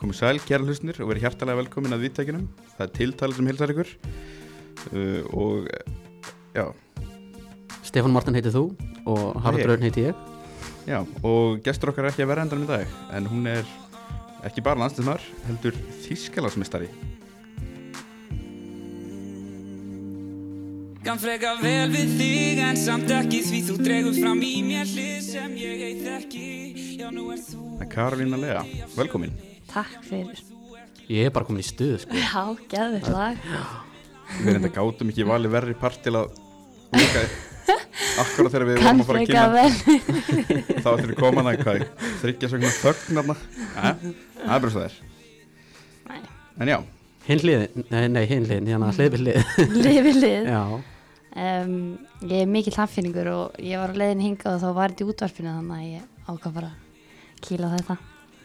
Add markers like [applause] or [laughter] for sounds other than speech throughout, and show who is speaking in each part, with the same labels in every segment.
Speaker 1: Komið sæl, kæra hlustnir og verið hjartalega velkomin að viðtækinum. Það er tiltalið sem hilsar ykkur uh, og eh, já,
Speaker 2: Stefán Martin heiti þú og
Speaker 1: Ég?
Speaker 2: Harald Raun heiti ég
Speaker 1: já, og gestur okkar er ekki að vera endanum í dag en hún er ekki bara landslismar, heldur þýskalagsmistari.
Speaker 3: Kann freka vel við þig en samt ekki því þú dregur fram í mér hlið sem ég heit ekki Já nú er þú
Speaker 1: Það er Karolína Lea, velkomin.
Speaker 4: Takk fyrir.
Speaker 2: Ég er bara komin í stuð sko.
Speaker 4: Já, geðvitt lag.
Speaker 1: Við reynda gátum ekki valið verri part til að hluka akkurat þegar við vorum
Speaker 4: Kann
Speaker 1: að fara að
Speaker 4: freka
Speaker 1: kynna [laughs]
Speaker 4: vel.
Speaker 1: þá ættir við koman að hvað þryggja svona þögnarna. Það er bara svo þær.
Speaker 4: Nei.
Speaker 1: En já,
Speaker 2: Hinn hliðin, nei, nei hinn hliðin, hérna hlið við hlið
Speaker 4: Lifi lið.
Speaker 2: [laughs] Já,
Speaker 4: Um, ég er mikill haffinningur og ég var á leiðin hingað og þá var þetta í útvarpinu þannig að ég ákvað bara að kýla á þetta.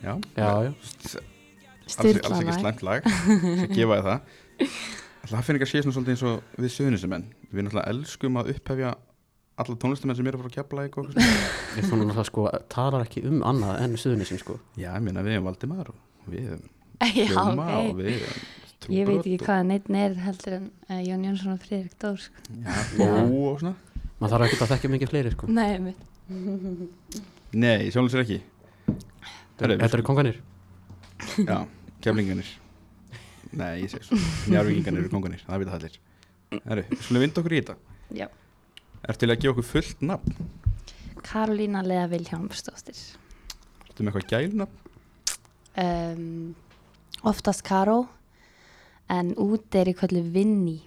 Speaker 1: já,
Speaker 2: já, [laughs] já
Speaker 1: alls, alls ekki
Speaker 4: Styrla lag.
Speaker 1: slæmt lag sem gefa þér [laughs] það Það finnir ekki að sé svona svolítið eins og við suðunistumenn Við náttúrulega elskum að upphefja alla tónlistamenn sem eru að fara að kepla í kokku
Speaker 2: Ég svona náttúrulega sko, talar ekki um annað enn suðunisinn sko
Speaker 1: Já, ég meina við erum Valdimar og við erum
Speaker 4: [laughs] Já,
Speaker 1: Hljóma og
Speaker 4: ok.
Speaker 1: við erum
Speaker 4: Ég veit
Speaker 1: Trúbrot
Speaker 4: ekki hvað neitt er heldur en uh, Jón Jónsson og Friðrik Dór. Sko.
Speaker 1: og- Já, Bó og svona
Speaker 2: Maður þarf ekki að þekkja mikið fleiri sko
Speaker 4: Nei, mitt.
Speaker 1: Nei, sjálfins er ekki Herru,
Speaker 2: Þetta eru konganir
Speaker 1: Já, keflinganir Nei, ég segi svo Njárvíkinganir eru konganir, það vita það allir Herru, skulum vinda okkur í þetta
Speaker 4: Já.
Speaker 1: Ertu til að gefa okkur fullt nafn?
Speaker 4: Karolína Lea Vilhjálmsdóttir.
Speaker 1: Ertu með eitthvað gælnafn?
Speaker 4: Um, oftast Karó en út er í kvöldu Vinni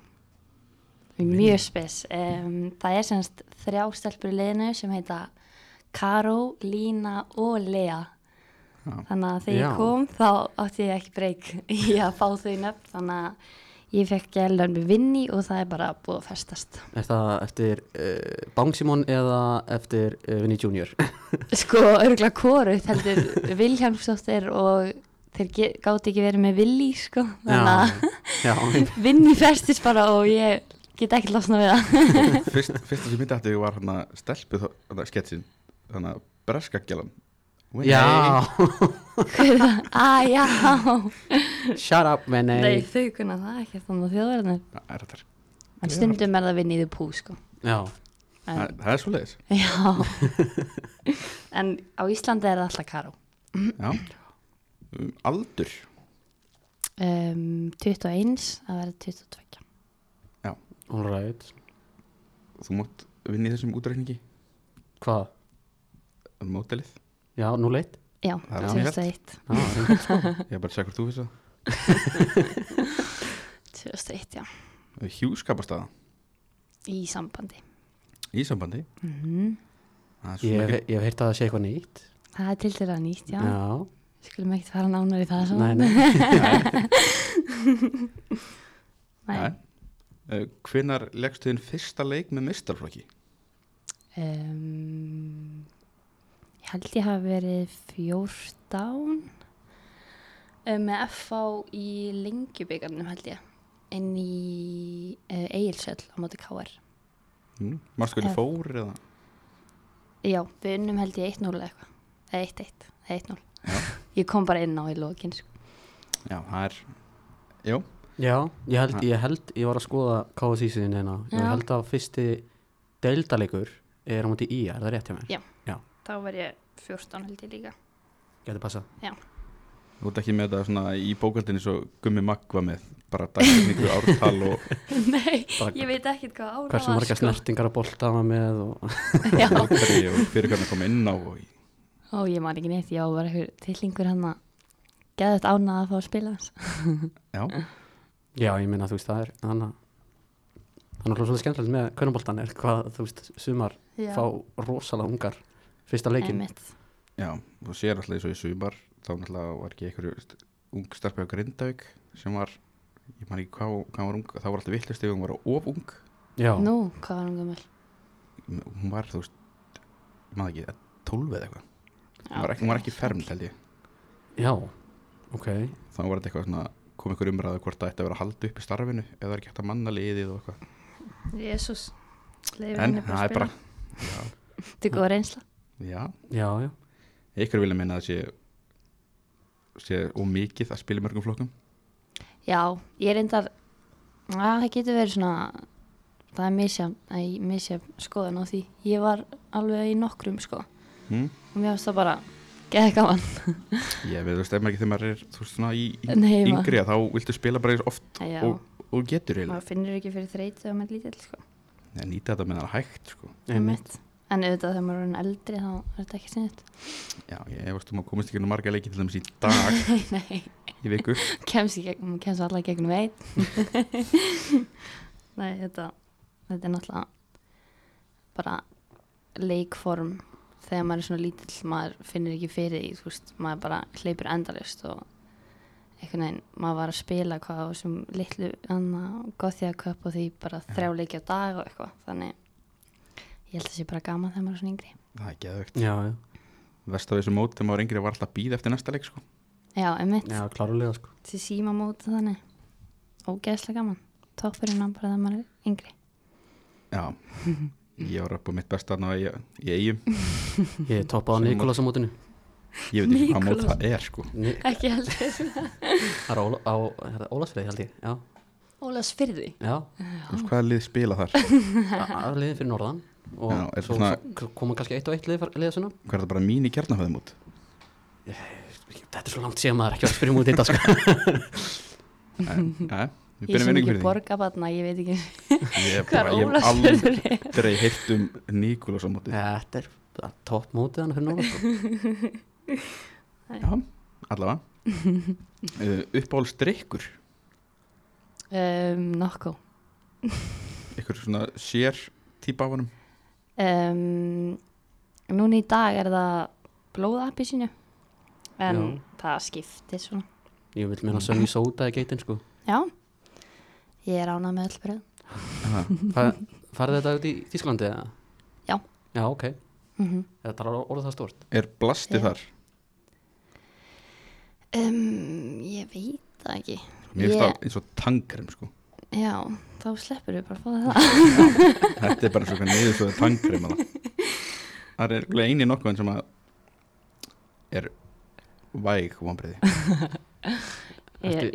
Speaker 4: mjög spes um, það er semst þrjá stelpur í liðinu sem heita Karó, Lína og Lea
Speaker 1: Já.
Speaker 4: þannig að þegar
Speaker 2: Já.
Speaker 4: ég kom þá átti ég ekki breyk í að fá þau nöfn þannig að ég fekk gældan með Vinni og það er bara búið að festast [laughs]
Speaker 2: Er það eftir uh, Bang Simon eða eftir uh, Vinnie [laughs] Junior
Speaker 4: sko örgulega koruð heldur Vilhjálmsdóttir og þeir ge- gátu ekki verið með Villi sko þannig að
Speaker 2: Já, já
Speaker 4: vinn í festist bara og ég get ekki losna við það [laughs]
Speaker 1: Fyrst, fyrsta sem ég myndi aftur var hann að stelpu þarna sketsin, þannig að breskagjalan.
Speaker 2: [laughs] Já,
Speaker 4: Hver er það? Æ, Ah, já
Speaker 2: shut up man
Speaker 4: Nei,
Speaker 2: nei.
Speaker 4: þau kunna það ekki þannig að þjóðverðinu
Speaker 1: Það er þetta.
Speaker 4: En stundum er það vinn í þau pú, sko
Speaker 2: Já,
Speaker 4: en,
Speaker 1: Það er svo leiðis.
Speaker 4: [laughs] Já En á Íslandi er það alltaf karó
Speaker 1: Já. Um, aldur.
Speaker 4: um, 21, það verður 22
Speaker 2: all right
Speaker 1: Þú mátt vinna í þessum Um útrækningi,
Speaker 2: Hvað?
Speaker 1: mótelið.
Speaker 2: Já, nú [laughs] leitt?
Speaker 4: Já,
Speaker 1: Það er sem ég hélt.
Speaker 4: 2001
Speaker 2: Já, hreint.
Speaker 1: Ég er bara að segja hvort þú finnst það.
Speaker 4: 2001, já
Speaker 1: Um Hjúskapastaða
Speaker 4: Í sambandi
Speaker 1: í sambandi. Það er
Speaker 4: mm
Speaker 2: Mhm. ég
Speaker 1: svona
Speaker 2: hef
Speaker 1: ekki.
Speaker 2: ég hef heyrt að það sé eitthvað nýtt
Speaker 4: Það er til þeirra nýtt, já,
Speaker 2: já.
Speaker 4: Skulum ekkert fara nánar í það svo
Speaker 2: Nei, nei.
Speaker 4: Nei.
Speaker 1: Uh, hvenar leggstu þinn fyrsta leik með mistarflokki?
Speaker 4: um, ég held ég hafi verið 14 um, með FH í lengjubyggarnum held ég inn í uh, Egilsöll á móti KR
Speaker 1: Mm. Marstu hvernig
Speaker 4: Eh.
Speaker 1: fór eða?
Speaker 4: já, við unnum held ég 1-0 eða eitthvað eða 1-1, eða 1-0 [laughs] ég kom bara inn á í lokin sko.
Speaker 1: Já, það er, jú,
Speaker 2: Já, ég held,
Speaker 1: Ha.
Speaker 2: ég held, ég var að skoða KSÍ-sýðin hérna, ég
Speaker 4: Já.
Speaker 2: held að fyrsti deildaleikur er á móti í, er það rétt hjá mér?
Speaker 4: Já. þá var ég 14 held ég [laughs] líka
Speaker 2: Gæti passa.
Speaker 1: þú ert ekki með þetta svona í bókaldinni svo gummi magva með bara dagsetningu, ártal og
Speaker 4: nei,
Speaker 2: Bara-
Speaker 4: ég veit ekkert hvað ára
Speaker 2: Hversu marga snertingar að bolta hann var með og
Speaker 4: sko. [laughs] já,
Speaker 1: aldrei og fyrir hvernig að koma inn á og
Speaker 4: Ó, ég man ekki neitt, já, var eitthvað tillingur hann að geða þetta ánað hérna. að fá að spila hans.
Speaker 1: já,
Speaker 2: já, ég minna, þú veist, það er, hann að, hann er svolítið skemmtilegt með kvönaboltan er hvað, þú veist, sumar fá rosalega ungar fyrsta leikin.
Speaker 4: Einmitt.
Speaker 1: já, þú sér alltaf eins og í sumar þá náttúrulega var ekki einhverju st- ung starfið á Grindavík sem var ég man ekki hvað, hvað var ung, þá var alltaf vittlust ef hún var of ung,
Speaker 2: Já,
Speaker 4: Nú, hvað var hún gömul?
Speaker 1: hún var þú veist, maður ekki, 12 eða eitthvað, hún var ekki, hún var ekki fermd held ég,
Speaker 2: já, ok,
Speaker 1: þá var þetta eitthvað svona kom einhver umræðu hvort það ætti að vera að halda upp í starfinu eða er ekki hægt að manna liðið og eitthvað
Speaker 4: Jésús, leifir
Speaker 1: en
Speaker 4: henni bara
Speaker 1: það
Speaker 4: að
Speaker 1: er bara,
Speaker 4: spila. Þetta er góð reynsla.
Speaker 1: já,
Speaker 2: já, já,
Speaker 1: ykkur vilja meina að það sé sé og mikið að spila í mörgum flokkum
Speaker 4: Já, ég reyndar að það getur verið svona það er misjafn, að ég misja skoðan á því ég var alveg í nokkrum sko og
Speaker 1: hm?
Speaker 4: mér finnst það bara geða gaman
Speaker 1: Ég veit, þú veist, ef maður ekki þegar maður er þú veist, svona í yng-
Speaker 4: Nei, maður-
Speaker 1: yngri að þá viltu spila bara eins oft
Speaker 4: Já.
Speaker 1: og, og getur eiginlega
Speaker 4: maður finnur ekki fyrir þreytu þegar maður er lítill sko
Speaker 1: Nei, nýta þetta með það hægt sko
Speaker 2: Einmitt.
Speaker 4: Einmitt. en auðvitað þegar maður er orðinn eldri þá er þetta ekki
Speaker 1: [laughs]
Speaker 4: sinniðt
Speaker 1: Já, ég veist, þú maður komist ekki nú marga leiki til dæmis í dag
Speaker 4: nei,
Speaker 1: í
Speaker 4: [laughs]
Speaker 1: viku
Speaker 4: kemst, í gegn, maður kemst allar gegnum einn [laughs] nei, þetta þetta er náttúrulega bara leikform þegar maður er svona lítill maður finnir ekki fyrir því, þú veist, maður bara hleypur endalust og einhvern veginn, maður var að spila hvað á þessum litlu gothjaköp og því bara þrjá leiki á dag og eitthvað, þannig ég held að það sé bara gaman þegar maður er svona yngri
Speaker 1: Það er geðvögt
Speaker 2: Já, já,
Speaker 1: Vest af þessu mót þegar maður yngri var alltaf að býða eftir næsta leik sko
Speaker 4: já, emmitt,
Speaker 2: já, klárulega sko
Speaker 4: til síma móta þannig ógeðslega gaman, toppurinn á bara þegar maður er yngri [laughs]
Speaker 1: Já, ég var upp á mitt besta þarna í, í eigum
Speaker 2: Ég toppaði á
Speaker 1: Sem
Speaker 2: Nikolas á mótinu
Speaker 1: Ég veit
Speaker 4: [laughs]
Speaker 1: ekki hvað mót
Speaker 4: Nikolás.
Speaker 1: það er sko
Speaker 2: Ni-
Speaker 4: ekki heldur,
Speaker 2: Það er á, Óla- á hérna, Ólafsfriði held ég Já,
Speaker 4: Ólas fyrir því
Speaker 2: já
Speaker 1: Þú veist hvaða lið spila þar
Speaker 4: [laughs]
Speaker 2: Það er liðin fyrir norðan Og
Speaker 1: Já, er
Speaker 2: svo,
Speaker 1: svona-
Speaker 2: svo koma kannski eitt og eitt lið, liða svona
Speaker 1: Hvað er það bara mín í kjarnafæðum út?
Speaker 2: Þetta er svo langt síðan maður er ekki var að spyrja mútið þetta
Speaker 1: [laughs]
Speaker 2: sko
Speaker 1: Nei, Eh, við
Speaker 4: ég er
Speaker 1: byrjum
Speaker 4: svo
Speaker 1: vinningu
Speaker 4: mikið
Speaker 1: fyrir því
Speaker 4: borgabatna, ég veit ekki [laughs]
Speaker 1: Ég hef
Speaker 4: hvað
Speaker 1: bara- ég
Speaker 4: er
Speaker 1: hef
Speaker 4: Ólas
Speaker 1: aldrei
Speaker 4: fyrir því
Speaker 1: heyrt um Nikolás á móti
Speaker 2: Þetta er topp mótið hann fyrir norðan sko.
Speaker 1: Já, allavega uh, Uppáhalds drikkur
Speaker 4: um, nokkuð
Speaker 1: Ykkur svona sér típa af honum
Speaker 4: um, Núna í dag er það blóðapisinu en
Speaker 2: Já.
Speaker 4: það skiptir svona
Speaker 2: Ég vil meina sönni sóta í geitin sko
Speaker 4: Já, ég er ánað með öll bröð
Speaker 1: Aha.
Speaker 2: Fa- Farið þetta út í Þísklandi eða?
Speaker 4: Já.
Speaker 2: Já, ok
Speaker 4: mm
Speaker 2: Þetta er orðið það stort
Speaker 1: Er blasti
Speaker 4: Já.
Speaker 1: þar?
Speaker 4: um, Ég veit það ekki
Speaker 1: Mér finnst
Speaker 4: Ég-
Speaker 1: það eins og tangrem sko
Speaker 4: Já, þá sleppur við bara að fá það
Speaker 1: Þetta er bara eins og eitthvað niður svo tangrem að það Það er örugglega eini nokkuð sem að er væg vonbreiði
Speaker 4: [laughs] ég,
Speaker 2: Ertu,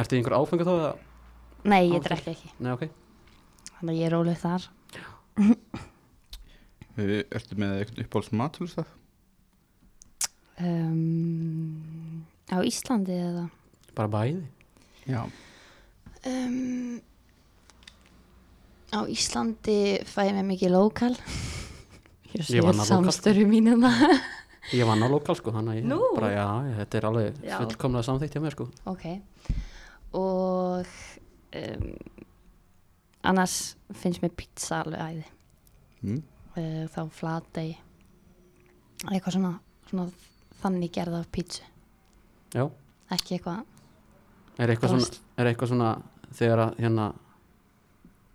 Speaker 2: ertu í einhver áfengu þá? eða?
Speaker 4: Nei, ég
Speaker 2: Áfram.
Speaker 4: drekki ekki
Speaker 2: Nei, ok
Speaker 4: Þannig að ég er róleg þar
Speaker 1: Uh, Ertu með eitthvað uppáhalds matulust það?
Speaker 4: um, Á Íslandi eða
Speaker 2: Bara bæði
Speaker 1: Já
Speaker 4: um, Á Íslandi fæ ég mér mikið lokal Ég,
Speaker 2: Ég vann að sko. lokal.
Speaker 4: samstöru mínu það
Speaker 2: Ég vann á lokal sko Þannig að ég
Speaker 4: Nú.
Speaker 2: bara, já, þetta er alveg
Speaker 4: Já.
Speaker 2: fullkomlega samþykkt hjá mér sko
Speaker 4: [laughs] Ok Og um, Annars finnst mér pizza alveg æði
Speaker 1: mm.
Speaker 4: uh, Þá flatei Eitthvað svona, svona Þannig gerð af pizza
Speaker 2: Já
Speaker 4: Ekki eitthvað
Speaker 2: Er eitthvað,
Speaker 4: Bara
Speaker 2: svona, er eitthvað svona þegar að hérna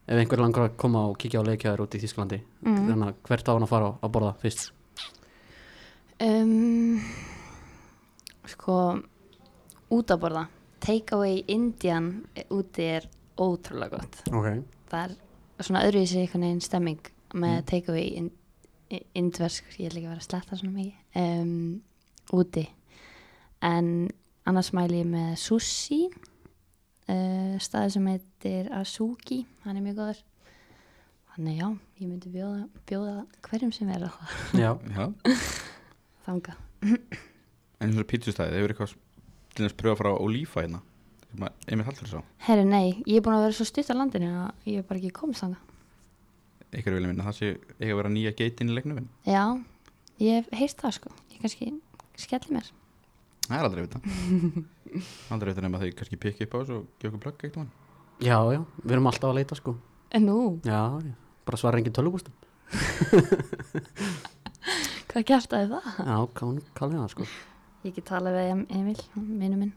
Speaker 2: ef einhver langar að koma og kíkja á leikjaður út í Þísklandi
Speaker 4: Mhm.
Speaker 2: þannig að hvert á hann að fara á- að borða fyrst
Speaker 4: um, Sko Út að borða Takeaway Indian eh, úti er ótrúlega gott
Speaker 2: Ok
Speaker 4: það er svona öðruvísi einhvern veginn stemming með mm. takeaway in- i- indversk, ég ætla ekki að vera að sletta svona mikið um, úti en annars mæli ég með sushi uh, staði sem heitir Azuki, hann er mjög góður þannig já, ég myndi bjóða, bjóða hverjum sem er á það
Speaker 2: Já
Speaker 1: Já
Speaker 4: þangað
Speaker 1: En eins og pítsustæði, hefur eitthvað til þess pröfa frá Olífa hérna sem að Emil Hallur sá
Speaker 4: herru nei, ég er búin að vera svo stutt á landinu að ég er bara ekki komið þangað
Speaker 1: Ykkur vilja minna, það sé eiga að vera nýja geitin í leiknum minn
Speaker 4: já, ég hef heyrt það sko ég kannski skelli mér
Speaker 1: Það er aldrei að vita
Speaker 4: [laughs]
Speaker 1: Aldrei að vita nema að þau kannski pikki upp á þessu og gefa okkur plögg um eitt mann
Speaker 2: Já, já, við erum alltaf að leita sko
Speaker 4: en nú,
Speaker 2: Já, já, bara svara engin tölvupústum
Speaker 4: hvað gert að það?
Speaker 2: Já, kann, kallið það sko
Speaker 4: Ég get talað við Em- Emil, vinnu minn.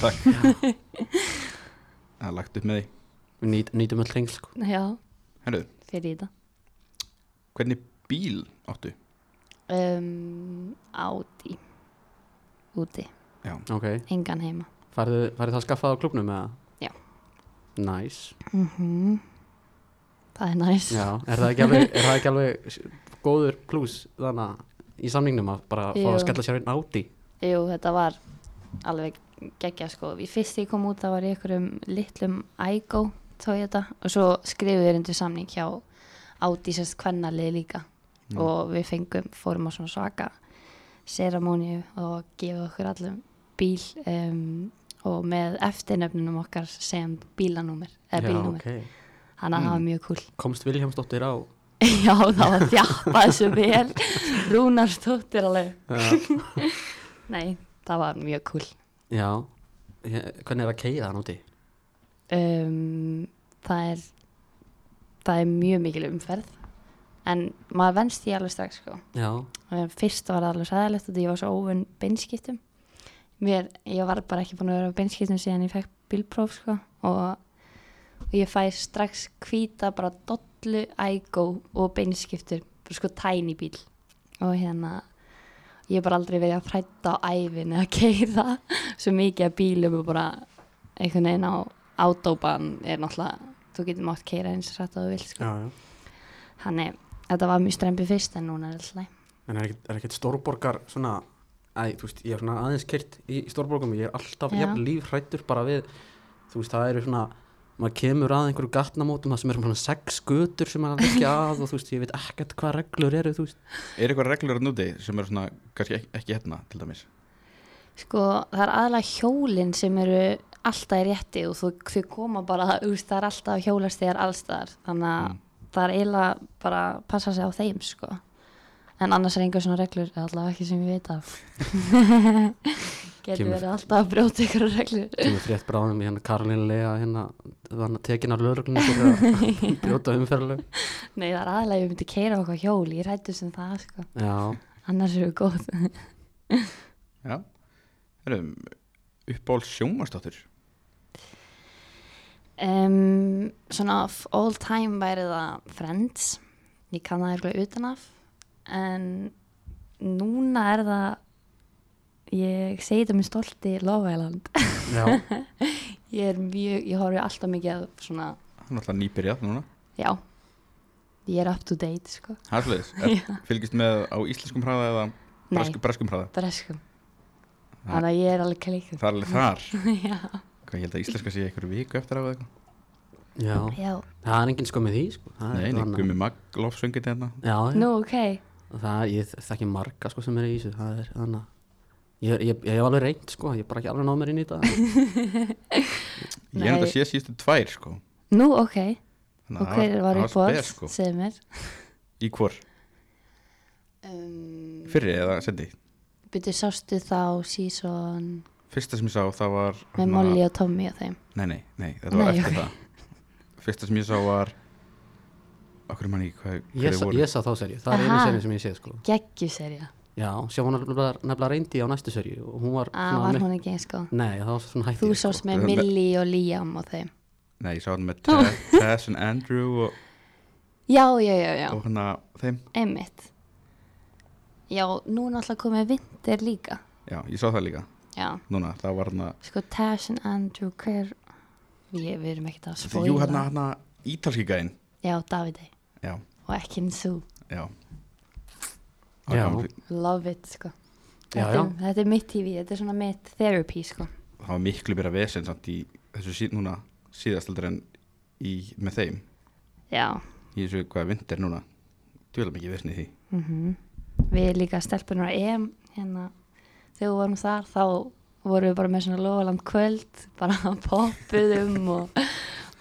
Speaker 1: Takk Það er lagt upp með því
Speaker 2: Við nýt, nýtum öll tengl sko
Speaker 4: Já,
Speaker 1: Herru,
Speaker 4: fyrir þetta.
Speaker 1: hvernig bíl áttu?
Speaker 4: Um, áti, úti,
Speaker 1: Já,
Speaker 2: Ok,
Speaker 4: engan heima.
Speaker 2: farið, farið það skaffað á klubnum eða?
Speaker 4: Já.
Speaker 2: Næs
Speaker 4: Mm Það er næs.
Speaker 2: Já, er það ekki alveg, er það ekki alveg s- góður plus þannig að í samningnum að bara fá að
Speaker 4: Jú.
Speaker 2: skella sér einn áti
Speaker 4: Jú, þetta var alveg geggja sko í fyrst því ég kom út þá var ég ykkur um litlum ægó Toyota og svo skrifuðu þér undir samning hjá Audisest kvennalið líka
Speaker 1: Mm.
Speaker 4: og við fengum, fórum á svona svaka seramóníu og gefið okkur allum bíl um, og með eftirnefnunum okkar sem bílanúmer eða bílnúmer,
Speaker 2: okay.
Speaker 4: þannig að það var mjög cool
Speaker 2: komst Viljámsdóttir á
Speaker 4: [laughs] Já, það var þjappa þessu vel Rúnarsdóttir alveg
Speaker 2: uh,
Speaker 4: Nei, það var mjög cool
Speaker 2: já, Ég- hvernig er að keiða hann úti
Speaker 4: um, Það er það er mjög mikil umferð en maður venst því alveg strax sko.
Speaker 2: já,
Speaker 4: En fyrst var það alveg sæðilegt og ég var svo óvun beinskiptum Mér, ég var bara ekki búin að vera á beinskiptum síðan ég fekk bílpróf sko, og, og ég fæ strax hvíta bara dollu, ægó og beinskiptur, bara sko tæni bíl og hérna ég hef bara aldrei verið að frætta á æfin eða [laughs] keira svo mikið að bílum og bara einhvern veginn á átópan er náttúrulega, þú getur mátt keira eins rætt og þú vilt
Speaker 2: já,
Speaker 4: sko.
Speaker 2: já.
Speaker 4: þannig þetta var mjög strempi fyrst en núna er alltaf læg
Speaker 2: en er ekkert, er ekkert stórborgar svona Æ, þú veist, ég er svona aðeins kert í stórborgum ég er alltaf
Speaker 4: Já.
Speaker 2: jafn lífrættur bara við þú veist, það eru svona maður kemur að einhverju gatnamótum það sem er svona sex götur sem maður er ekki
Speaker 4: [laughs]
Speaker 2: að og þú veist, ég veit ekkert hvað reglur eru þú veist,
Speaker 1: Er eitthvað reglur að núti sem er svona, kannski ek- ekki hérna til dæmis?
Speaker 4: Sko, það er aðalega hjólinn sem eru alltaf í rétti og þú, þau koma bara, úst, það er alltaf hjólastegar allstaðar, þannig að það er eiginlega bara að passa sig á þeim, sko. En annars er einhver svona reglur, allavega ekki sem ég veit af. Getur
Speaker 2: Kemur-
Speaker 4: verið alltaf að brjóta ykkur reglur.
Speaker 2: kemur frétt bráðum í hérna Karolínu Lea hérna, það var tekin af lögreglunni fyrir
Speaker 4: [laughs]
Speaker 2: að brjóta umferðalög
Speaker 4: Nei, það er aðalega við myndum keira okkur hjól, ég rættu sem það, sko.
Speaker 2: já,
Speaker 4: Annars eru við góð.
Speaker 1: Já. Erum uppáhald sjómarsdóttur?
Speaker 4: Um, svona of all time væri það Friends ég kann það eitthvað utanaf en núna er það ég segi þetta með stolti Love Island [laughs]
Speaker 2: já,
Speaker 4: ég er mjög, ég horfi alltaf mikið að svona,
Speaker 1: Hann er alltaf nýbyrjað núna.
Speaker 4: já ég er up to date sko
Speaker 1: Hæsleis, fylgist með á íslenskum hraða eða
Speaker 4: nei,
Speaker 1: bresk, breskum hraða?
Speaker 4: breskum
Speaker 1: Ha.
Speaker 4: þannig að ég er alveg klíkum
Speaker 1: Það er alveg þar.
Speaker 4: [laughs] já,
Speaker 1: Hvað ég held að íslenska sé einhverju viku eftir á eða eitthvað?
Speaker 4: [laughs]
Speaker 2: já
Speaker 4: já,
Speaker 2: það er enginn sko með því sko. það
Speaker 1: Nei,
Speaker 2: er
Speaker 1: nei,
Speaker 2: annað.
Speaker 1: Gumi Magg lofsöngið hérna.
Speaker 2: já, já.
Speaker 4: nú ok
Speaker 2: það, ég þekki marga sko sem er í þessu það er þannig ég, ég, ég hef alveg reynd sko, ég er bara ekki alveg náð mér inn í þetta
Speaker 1: Ég er
Speaker 4: Nei.
Speaker 1: þetta sé síðustu tvær sko.
Speaker 4: nú ok,
Speaker 1: Þannig
Speaker 4: og
Speaker 1: að
Speaker 4: hver
Speaker 1: það
Speaker 4: var
Speaker 1: það
Speaker 4: upp á
Speaker 1: spes,
Speaker 4: alls
Speaker 1: sko.
Speaker 4: segir mér
Speaker 1: Í hvor?
Speaker 4: um,
Speaker 1: Fyrri eða sendi?
Speaker 4: Byrju, sástu þá season
Speaker 1: Fyrsta sem ég sá það var
Speaker 4: með
Speaker 1: hérna-
Speaker 4: Molly og Tommy og þeim
Speaker 1: Nei, nei, nei, þetta var
Speaker 4: Nei,
Speaker 1: eftir
Speaker 4: ok.
Speaker 1: það Fyrsta sem ég sá var Akkur mann ekki hvað, hvað
Speaker 2: ég,
Speaker 1: þið
Speaker 2: sá-
Speaker 1: voru
Speaker 2: ég sá þá serju, það er einu
Speaker 4: Aha.
Speaker 2: serju sem ég sé sko
Speaker 4: geggjuserja,
Speaker 2: já, sjá hún nefnilega, nefnilega reyndi á næstu serju og hún var
Speaker 4: að Ah, var hún ekki eins sko
Speaker 2: miklu- nei, það var svona hætti
Speaker 4: þú sást með
Speaker 1: Með-
Speaker 4: Millie og Liam og þeim
Speaker 1: Nei, ég sá
Speaker 4: [laughs]
Speaker 1: hann með Te- Tess and Andrew og,
Speaker 4: já, já, já, já,
Speaker 1: og hana, þeim
Speaker 4: einmitt já, núna alltaf komið vinter líka,
Speaker 1: Já, ég sá það líka
Speaker 4: já
Speaker 1: Núna, það var hana
Speaker 4: sko Tash and Andrew, hver ég, við erum ekkert að spóla
Speaker 1: Jú, hana, hana ítalski gæinn
Speaker 4: já, Davide
Speaker 1: Já,
Speaker 4: og ekki en þú,
Speaker 1: já
Speaker 2: Já.
Speaker 1: já.
Speaker 4: love it sko
Speaker 2: Já,
Speaker 4: þetta,
Speaker 2: já.
Speaker 4: Er, um- þetta er mitt TV, þetta er svona mitt therapy sko
Speaker 1: Það var miklu byrja vesinn samt í þessu síð, núna síðastaldur en í, með þeim
Speaker 4: já,
Speaker 1: Í þessu hvað vindir núna Dvíla mikið vesinn í því
Speaker 4: Mm Við líka stelpunar á EM hérna, þegar við vorum þar þá vorum við bara með svona lofaland kvöld bara [laughs] poppuðum og,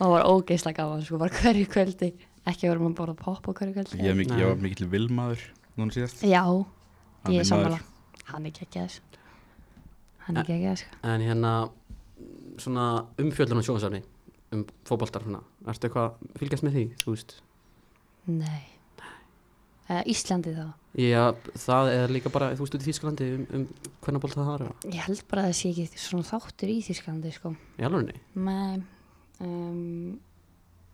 Speaker 4: og var ógeisla gaman sko, bara hverju kvöldi, ekki vorum að borða popp og hverju kvöldi.
Speaker 1: Ég, er mikið,
Speaker 2: Nei.
Speaker 1: ég var mikið vilmaður núna síðast
Speaker 4: Já,
Speaker 1: Hann
Speaker 4: ég
Speaker 1: er maður.
Speaker 4: er sammála. Hann er geggjaður. sko. Hann er geggjaður sko.
Speaker 2: en hérna svona umfjöldun á sjónsafni um fótboltar svona, ertu eitthvað að fylgjast með því, þú veist
Speaker 4: Nei. Uh, Íslandi þá.
Speaker 2: Já, það er líka bara, þú veist, út í Þýskalandi um, um hvernig bólta það er
Speaker 4: Ég held bara að það sé ekki svona þáttur í Þýrskalandi sko.
Speaker 2: í alveg
Speaker 4: Nei. Um,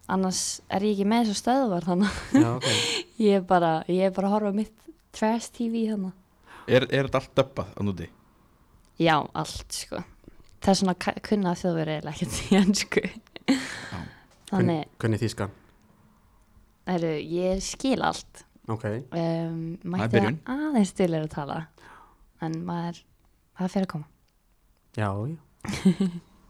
Speaker 4: annars er ég ekki með þessu stöðvar þannig
Speaker 2: já,
Speaker 4: [laughs]
Speaker 2: ok,
Speaker 4: Ég er bara, ég er bara að horfa á mitt trash TV hérna.
Speaker 1: Er, er þetta allt döbbað á núti?
Speaker 4: Já, allt sko. Það er svona ka- kunna þjóðverið eða ekkert í ennsku. Þannig,
Speaker 2: hvernig Þýskan
Speaker 4: heru, ég skil allt.
Speaker 2: ok,
Speaker 4: Um,
Speaker 1: Það er
Speaker 4: mætti
Speaker 1: byrjun.
Speaker 4: að aðeins til er að tala. En maður, það fer að koma.
Speaker 2: já, já,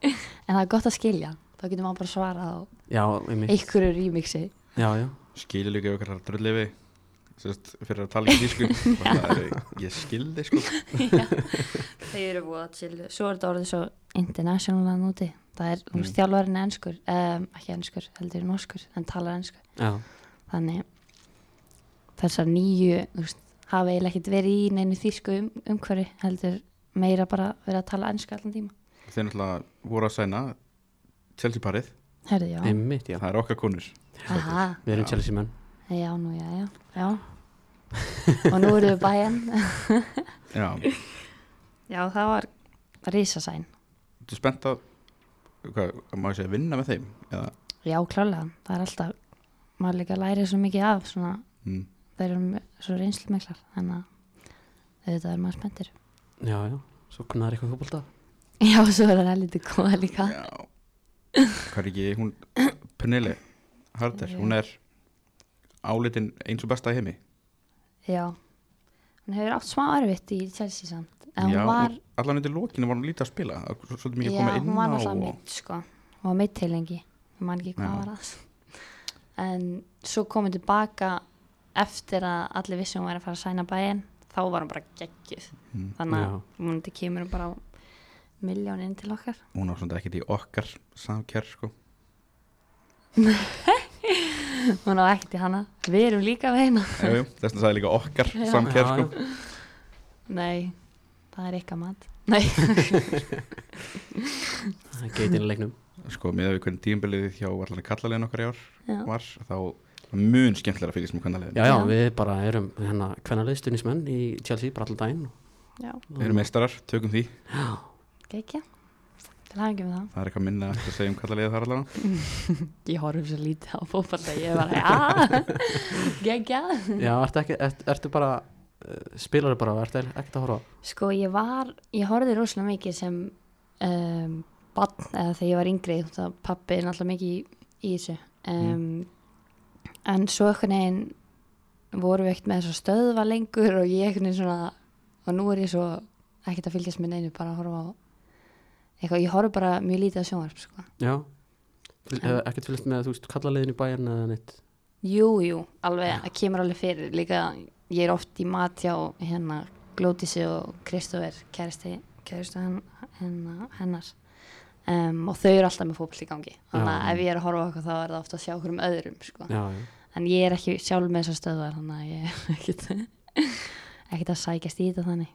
Speaker 4: en það er gott að skilja hann. þá getur maður bara svarað á
Speaker 2: já, einmitt
Speaker 4: einhverju remixi
Speaker 1: [laughs]
Speaker 2: já, já,
Speaker 1: skilja líka ykkar drullifi sérst, fyrir að tala í
Speaker 4: [laughs]
Speaker 1: tísku Bara það er, ég skildi sko
Speaker 4: þau eru búið að chillu svo er þetta orðið svo international að núti það er, þú veist,
Speaker 1: Mm.
Speaker 4: þjálfarinn er ennskur um, ekki ennskur, heldur norskur en talar ennsku
Speaker 2: já,
Speaker 4: þannig þessar nýju þú veist, hafa eiginlega ekkert verið í neinu þýsku um, umhverju heldur meira bara verið að tala ennsku allan tíma
Speaker 1: þeir náttúrulega voru að sæna Chelsea parið,
Speaker 4: herðu já,
Speaker 2: einmitt, já
Speaker 1: það er okkar konur
Speaker 4: aha,
Speaker 2: við erum Chelsea menn
Speaker 4: já nú já, já, já og nú eru við bæjan
Speaker 1: já,
Speaker 4: [laughs] já það var risasæn
Speaker 1: þú er spennt að hvað, má ég segja, vinna með þeim eða,
Speaker 4: já klálega, það er alltaf maður líka lærið svo mikið af svona,
Speaker 1: mm,
Speaker 4: þeir eru m- svo reynslumiklar þannig að auðvitað er maður spenntir
Speaker 2: já, já, svo kunnar eitthvað fókbólta
Speaker 4: [laughs] já, svo er það lítið góða líka
Speaker 1: já hvað er ekki, hún Pernille Harder,
Speaker 4: Já.
Speaker 1: hún er álitin eins og besta í heimi
Speaker 4: já, hún hefur átt smá erfitt í Chelsea samt en
Speaker 1: já,
Speaker 4: hún var,
Speaker 1: hún- allan undir lokinu var hún lítið að spila það var svolítið
Speaker 4: já,
Speaker 1: mikið að koma inn
Speaker 4: hún var
Speaker 1: á
Speaker 4: náttúrulega
Speaker 1: og-
Speaker 4: meitt sko, hún var meitt til lengi ég man ekki hvað
Speaker 1: Já.
Speaker 4: var að en svo komið tilbaka eftir að allir vissi hún væri að fara að sæna bæinn þá var hún bara geggjuð
Speaker 1: Mm.
Speaker 4: þannig að
Speaker 2: Já.
Speaker 4: hún kemur hún bara á miljón inn til okkar
Speaker 1: hún var svona ekkert í okkar samkjær sko
Speaker 4: hún á ekkert í hana, við erum líka við hérna
Speaker 1: Jú, jú, þess vegna sagði líka okkar
Speaker 4: Já.
Speaker 1: samkjær
Speaker 2: Já,
Speaker 1: sko
Speaker 4: Nei, það er eitthvað mat Nei,
Speaker 2: það er geitin í leiknum
Speaker 1: sko, með að við hvernig tímbilið hjá allan að kalla okkar í ár
Speaker 4: Já.
Speaker 1: var þá mun skemmtilega að fylgjast með kvennaliðinu
Speaker 2: já, já,
Speaker 4: Já.
Speaker 2: við bara erum hérna kvennaliðstunismenn í Chelsea bara allan daginn
Speaker 4: já,
Speaker 1: við erum meistarar, tökum því
Speaker 2: já,
Speaker 4: [laughs] gekkja Til hafa ekki með það
Speaker 1: það er eitthvað minna eftir að segja um kallaliðið þar allan
Speaker 4: Ég horfum svo lítið á fótballa Ég [laughs] var að, já, gekkja
Speaker 2: já, ertu ekki ert, ertu bara uh, spilaru bara, ertu ekkert að horfa á?
Speaker 4: Sko, ég var, ég horfði rosalega mikið sem um, barn eða þegar ég var yngri þá pappi er náttúrulega mikið í, í þessu um, En svo einhvern veginn vorum við ekkert með þess að stöðva lengur og ég einhvern veginn svona og nú er ég svo ekkert að fylgjast með neinu bara að horfa á eitthvað, ég horf bara mjög lítið á sjónvarp sko.
Speaker 2: já, Fyl- eh, ekkert fylgst með þú veist, kallaliðin í bæjarn eða neitt
Speaker 4: Jú, jú, alveg, það kemur alveg fyrir líka, ég er oft í mat hjá hérna Glótisi og Kristófer kæristi, kæristi henn, henn, hennar um, og þau eru alltaf með fótboll í gangi þannig að
Speaker 2: Já.
Speaker 4: ef ég er að horfa á eitthvað þá er það ofta að sjá okkur um öðrum sko.
Speaker 2: já, já,
Speaker 4: en ég er ekki sjálf með þessar stöðvar þannig að ég er ekkit ekkit að sækjast í þetta þannig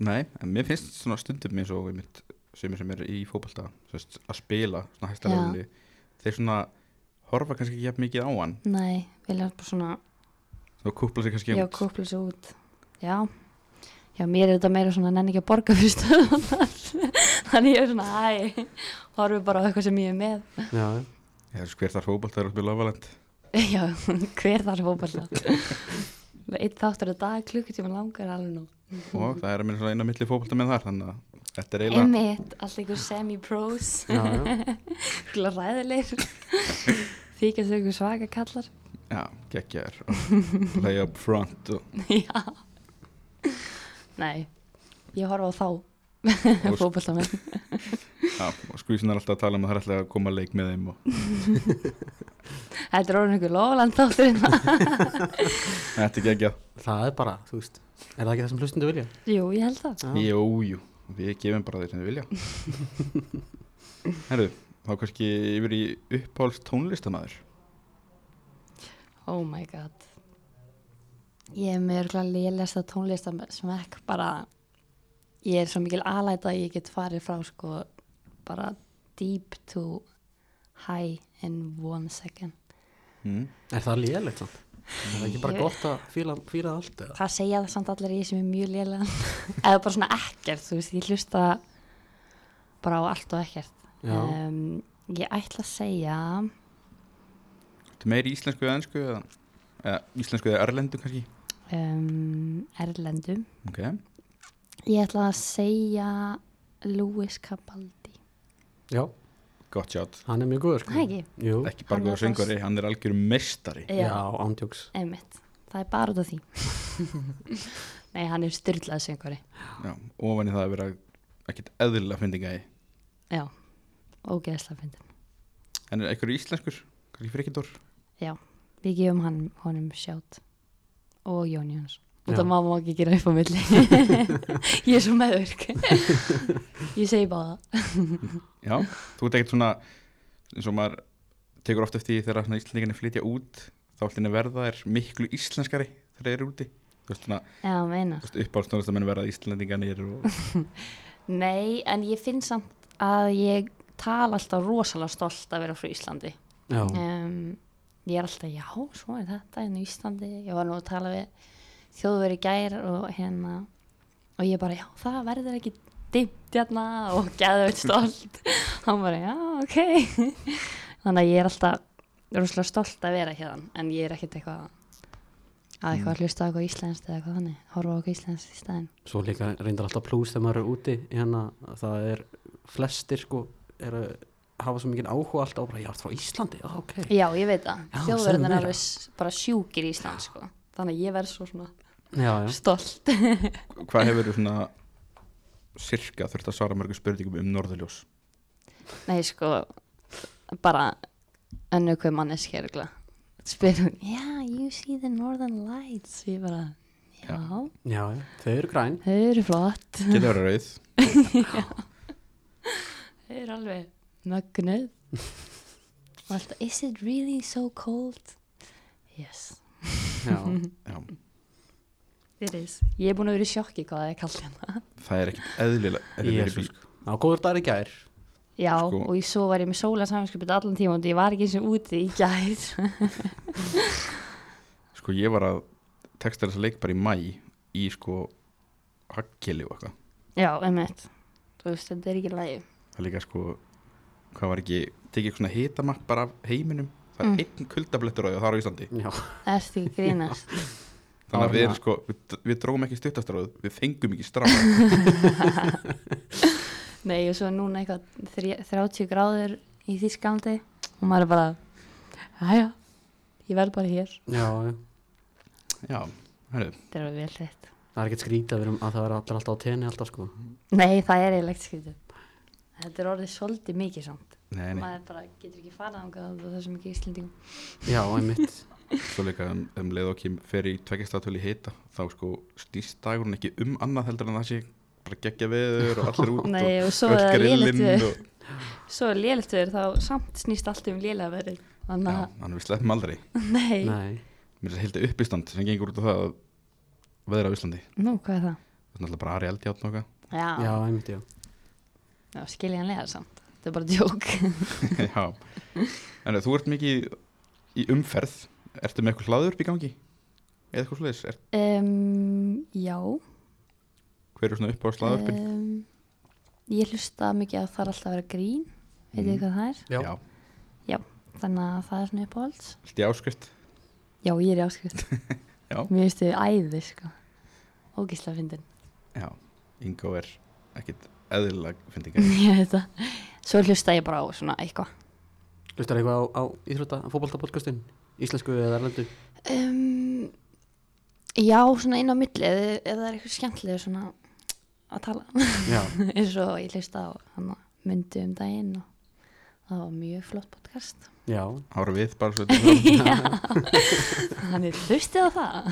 Speaker 1: Nei, en mér finnst svona stundum eins og einmitt sumir sem eru í fótbolta sem sagt, að spila svona hæsta
Speaker 4: Já.
Speaker 1: leðinni þeir svona horfa kannski ekki jafn mikið á hann
Speaker 4: Nei, vilja bara svona
Speaker 1: þá kúpla sig kannski um
Speaker 4: Já,
Speaker 1: út.
Speaker 4: kúpla svo út Já, já mér er þetta meira svona nenni ekki að borga fyrir stöðan [laughs] þannig ég er svona, æ horfi bara á eitthvað sem ég er með [laughs]
Speaker 2: já, já.
Speaker 1: Ég þessi hver þar fótbolta er að spila ofaland
Speaker 4: Já, hver þar [laughs] fótballa Eitt þáttur að dag klukkutíma langar er alveg nú
Speaker 1: og það er að minna svona eina milli fótbolta með þar þannig að þetta er eiginlega
Speaker 4: Einmitt, alltaf einhver semi-pros
Speaker 2: [laughs] já,
Speaker 4: [laughs]
Speaker 2: já.
Speaker 4: Skula ræðilegir [laughs] Þykja þau einhver svaka kallar [laughs]
Speaker 1: já, geggjar play up front
Speaker 4: [laughs]
Speaker 1: og,
Speaker 4: Já Nei, ég horfa á þá [laughs]
Speaker 1: Og-
Speaker 4: fótballa með
Speaker 1: já, og skvísin er alltaf að tala um að það er alltaf að koma að leik með þeim og
Speaker 4: Þetta er orðin einhver lofaland þáttur
Speaker 1: þetta er geggjað
Speaker 2: það er bara, þú veist er það ekki það sem hlustundu vilja?
Speaker 4: [laughs] Jú, ég held það
Speaker 2: Já.
Speaker 1: Jú, jú, við gefum bara þeir sem við vilja Herru, þá kannski yfir í uppáhalds tónlistamæður
Speaker 4: Oh my god Ég er með örgulega lélæsta tónlist sem ekki bara ég er svo mikil alæta að ég get farið frá sko bara deep to high in one second
Speaker 1: mm.
Speaker 2: er það lélegt samt? er það ekki bara
Speaker 4: Ég-
Speaker 2: gott að fýla, fýla allt eða?
Speaker 4: Það segja það samt allir ég sem er mjög [laughs] lélægan eða bara svona ekkert, þú veist, ég hlusta bara á allt og ekkert
Speaker 2: Já.
Speaker 4: um, Ég ætla að segja
Speaker 1: Þetta meiri íslensku eða ennsku eða, eða íslensku eða erlendu kannski
Speaker 4: um, Erlendum
Speaker 1: Ok,
Speaker 4: Ég ætla að segja Lewis Capaldi
Speaker 2: já,
Speaker 1: gott sjátt
Speaker 2: hann er mjög góður sko.
Speaker 4: Það ekki?
Speaker 2: Jú,
Speaker 1: Ekki bara
Speaker 4: Hann er
Speaker 1: góða söngari, hann er algjör mestari
Speaker 2: já, ándjóks
Speaker 4: Einmitt, það er bara út af því Nei, hann er styrlað söngari
Speaker 1: Já, ofan í það að vera ekkert eðlilega fyndinga í
Speaker 4: já, ógeðslega fyndin
Speaker 1: en er einhverju íslenskur, kannski Frikindor
Speaker 4: við gefum hann, honum sjátt og Jón Jóns og
Speaker 2: Já.
Speaker 4: það má má ekki gera upp á milli ég er svo meðurk ég segi bara
Speaker 1: já, þú ert ekkert svona eins og maður tekur oft eftir því þegar svona íslendingarnir flytja út þá allir verða er miklu íslenskari þegar þeir eru úti þú veist svona,
Speaker 4: já, meina
Speaker 1: þú veist uppáhaldstónlistamenn verða íslendingarnir og
Speaker 4: nei, en ég finn samt að ég tala alltaf rosalega stolt að vera frá Íslandi
Speaker 2: já,
Speaker 4: um, ég er alltaf, já, svo er þetta hérna í Íslandi, ég var nú að tala við þjóðveri gær og hérna og ég bara, já, það verður ekki dimmt hérna og
Speaker 2: [laughs]
Speaker 4: geðveit stolt hann bara, já, ok þannig að ég er alltaf rosalega stolt að vera hérna, en ég er ekkert eitthvað að eitthvað
Speaker 2: Mm.
Speaker 4: að hlusta á eitthvað íslenskt eða eitthvað þannig, horfa á eitthvað íslenskt í stæðin
Speaker 2: svo líka reyndar alltaf plús þegar maður er úti hérna, það er flestir sko er að hafa svo mikið áhuga alltaf og bara, já, ertu frá Íslandi, já, ok
Speaker 4: já, ég veit það,
Speaker 2: Já, segðu
Speaker 4: þjóðverðin er
Speaker 2: meira.
Speaker 4: alveg s- bara sjúkir í Ísland, sko þannig að ég verð svo svona
Speaker 2: já, já,
Speaker 4: stolt
Speaker 1: hvað hefur þú svona sirka þurft að svara mörgum spurningum um norðurljós
Speaker 4: Nei, sko, bara önnu hver manneski er spyr hún, yeah, you see the northern lights ég bara, já,
Speaker 2: já, já. þau eru græn
Speaker 4: þau eru [laughs] flott
Speaker 1: getur [laughs] verið rauð
Speaker 4: þau eru alveg [laughs] mögnuð og alltaf, is it really so cold? Yes, [laughs]
Speaker 2: já,
Speaker 1: já,
Speaker 4: it is Ég er búin að vera í sjokki hvað það er kallt hérna
Speaker 1: það er ekkert eðlilega eðlilega
Speaker 2: Jesús.
Speaker 1: bíl.
Speaker 2: já, góður dagur í gær
Speaker 4: Já,
Speaker 1: Sko-
Speaker 4: og ég svo var ég með sóla samanskipið allan tíma og ég var ekki eins og úti í gæð
Speaker 1: Sko ég var að texta þessa leik bara í mæ í sko haggili og eitthvað.
Speaker 4: [laughs] Já, emmitt Þú veist, þetta er ekki lægi
Speaker 1: Það er líka sko, hvað var ekki, tekið eitthvað svona hitamakk bara af heiminum. Það er
Speaker 4: Mm.
Speaker 1: einn kuldablettur á því og það er á Íslandi.
Speaker 2: já,
Speaker 4: Ertu ekki að grínast
Speaker 1: Þannig að við erum
Speaker 2: Árna.
Speaker 1: sko, við, við dróum ekki stuttastráð, við fengum ekki [laughs] stráð.
Speaker 4: Nei, og svo er núna eitthvað þrj- 30 gráður í Þísklandi og maður er bara, aðja, ég verð bara hér.
Speaker 2: já, já
Speaker 1: Já, hörru,
Speaker 4: Þetta er alveg vel hreitt.
Speaker 2: það er ekkert skrítið að, við erum- að það er allir alltaf á tenni alltaf sko
Speaker 4: Nei, það er eiginlegt skrítið. Þetta er orðið svolítið mikið samt.
Speaker 1: nei, nei,
Speaker 4: Maður bara getur ekki farað þangað og það er svo mikið íslendingum.
Speaker 2: já, einmitt,
Speaker 1: svo líka um, um leið og kem fer í tveggjastatölu í hita, þá sko snýst dagurinn ekki um annað heldur en það sé bara geggja veður og allir út
Speaker 4: Nei, og svo
Speaker 1: og
Speaker 4: er
Speaker 1: öll
Speaker 4: það lélegt
Speaker 1: grillinn
Speaker 4: við,
Speaker 1: og,
Speaker 4: svo er lélegt við þá samt snýst allt um lélega verið.
Speaker 1: já,
Speaker 4: Þannig að,
Speaker 1: þannig að við sleppum aldrei.
Speaker 4: nei,
Speaker 2: nei
Speaker 1: Mér er heilt uppistand sem gengur út af það að veðra á Íslandi.
Speaker 4: nú, hvað er það?
Speaker 1: Það er náttúrulega bara Ari Eldjátt noga.
Speaker 4: Já,
Speaker 2: já, einmitt, já,
Speaker 4: já skiljanlega samt. Þetta er bara djók. [laughs]
Speaker 1: [laughs] Já. En þú ert mikið í umferð. Ertu með eitthvað hlaður upp í gangi? Eða eitthvað sluðis? Er,
Speaker 4: Um, já.
Speaker 1: hver er svona upp á slaðurpin?
Speaker 4: um, ég hlusta mikið að það er alltaf að vera grín veitir þið
Speaker 1: Mm.
Speaker 4: hvað það er
Speaker 2: já,
Speaker 4: þannig að það er svona uppáhalds
Speaker 1: Allt í áskrift.
Speaker 4: já ég er í áskrift
Speaker 1: [laughs] Já.
Speaker 4: mér finnst þið æði sko ógislega fyndin
Speaker 1: Já. Ingo er ekkit eðlilega fyndingar.
Speaker 4: [laughs]
Speaker 1: [laughs]
Speaker 4: ég veit það svo hlusta ég bara á svona eitthvað
Speaker 2: Hlustar eitthvað á, á íþrótta, fótboltapodcastin? Íslensku eða erlendu?
Speaker 4: um, já svona inn á milli eða, eða það er eitthvað skemmtilega svona að tala [laughs]
Speaker 2: Já,
Speaker 4: eins og ég hlusta á hana myndi um daginn og það var mjög flott podcast
Speaker 2: já,
Speaker 1: Ára við bara svo þetta.
Speaker 4: já [laughs] hann er hlustið á það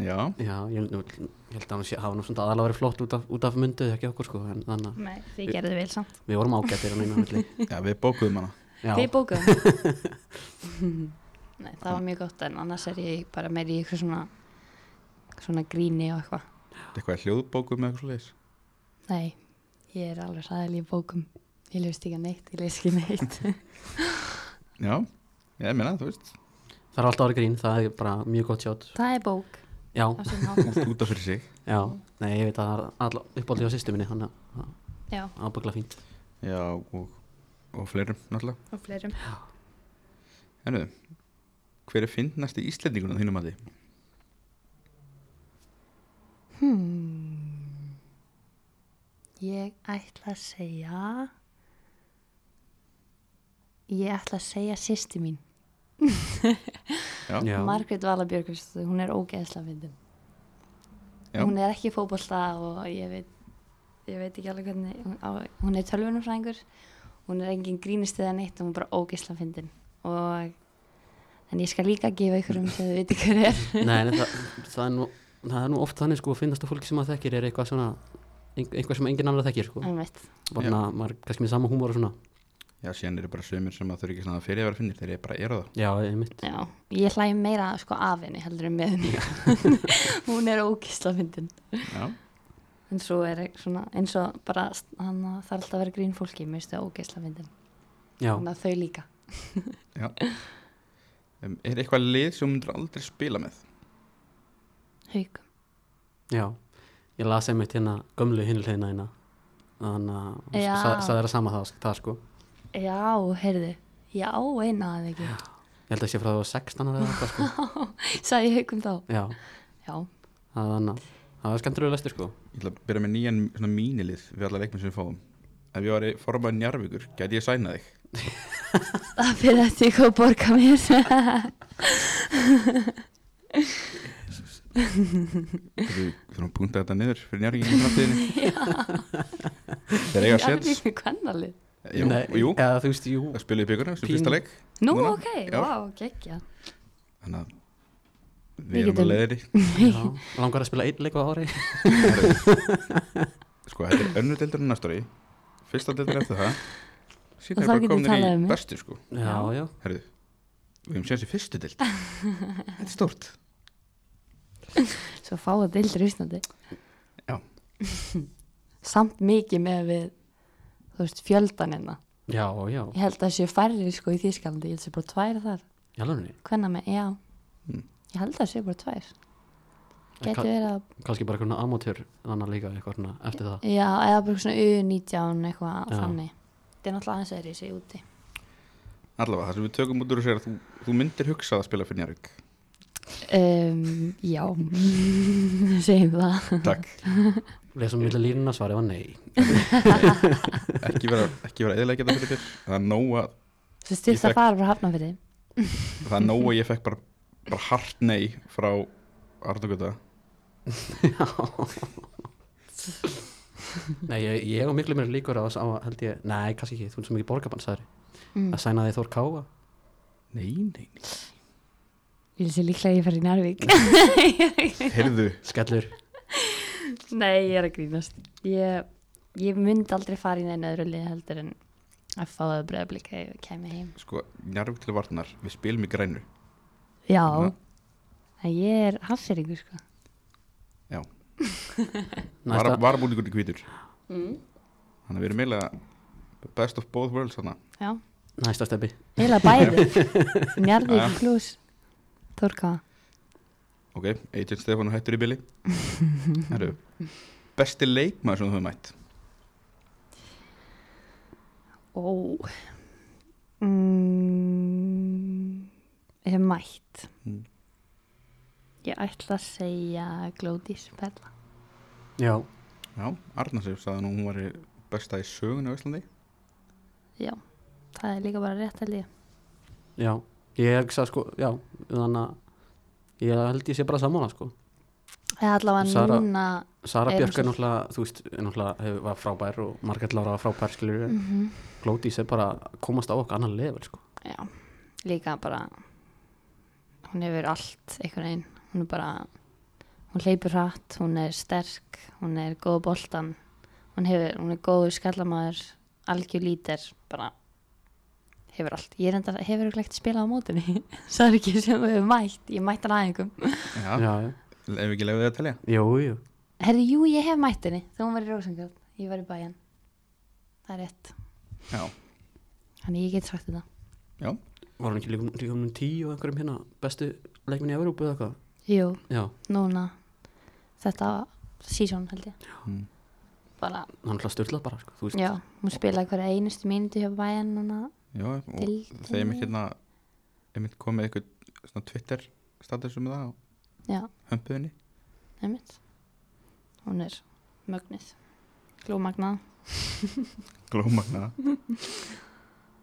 Speaker 1: Já.
Speaker 2: já, ég, nú, ég held að hann sé, hafa nú svona aðalega verið flott út af, út af mynduð, ekki okkur sko, en þannig
Speaker 4: Nei, þið gerðu vel samt
Speaker 2: að við vorum ágættir hann einu milli.
Speaker 4: [laughs]
Speaker 1: Já, við bókuðum hana.
Speaker 2: Já,
Speaker 4: Þið bókuðum Nei, það var mjög gott en annars er ég bara meir í eitthvað svona svona gríni og eitthvað
Speaker 1: Eitthvað er hljóðbókuð með eitthvað sluðis.
Speaker 4: Nei, ég er alveg sæðil í bókum Ég lefst ekki að neitt, ég lefst ekki neitt
Speaker 1: Já. Ég meina, þú [laughs] veist.
Speaker 2: það er alltaf árið grín, það er bara mjög gott sjátt.
Speaker 4: Það er bók
Speaker 2: Já,
Speaker 4: á sinn
Speaker 1: [laughs]
Speaker 4: hátt.
Speaker 1: Út, út af fyrir sig.
Speaker 2: já, nei, ég veit að það er alltaf uppáldið á sýstu minni, hann er
Speaker 4: Já,
Speaker 2: ábyggla fínt.
Speaker 1: Já, og, og fleirum náttúrulega.
Speaker 4: og fleirum
Speaker 1: Herru, hver er fyndnast í Íslendingunum þínum að því?
Speaker 4: hmm. Ég ætla að segja Ég ætla að segja sýsti mín
Speaker 1: Já,
Speaker 2: Já,
Speaker 4: Margrét Vala Björgvist, hún er ógeðsla fyndin
Speaker 1: Já.
Speaker 4: hún er ekki í fótbolta og ég veit ég veit ekki alveg hvernig hún, á, hún er tölvunumfræðingur hún er engin grínist eða neitt og hún er bara ógisla fyndin og en ég skal líka gefa ykkur um sem þið viti hver er
Speaker 2: Nei, en það, það, er nú, það er nú oft þannig sko að finnast að fólki sem maður þekkir er eitthvað svona ein- eitthvað sem enginn annar þekkir sko
Speaker 4: Einmitt.
Speaker 2: Varna, maður er kannski með sama húmor og svona
Speaker 1: Já, síðan eru bara sömur sem að þau eru ekki svona fyrir að vera finnir þegar ég bara eru það
Speaker 2: Já, einmitt
Speaker 4: Já, ég hlæði meira sko af henni heldur en með henni hún er ógisla fyndin
Speaker 1: Já,
Speaker 4: en svo er ek- svona, eins og bara hann þarf alltaf að vera grín fólki mér finnst það ógisla fyndin
Speaker 2: Já,
Speaker 4: þannig að þau líka
Speaker 1: um, Er eitthvað lið sem hún myndir aldrei spila með?
Speaker 4: haugum
Speaker 2: já Ég las einmitt hérna gömlu hinleina hérna Þannig að hún
Speaker 4: Já.
Speaker 2: sa- sagði það sama það, það sko
Speaker 4: Já, heyrðu, já, eina að ekki
Speaker 2: Ég held að sé frá það var 16 ára eða eitthvað sko
Speaker 4: sagði haugum þá
Speaker 2: Já,
Speaker 4: Já,
Speaker 2: það er annað Það var skemmtilega lestur sko
Speaker 1: Ég ætla að byrja með nýjan svona mínilið við alla leikmenn sem við fáum Ef ég var formaður njarvíkur, gæti ég sæna þig?
Speaker 4: það fyrir eftir hvað að borga mér
Speaker 1: Þú þurfum að punta þetta niður fyrir njarvíkinn í
Speaker 4: [laughs]
Speaker 1: framtíðinni Þeir eiga sér
Speaker 4: Njarðvík er kvennalið
Speaker 1: Jú,
Speaker 2: Nei,
Speaker 1: jú,
Speaker 2: Eða þú veist, jú
Speaker 1: það spilaði í bygguna sem
Speaker 2: Pínu.
Speaker 1: fyrsta leik
Speaker 4: Nú,
Speaker 1: Núna,
Speaker 4: ok,
Speaker 1: já.
Speaker 4: vá, geggja
Speaker 1: Þannig að við
Speaker 4: Við
Speaker 1: erum
Speaker 4: getum-
Speaker 1: að leiðri
Speaker 2: já, Langar að spila einn leik á ári
Speaker 1: Sko, þetta er önnu deildur en næstori Fyrsta deildur eftir það Sýn
Speaker 4: Og
Speaker 1: er
Speaker 4: þá
Speaker 1: bara
Speaker 4: getum við
Speaker 1: komin
Speaker 4: talað
Speaker 1: í
Speaker 4: um mig.
Speaker 1: bestu sko
Speaker 2: Já, já
Speaker 1: Herðu, við höfum séð sér fyrstu
Speaker 4: [laughs]
Speaker 1: deild Þetta er stórt
Speaker 4: Svo fáið deildur í Íslandi
Speaker 1: Já.
Speaker 4: [laughs] Samt mikið með við Þú veist, fjöldan hérna
Speaker 2: Já, já,
Speaker 4: Ég held að það séu færri sko í Þýskalandi Ég held að sé bara tvær þar
Speaker 2: já, lóni
Speaker 4: Hvenna með, já
Speaker 1: Mm.
Speaker 4: Ég held að það séu bara tvær
Speaker 2: En
Speaker 4: Gæti
Speaker 2: hvað-
Speaker 4: verið að,
Speaker 2: kannski bara einhvern amatör annar líka eitthvað svona eftir það
Speaker 4: já, eða bara svona U19 eitthvað
Speaker 2: Já.
Speaker 4: þannig Þetta er náttúrulega aðeins aðeins í úti
Speaker 1: Allavega, það sem við tökum út úr þessu er að þú, þú myndir hugsað að spila fyrir Njarvík
Speaker 4: um, Já [laughs] Segjum það
Speaker 1: Takk
Speaker 2: lesum við línuna svarið var nei
Speaker 1: Ekki vera, ekki vera eðilega geta fyrir þér Það er nóg að,
Speaker 4: Svo
Speaker 1: Ég
Speaker 4: styrst
Speaker 1: fekk-
Speaker 4: að fara bara hafna fyrir
Speaker 1: það er nóg að ég fekk bara, bara hart nei frá Arnogöta
Speaker 2: nei, ég, ég og miklu mér líkur á þess á að held ég, nei, kannski ekki, þú ert svo mikið borgabannsæri
Speaker 4: Mm.
Speaker 2: að sæna þig Þór Káa
Speaker 1: Nei, nei, nei
Speaker 4: Ég sé líklega að ég fer í Njarvík
Speaker 1: Heyrðu,
Speaker 2: skellur,
Speaker 4: [laughs] Nei, ég er að grínast Ég, ég myndi aldrei fara í neina öðru lið heldur en að fá það bregðablík að ég kemi heim
Speaker 1: sko, Njarvík til varnar Við spilum í grænu
Speaker 4: Já,
Speaker 1: Mhm.
Speaker 4: en ég er hafseringur sko
Speaker 2: næsta,
Speaker 1: Varabúningur í hvítur Þannig að við erum eiginlega best of both worlds þarna
Speaker 4: Já,
Speaker 2: næsta steppi
Speaker 4: heila bæði
Speaker 1: [laughs]
Speaker 4: Njarvík
Speaker 1: Já.
Speaker 4: plus Þorka
Speaker 1: Ok, Agent Stefán er hættur í bili Herru, besti leikmaður sem þú hefur mætt
Speaker 4: Ó mm, Ég hef mætt
Speaker 1: Mm.
Speaker 4: Ég ætla að segja Glódís Perla
Speaker 2: já,
Speaker 1: Já, Arnarsif sagði nú að hún var besta í sögun á Íslandi
Speaker 4: Já, það er líka bara rétt held ég
Speaker 2: já ég hugsa sko, já, þannig að ég held ég sé bara sammála sko
Speaker 4: Eða allavega
Speaker 2: Sara-
Speaker 4: núna
Speaker 2: Sara
Speaker 4: Er
Speaker 2: Björk er
Speaker 4: hún-
Speaker 2: náttúrulega, þú veist, er náttúrulega hefur, var frábær og Margrét Lára var frábær skilur mm.
Speaker 4: mhm.
Speaker 2: Glódís er bara að komast á okkar annar level sko
Speaker 4: Já, líka bara hún hefur allt einhvern veginn, hún er bara hún hleypur hratt, hún er sterk hún er góð á boltan hún, hefur, hún er góður skallamaður algjör lítir, bara hefur allt, ég reyndar hefur ekki ekkert spilað á mótinni, [laughs] það er ekki sem við hefur mætt, ég mætt hann aðeingum
Speaker 1: Já,
Speaker 2: já, já,
Speaker 1: ef við ekki leiðu það að telja
Speaker 2: jú, jú
Speaker 4: herðu, jú, ég hef mætt henni þegar hún var í Rósangarð, ég var í bæjan það er rétt,
Speaker 1: Já,
Speaker 4: þannig ég get sagt þetta
Speaker 1: já,
Speaker 2: var hann ekki líka, líka um tíu og einhverjum hérna bestu leikminni í Evrópu eða eitthvað
Speaker 4: jú,
Speaker 2: já,
Speaker 4: núna þetta sísón held ég
Speaker 1: Mm.
Speaker 4: bara,
Speaker 2: hann ætla að styrla bara sko, þú veist
Speaker 4: já, hún spilaði hverja einustu mínútu hjá bæjan núna
Speaker 1: já og
Speaker 4: Deildinni.
Speaker 1: þegar ég mitt hérna ég mitt komið eitthvað svona Twitter status um það á
Speaker 4: já,
Speaker 1: hömpuðinni
Speaker 4: einmitt hún er mögnuð glómagnað
Speaker 1: glómagna [laughs]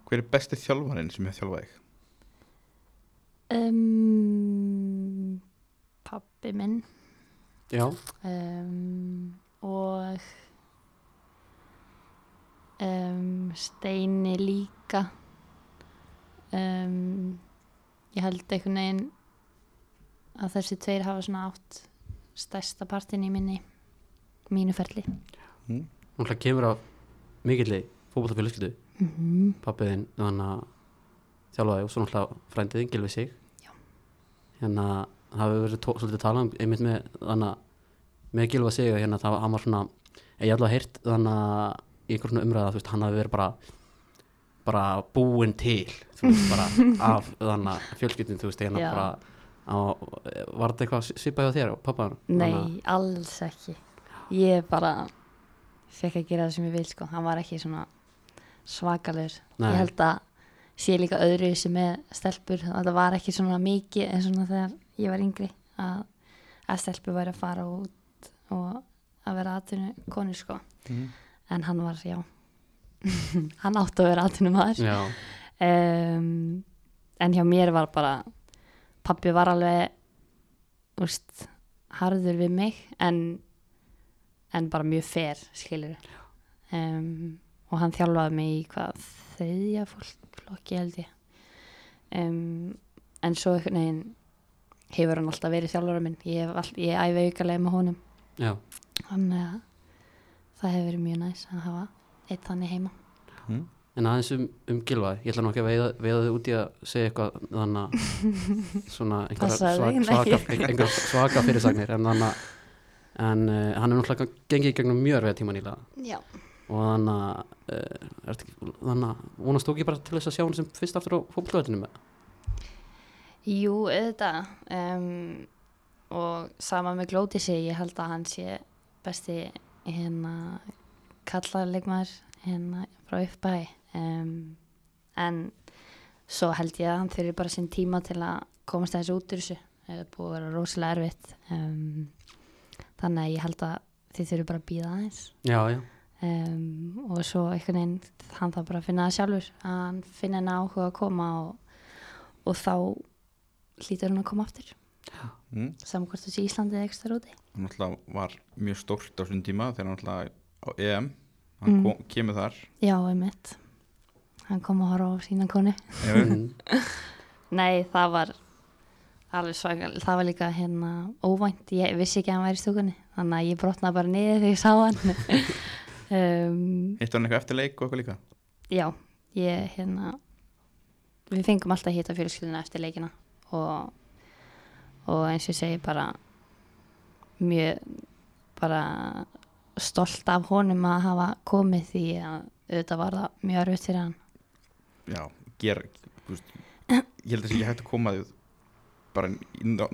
Speaker 1: Hver er besti þjálfarinn sem hefur þjálfað þig?
Speaker 4: um, pappi minn
Speaker 2: já,
Speaker 4: um, og Steini líka um, ég held einhvern veginn að þessi tveir hafa svona átt stærsta partin í minni mínu ferli
Speaker 2: Hún hlað kemur af mikilli fótbollafélagskyldu
Speaker 4: mm
Speaker 2: pappiðin þannig að þjálfaði og svo náttúrulega frændiðin gilfið sig
Speaker 4: Já.
Speaker 2: hérna það hefur verið tó, svolítið talað um einmitt með þannig að með gilfið sig hérna það hann var svona ég allavega heyrt þannig að í einhver svona umræða þú veist hann hafi verið bara bara búinn til þú veist bara
Speaker 4: [laughs]
Speaker 2: af þannig að fjölskyldin þú veist hérna
Speaker 4: Já.
Speaker 2: bara á, var þetta eitthvað svipað hjá þér og pappa
Speaker 4: Nei, alls ekki ég bara fekk að gera það sem ég vil sko, hann var ekki svona svakalur
Speaker 2: Nei.
Speaker 4: ég held að sé líka öðru sem með stelpur, það var ekki svona mikið en svona þegar ég var yngri að, að stelpur væri að fara út og að vera atvinnu konu sko,
Speaker 1: Mm.
Speaker 4: en hann var já, [laughs] hann átti að vera atvinnu maður
Speaker 2: já,
Speaker 4: um, en hjá mér var bara pappi var alveg úst, harður við mig en, en bara mjög fer skilur um, og hann þjálfaði mig í hvað þriðja fólkflokki held ég um, en svo einhvern veginn hefur hann alltaf verið þjálfara minn ég, hef all, ég æfi aukarlega með honum
Speaker 2: já,
Speaker 4: þannig að það hefur verið mjög næs að hafa eitt þannig heima
Speaker 2: En aðeins um, um gilvaði, ég ætla nú ekki að veiða, veiða þið út í að segja eitthvað þannig að
Speaker 4: [laughs]
Speaker 2: svona einhverjar
Speaker 4: Passaði
Speaker 2: svag,
Speaker 4: þig,
Speaker 2: svaka,
Speaker 4: nei.
Speaker 2: einhver svaka fyrirsagnir en þannig að en uh, hann er náttúrulega gengið í gegnum mjög erfiða tíma nýlega
Speaker 4: já,
Speaker 2: og þannig að uh, ertu ekki- þannig að vonast þú ekki bara til þess að sjá hann sem fyrst aftur á fólkvöldinu með
Speaker 4: Jú, auðvitað um, og sama með glóti sig, ég held að hann sé besti hérna kallarleikmaður hérna frá uppæði um, en svo held ég að hann þurfi bara sinn tíma til að komast þessi út úr þessu það er búið að vera rosalega erfitt um, þannig að ég held að þið þurfi bara að býða aðeins
Speaker 2: Já, já,
Speaker 4: um, og svo einhvern veginn hann þarf bara að finna það sjálfur að hann finna henni áhuga að koma og, og þá hlýtur hann að koma aftur
Speaker 1: Mm.
Speaker 4: saman hvort þessi Íslandi eða ekstra úti
Speaker 1: hann náttúrulega var mjög stórt á svona tíma þegar hann náttúrulega á EM hann
Speaker 4: Mm.
Speaker 1: kom, kemur þar
Speaker 4: já, einmitt hann kom að horfa á sína konu
Speaker 1: ef,
Speaker 2: mm,
Speaker 4: nei, það var alveg svakal, það var líka hérna óvænt, ég vissi ekki að hann væri í stúkunni þannig að ég brotnaði bara niður þegar ég sá hann [laughs] um,
Speaker 1: hittu hann eitthvað eftir leik og eitthvað líka
Speaker 4: Já, ég hérna við fengum alltaf að hita fjölskylduna eftir leikina og, og eins og ég segi bara mjög bara stolt af honum að hafa komið því að auðvitað var það mjög erfitt fyrir hann
Speaker 1: já, ger, þú veist, ég held að það sé ekki hægt að koma því bara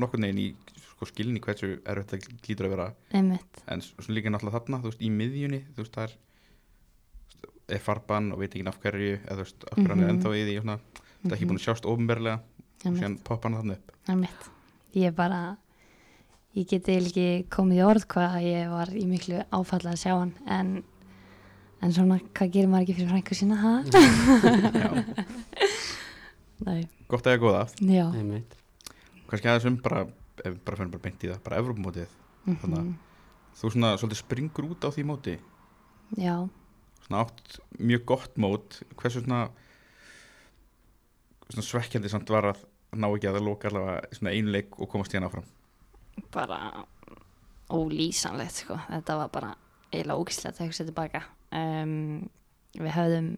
Speaker 1: nokkur neginn í sko, skilni hversu er þetta glýtur að vera
Speaker 4: einmitt,
Speaker 1: en s- svona líka náttúrulega þarna, þú veist, í miðjunni þú veist, það er þú veist, er farbann og veit ekki af hverju eða þú veist, af hverju hann er
Speaker 4: Mhm.
Speaker 1: ennþá í því og svona, mm það er ekki búin að sjást ofnberlega og
Speaker 4: einmitt,
Speaker 1: síðan poppa hann
Speaker 4: [laughs]
Speaker 1: þarna upp
Speaker 4: einmitt ég bara ég geti eiginlega ekki komið í orð hvað ég var í miklu áfalla að sjá hann en, en svona hvað gerir maður ekki fyrir frænku sína ha?
Speaker 1: já,
Speaker 4: Nei,
Speaker 1: gott eða góða
Speaker 4: já
Speaker 2: einmitt
Speaker 1: kannski aðeins um bara, ef bara fyrir bara beint í það bara Evrópumótið,
Speaker 4: mm
Speaker 1: Þarna. þú svona svolítið springur út á því móti
Speaker 4: já
Speaker 1: svona átt mjög gott mót hversu svona, svona svekkjandi samt var að ná ekki að það lóka allavega svona einu leik og komast hérna áfram
Speaker 4: bara ólýsanlegt sko. þetta var bara eiginlega ógislegt að hugsa tilbaka um, við höfðum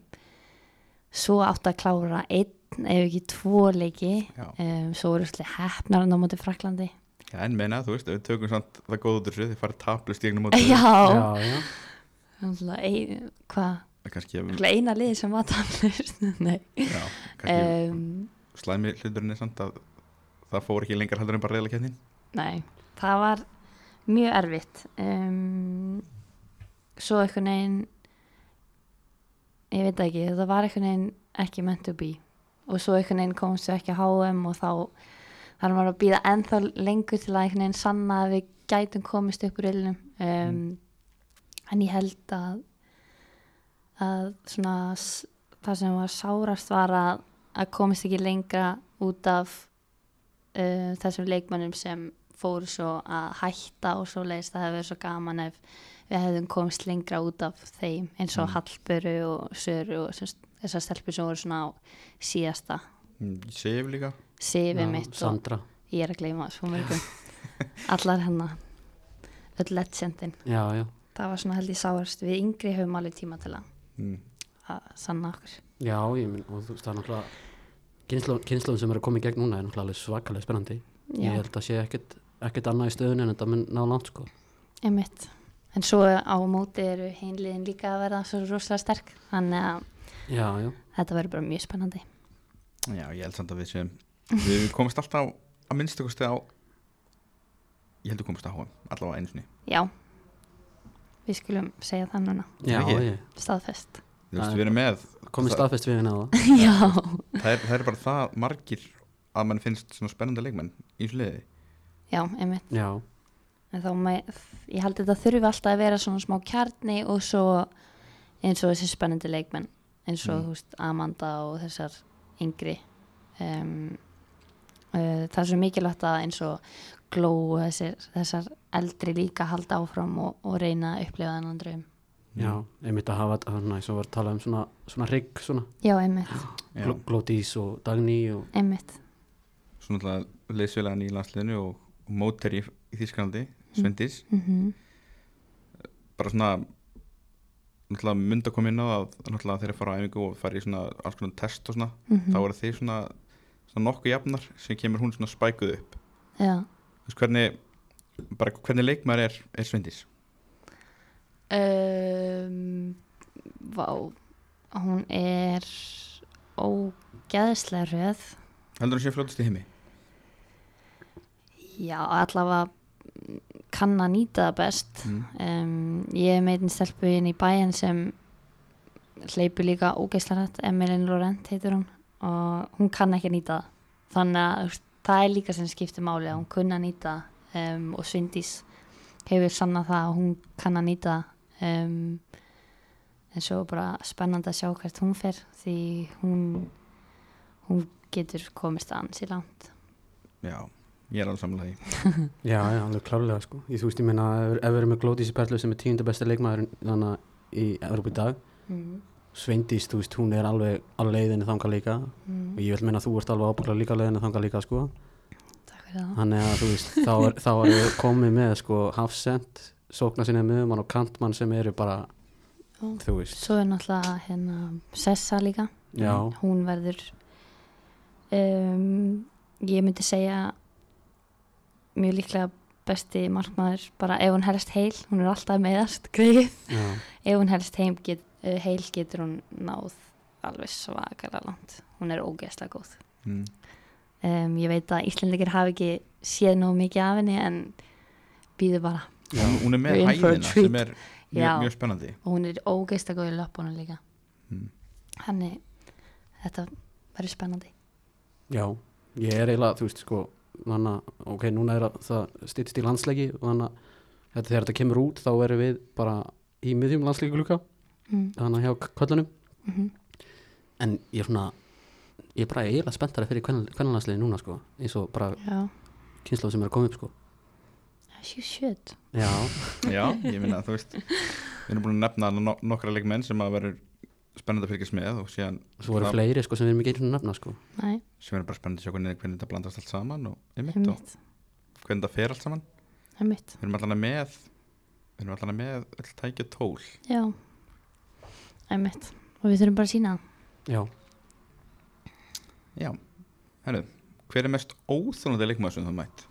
Speaker 4: svo átt að klára einn ef ekki tvo leiki
Speaker 1: já.
Speaker 4: um, svo voru svolítið hefnar á móti Fraklandi
Speaker 1: Já, en meina, þú veist, ef við tökum samt það góð út úr þessu, þið farið taplust í eignum mótið
Speaker 4: [laughs] já,
Speaker 2: Já, já,
Speaker 4: náttúrulega ein, hvað,
Speaker 1: kannski,
Speaker 4: náttúrulega eina lið sem var tannlust [laughs] nei
Speaker 1: já, kannski
Speaker 4: [laughs] um,
Speaker 1: slæmi hluturinn er samt að það fór ekki lengar heldur en bara reyðlega kefnin
Speaker 4: Nei, það var mjög erfitt um, Svo einhvern veginn Ég veit það ekki, þetta var einhvern veginn ekki meant to be Og svo einhvern veginn komst við ekki að HM og þá þar var að býða ennþá lengur til að einhvern veginn sanna að við gætum komist upp úr ilnum um, En ég held að að svona s- það sem var sárast var að, að komist ekki lengra út af uh, þessum leikmönnum sem fóru svo að hætta og svo leiðist það hefur verið svo gaman ef við hefðum komist lengra út af þeim eins
Speaker 2: Mm.
Speaker 4: og Hallböru og Söru og semst, þessar stelpur sem voru svona á síðasta
Speaker 1: Mm, Ég sef líka
Speaker 4: sifi
Speaker 2: Já,
Speaker 4: mitt og
Speaker 2: Sandra,
Speaker 4: ég er að gleyma svo
Speaker 2: [laughs]
Speaker 4: mörgum allar hennar öll legendin
Speaker 2: já, já
Speaker 4: það var svona held ég sáhörst við yngri höfum alveg tíma til að,
Speaker 1: mm.
Speaker 4: að sanna okkur
Speaker 2: Já, ég minn, og þú veist, það er náttúrulega kynnslóðum kynnslóðin sem eru að koma í gegn núna er náttúrulega alveg svakalega spennandi
Speaker 4: Já.
Speaker 2: Ég held að sé ekkert, ekkert annað í stöðun en þetta mun ná langt sko
Speaker 4: Einmitt. En svo á móti eru hinliðin líka að verða svo rosalega sterk. Þannig að
Speaker 2: Já, já,
Speaker 4: þetta verður bara mjög spennandi.
Speaker 1: Já, ég held samt að við séum Við komist alltaf að minnstu kosti á Ég held við komist á HM Allavega einu sinni
Speaker 4: Já, við skulum segja það núna.
Speaker 2: já,
Speaker 1: Ekki?
Speaker 2: ég
Speaker 4: Staðfest.
Speaker 1: Þú veist, við erum með
Speaker 2: komið
Speaker 1: það,
Speaker 2: staðfest við hérna á [laughs] það
Speaker 4: Já,
Speaker 1: það, er, það er bara það margir að mann finnst svona spennandi leikmenn í þessu liði
Speaker 4: já, einmitt.
Speaker 2: Já,
Speaker 4: En þá, mæ, ég held þetta þurfi alltaf að vera svona smá kjarni og svo eins og þessi spennandi leikmenn. Eins og,
Speaker 1: Mm.
Speaker 4: þú veist, Amanda og þessar yngri. Um, uh, það er svo mikilvægt að eins og gló og þessir, þessar eldri líka halda áfram og, og reyna að upplifa þennan draum.
Speaker 2: já, einmitt að hafa þannig sem var að tala um svona, svona rigg svona,
Speaker 4: Já, einmitt,
Speaker 1: Já.
Speaker 2: Gló- Glódís og Dagný og
Speaker 4: einmitt.
Speaker 1: Svona alltaf leysfélagan í landsliðinu og, og móter í, í Þísklandi Svendís,
Speaker 4: Mm
Speaker 1: bara svona náttúrulega mynd að koma inn á að náttúrulega þeir fara á æfingu og fara í svona alls konar test og svona,
Speaker 2: Mhm.
Speaker 4: Mhm.
Speaker 1: þá eru þeir svona, svona nokkuð jafnar sem kemur hún svona spækuð upp
Speaker 4: Já.
Speaker 1: Þú veist hvernig, bara hvernig leikmaður er, er Svendís
Speaker 4: Um, vá, hún er ógeðslega röð.
Speaker 1: heldur hún sé fljótast í heimi
Speaker 4: Já, allavega kann að nýta það best.
Speaker 1: mm.
Speaker 4: Um, ég er meitin stelpu inn í bæinn sem hleypur líka ógeðslega rætt, Emilin Laurent heitur hún og hún kann ekki að nýta það. Þannig að þú veist, það er líka sem skiptir máli að hún kunna að nýta það um, og Svindís hefur sannað það að hún kann að nýta það um, en svo bara spennandi að sjá hvert hún fer því hún, hún getur komist að hans í langt.
Speaker 1: já, ég er alveg samlega því
Speaker 2: Já, já, alveg klárlega sko Ég þú veist, ég meina, ef- ef við erum með Glódís í Perlu sem er tíunda besta leikmaður þannig í Evrópu í dag
Speaker 4: Mm.
Speaker 2: Sveindís, þú veist, hún er alveg á leiðinni þangað líka
Speaker 4: Mm,
Speaker 2: og ég vil meina að þú ert alveg ábyggla líka á leiðinni þangað líka sko
Speaker 4: Takk fyrir það.
Speaker 2: þannig að þú veist, þá er, þá er við komið með sko hafsend, sókna sinni miðumann og kantmann sem eru bara
Speaker 4: Já.
Speaker 2: þú veist,
Speaker 4: Svo er náttúrulega hérna Sessa líka.
Speaker 2: já,
Speaker 4: hún verður um, ég myndi segja mjög líklega besti markmaður bara ef hún helst heil, hún er alltaf meðast greið,
Speaker 2: já,
Speaker 4: ef hún helst heim get, uh, heil getur hún náð alveg svakalega langt hún er ógeðslega góð
Speaker 1: mm.
Speaker 4: um, ég veit að Íslandikir hafi ekki séð nóg mikið af henni en býðu bara
Speaker 2: já,
Speaker 1: hún, hún er með
Speaker 4: We're in for a
Speaker 1: hæðina sem er mjög,
Speaker 4: Já.
Speaker 1: mjög spennandi
Speaker 4: og hún er ógeðslega góð í löpunum líka
Speaker 1: Mm.
Speaker 4: hann er þetta verður spennandi
Speaker 2: já ég er eiginlega, þú veist, sko þannig að, ok, núna er að það stýttist í landsleiki og þannig að þetta, þegar þetta kemur út þá erum við bara í miðjum landsleiki glúka,
Speaker 4: mm.
Speaker 2: þannig að hjá kvöllunum
Speaker 4: Mm
Speaker 2: Mhm. en ég er svona ég er bara eiginlega spenntari fyrir hvernig landsleiki núna sko, eins og bara
Speaker 4: já,
Speaker 2: kynnslóð sem er að koma upp sko
Speaker 4: she should
Speaker 2: já,
Speaker 1: já, ég minna þú veist við erum búin að nefna no nokkra leikmenn sem að verður spennandi að fylgjast með og síðan
Speaker 2: svo voru
Speaker 1: Það-
Speaker 2: fleiri sko sem við erum ekki einu sinni að nefna sko
Speaker 4: Nei,
Speaker 1: sem verður bara spennandi að sjá hvernig, hvernig þetta blandast allt saman og einmitt og
Speaker 4: einmitt,
Speaker 1: hvernig þetta fer allt saman
Speaker 4: einmitt,
Speaker 1: við erum allan að með við erum allan að með öll tækja tól
Speaker 4: já, einmitt og við þurfum bara að sína það.
Speaker 2: já,
Speaker 1: já, herru, hver er mest óþólandi leikmaður sem þú hefur mætt?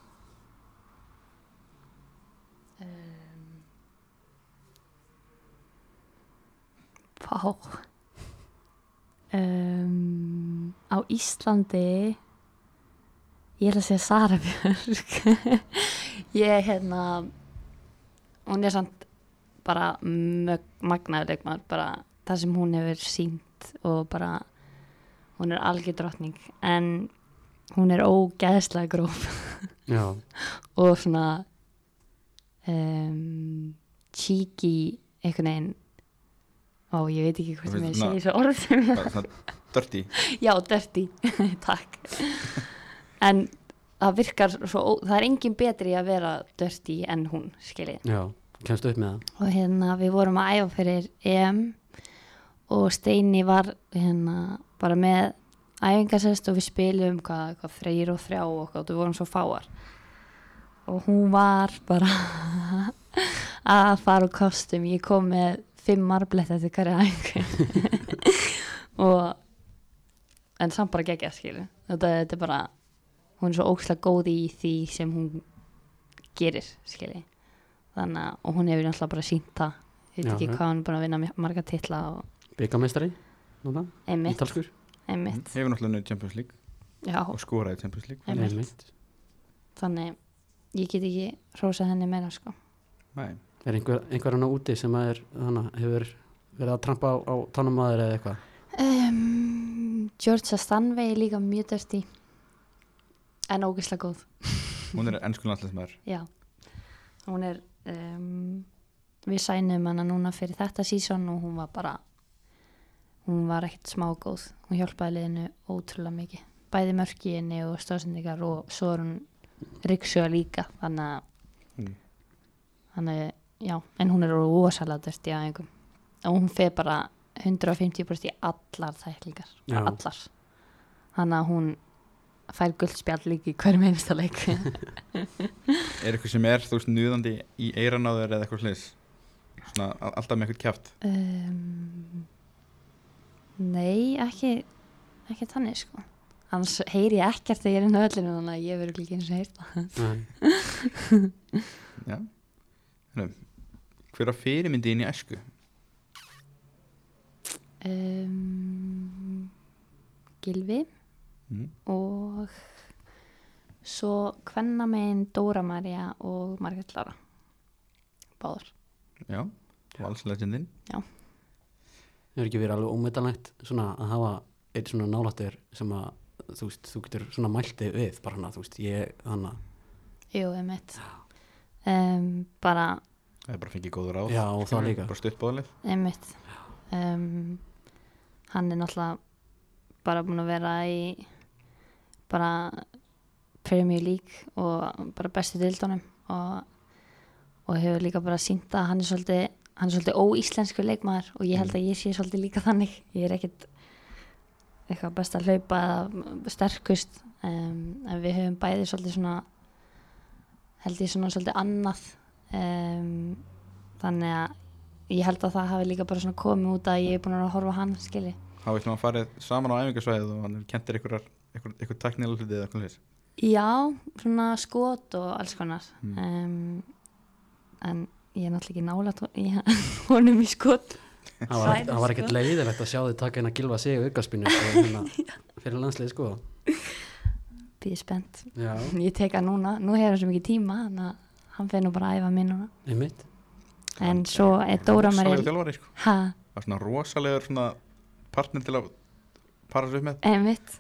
Speaker 4: Vá. Um, á Íslandi, ég ætla að segja Sara Björk, [laughs] ég er hérna, hún er samt bara magnaðuleik maður, bara það sem hún hefur sínt og bara, hún er algjör drottning, en hún er ógeðslega gróf.
Speaker 2: já,
Speaker 4: og svona um, cheeky einhvern veginn ó ég veit ekki
Speaker 1: Þú
Speaker 4: hvað sem
Speaker 1: veist,
Speaker 4: ég
Speaker 1: svona-
Speaker 4: segi þessu orð sem ég
Speaker 1: bara svona dirty
Speaker 4: já dirty, [laughs] takk en það virkar svo, ó- það er engin betri að vera dirty en hún skiljið
Speaker 2: já kemstu upp með það
Speaker 4: og hérna við vorum að æfa fyrir EM og Steini var hérna bara með æfingarsest og við spilum hvað, hvað freyr og þrjá og hvað, við vorum svo fáar og hún var bara [laughs] að fara úr kostum ég kom með fimm marblett eftir hverja æfingu [laughs] og en samt bara geggja skilu þetta, þetta er bara hún er svo ókslega góð í því sem hún gerir skilji þannig að og hún hefur náttúrulega bara sínt það ég veit
Speaker 2: Já,
Speaker 4: ekki
Speaker 2: já.
Speaker 4: hvað hún er búin að vinna mi- marga titla og
Speaker 2: byggameistari, núna,
Speaker 4: einmitt,
Speaker 2: ítalskur
Speaker 4: einmitt
Speaker 1: Mhm. hefur náttúrulega nöðu Champions League
Speaker 4: já,
Speaker 1: og skoraði í Champions League
Speaker 4: Einmitt.
Speaker 2: einmitt,
Speaker 4: þannig ég get ekki hrósað henni meira sko
Speaker 1: Nei,
Speaker 2: er einhver, einhver hann úti sem að er, þannig, hefur verið að trampa á, á tánum aður eða eitthvað
Speaker 4: um, Georgia Stanway er líka mjög dörti en ógeðslega góð
Speaker 1: hún er ennsku landslæsmaður
Speaker 4: já, hún er um, við sænum hana núna fyrir þetta sísón og hún var bara hún var ekkert smá góð hún hjálpaði liðinu ótrúlega mikið bæði mörkiðinni og stóðsendingar og svo er hún ryggsjóða líka þannig að
Speaker 1: Mm.
Speaker 4: þannig að, já, en hún er rosalega dörst í aðeingum og hún fer bara 150% í allar þæklingar,
Speaker 2: Já.
Speaker 4: allar þannig að hún fær guldspjall líka í hverjum einasta leik
Speaker 1: er eitthvað sem er, þú veist, nýðandi í eiranáður eða eitthvað slis svona, a- alltaf með eitthvað kjæft
Speaker 4: Um, nei, ekki ekki þannig sko annars heyri ég ekkert þegar ég er inn á öllinu þannig að ég verður ekki eins og heyrt það
Speaker 2: Nei.
Speaker 1: já Hérna, hver að fyrirmyndi inn í æsku
Speaker 4: um, Gilvi
Speaker 1: mm.
Speaker 4: og svo hvenna megin Dóra Marja og Margrét Lára báður
Speaker 1: já, og alls legendin
Speaker 2: hefur ekki verið alveg ómetanlegt svona að hafa eitt svona nálættur sem að þú veist, þú getur svona mælti við bara hana, þú veist, ég, hana
Speaker 4: Jú, um eitt um, bara
Speaker 1: það er bara fengið góður ráð
Speaker 2: Já, og það
Speaker 1: skilurðu,
Speaker 2: líka.
Speaker 1: bara stutt bóðalið
Speaker 4: einmitt um, hann er náttúrulega bara búin að vera í bara Premier League og bara bestu dildunum og, og hefur líka bara sínt að hann er svolítið hann er svolítið óíslensku leikmaður og ég held að ég sé svolítið líka þannig ég er ekkit eitthvað best að hlaupa eða sterkust um, en við höfum bæði svolítið svona held ég svona svolítið annað um, þannig að ég held að það hafi líka bara svona komið út að ég er búin að vera að horfa á hann skili
Speaker 1: þá veist maður farið saman á æfingasvæðið og hann kentir einhverjar einhver, einhver teknilega hlutið eða eitthvað slis
Speaker 4: já, svona skot og alls konar um, en ég er náttúrulega ekki nála honum í [laughs] skot
Speaker 2: það var,
Speaker 4: Sælir,
Speaker 2: það var ekkert
Speaker 4: sko.
Speaker 2: leiðilegt að sjá þið taka henn að gilfa sig og aukaspinu
Speaker 4: [laughs]
Speaker 2: sko, hérna, fyrir landslið sko
Speaker 4: býði spennt
Speaker 2: já,
Speaker 4: ég tek hann núna, nú hefur hann svo mikið tíma þannig að hann fer nú bara að æfa mig núna
Speaker 2: einmitt
Speaker 4: en svo er Dóra
Speaker 1: Sálegu
Speaker 4: Marja
Speaker 1: þjálfari sko
Speaker 4: ha,
Speaker 1: Það er svona rosalegur svona partner til að para sér upp með
Speaker 4: einmitt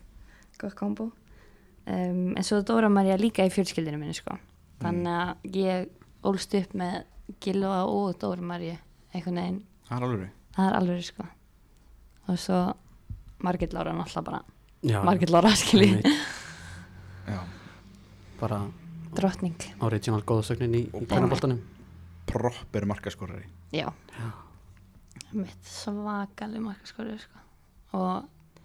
Speaker 4: gott kombo um, en svo er Dóra Marja líka í fjölskyldinu minni sko þannig að ég ólst upp með Gilva og Dóra Marja einhvern veginn
Speaker 1: Það er alveg
Speaker 4: það er alveg sko og svo Margit Lára náttúrulega bara
Speaker 2: já,
Speaker 4: Margit Lára skilji,
Speaker 2: einmitt,
Speaker 1: Já
Speaker 2: bara
Speaker 4: drottning
Speaker 2: original góðsögnin í, í
Speaker 1: Og bara-
Speaker 2: kvennaboltanum
Speaker 1: Proper markaskorari
Speaker 4: já mitt svakaleg markaskóri sko og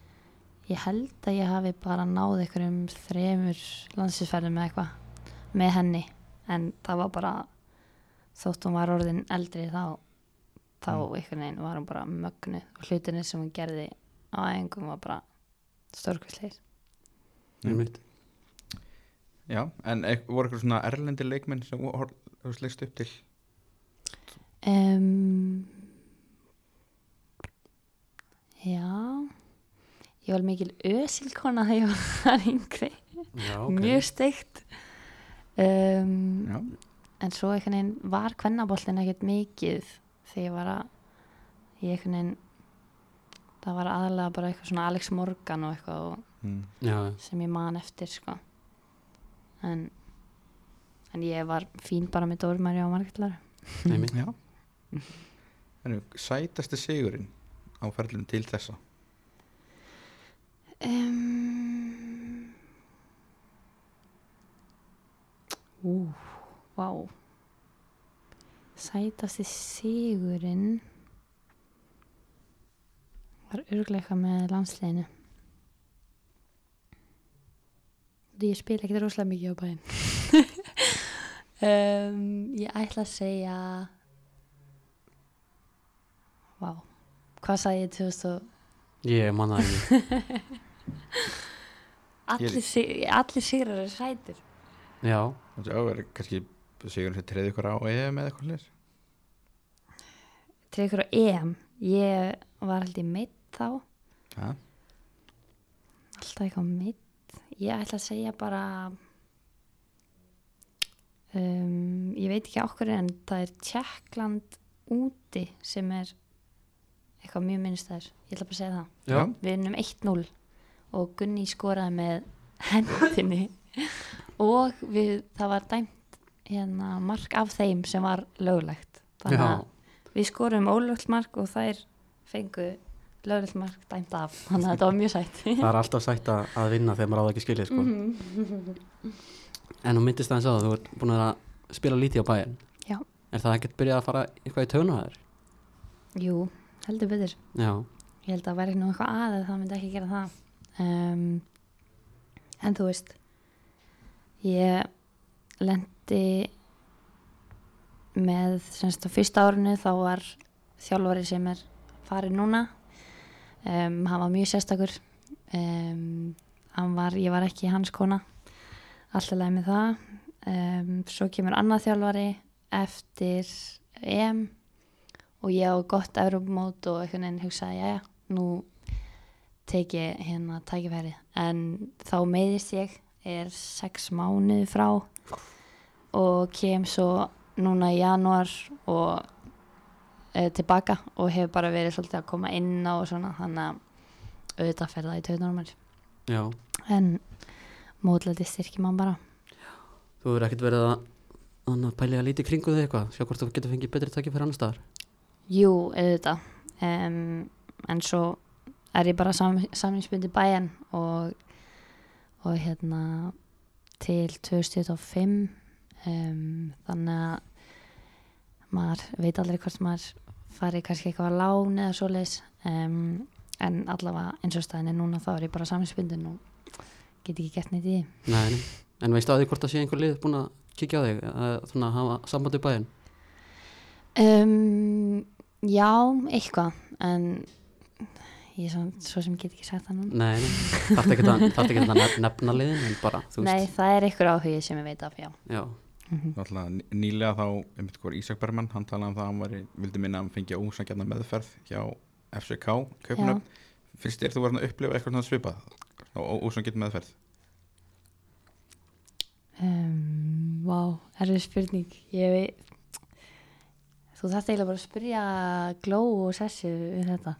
Speaker 4: ég held að ég hafi bara náð einhverjum þremur landsinsferðum með eitthvað með henni en það var bara þótt hún var orðin eldri þá þá
Speaker 2: Mm.
Speaker 4: einhvern veginn var hún bara mögnu og hlutinni sem hún gerði á engum var bara stórkvisleir
Speaker 2: einmitt
Speaker 1: Já, en e voru eitthvað svona erlendir leikmenn sem þú hor- þú sleist upp til
Speaker 4: Um, já, ég var mikil ösilkona þegar ég var [laughs] yngri,
Speaker 2: já,
Speaker 4: mjög steikt. Um,
Speaker 1: Já,
Speaker 4: en svo einhvern veginn var kvennaboltin ekkert mikið þegar ég var að, ég einhvern veginn, það var aðalega bara eitthvað svona Alex Morgan og eitthvað og
Speaker 1: mm.
Speaker 2: já,
Speaker 4: sem ég man eftir sko en en ég var fín bara með Dóri Marja og Margitlar
Speaker 2: einmitt
Speaker 1: já En sætasti sigurinn á ferlinu til þessa
Speaker 4: Um, Ú, vá Sætasti sigurinn var örgleika með landsliðinu. Því Ég spila ekkert rosalega mikið á bæinn. [laughs] um, ég ætla að segja... Vá, hvað sagði ég 2000 og...
Speaker 2: Ég manna það ekki
Speaker 4: Allir,
Speaker 1: Ég-
Speaker 4: sig, allir sigrar er sætir.
Speaker 2: Já,
Speaker 1: Já, er kannski sigurinn sem treði ykkur á EM eða eitthvað leir
Speaker 4: Til ykkur á EM. Ég var alltaf meitt þá.
Speaker 1: Já,
Speaker 4: Alltaf eitthvað mitt. Ég ætla að segja bara um, ég veit ekki okkur en það er Tjekkland úti sem er eitthvað mjög minnstæður. Ég ætla bara að segja það.
Speaker 2: já,
Speaker 1: Já.
Speaker 4: Við vinnum 1-0 og Gunni skoraði með hendinni og við, það var dæmt hérna mark af þeim sem var löglegt. Þannig
Speaker 2: já.
Speaker 4: að við skorum ólögt mark og þær fengu löglegt mark dæmt af. Þannig að þetta var mjög sætt.
Speaker 2: Það er alltaf sætt að- að vinna þegar maður á það ekki skilið sko.
Speaker 4: Mhm.
Speaker 2: En hún myndist aðeins á það, þú ert búin að spila lítið á bæinn
Speaker 4: Já.
Speaker 2: Er það ekkert byrjað að fara eitthvað í tönu að þér?
Speaker 4: [laughs] Jú, heldur betur.
Speaker 2: Já,
Speaker 4: Ég held að væri nú eitthvað að að það myndi ekki gera það. Um, en þú veist, ég lendi með, semst á fyrsta árinu þá var þjálfari sem er farið núna. Um, hann var mjög sérstakur. Um, hann var, ég var ekki hans kona. Alltaf leið með það. Um, svo kemur annað þjálfari eftir EM og ég á gott Evrópumót og einhvern veginn hugsaði, jæja, nú tek ég hérna tækifærið en þá meiðist ég er sex mánuði frá og kem svo núna í janúar og e, tilbaka og hefur bara verið svolítið að koma inn á og svona þannig að auðvitað fer það í tautunar á mér
Speaker 2: já
Speaker 4: en mótlæti styrkir mann bara
Speaker 2: Þú hefur ekkert verið að Þannig að pælja lítið kringu þig eitthvað, sjá hvort þú getur fengið betri takki fyrir annar staðar.
Speaker 4: Jú, auðvitað um, en svo er ég bara sam, samlingsbundi bæjan og, og hérna til 2025 um, þannig að maður veit aldrei hvort maður fari kannski eitthvað á lán eða svoleiðis um, en allavega eins og staðin er núna þá er ég bara samlingsbundin og get ekki gert neitt í því
Speaker 2: Nei, nei. En veistu að því hvort það sé einhver lið búin að kíkja á þig, að, svona að hafa sambandi í bæinn?
Speaker 4: um, Já, eitthvað en ég er svo, svo sem get ekki sagt það núna
Speaker 2: Nei, nei. þarf ekki að, þarft ekkert að nef- nefna liðin, en bara, þú
Speaker 4: Nei,
Speaker 2: veist. Mhm.
Speaker 4: það er einhver áhugi sem ég veit af, já.
Speaker 2: Já,
Speaker 1: náttúrulega ný- nýlega þá einmitt hvað Ísak Bergmann, hann talaði um það að hann væri, vildi minna að hann fengi ósangjarnar meðferð hjá FCK, Kaupnöfn Fyrst er þú verðin að upplifa eitthvað svona svipað ósangjarn meðferð
Speaker 4: Um, vá, erfið spurning. Ég veit, þú þarft eiginlega bara að spyrja Gló og Sessu um þetta.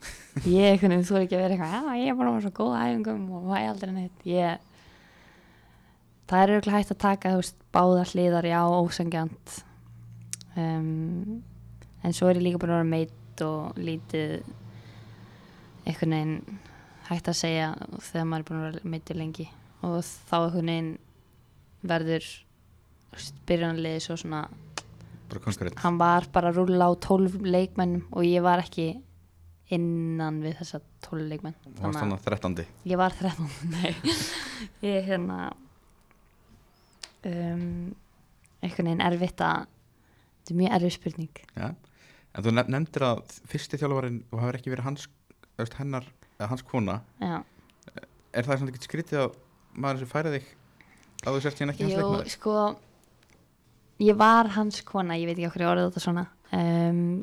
Speaker 4: Ég, einhvern veginn, þú er ekki að vera eitthvað, já, ég er bara með svo góða æfingum og væ aldrei neitt. Ég, það er auðvitað hægt að taka, þú veist, báða hliðar, já, ósangjant. Um, en svo er ég líka búin að vera meitt og lítið, einhvern veginn, hægt að segja þegar maður er búin að vera meittur lengi. Og þá einhvern veginn, verður byrjanlið svo svona
Speaker 1: bara konkrétt
Speaker 4: hann var bara að rúlla á 12 leikmennum og ég var ekki innan við þessa 12 leikmenn
Speaker 1: og hann stanna þrettandi
Speaker 4: að ég var 13 [laughs] nei ég hérna um, einhvern veginn erfitt að þetta er mjög erfið spurning
Speaker 1: ja. en þú nef- nefndir að fyrsti þjálfarinn og hafa ekki verið hans, þú veist, hennar, eða hans kona
Speaker 4: já
Speaker 1: er það svona ekki skrítið að maður sem færi þig að þú sért hérna ekki hans
Speaker 4: Jú,
Speaker 1: leikmaður
Speaker 4: sko ég var hans kona, ég veit ekki okkur ég orðið þetta svona um,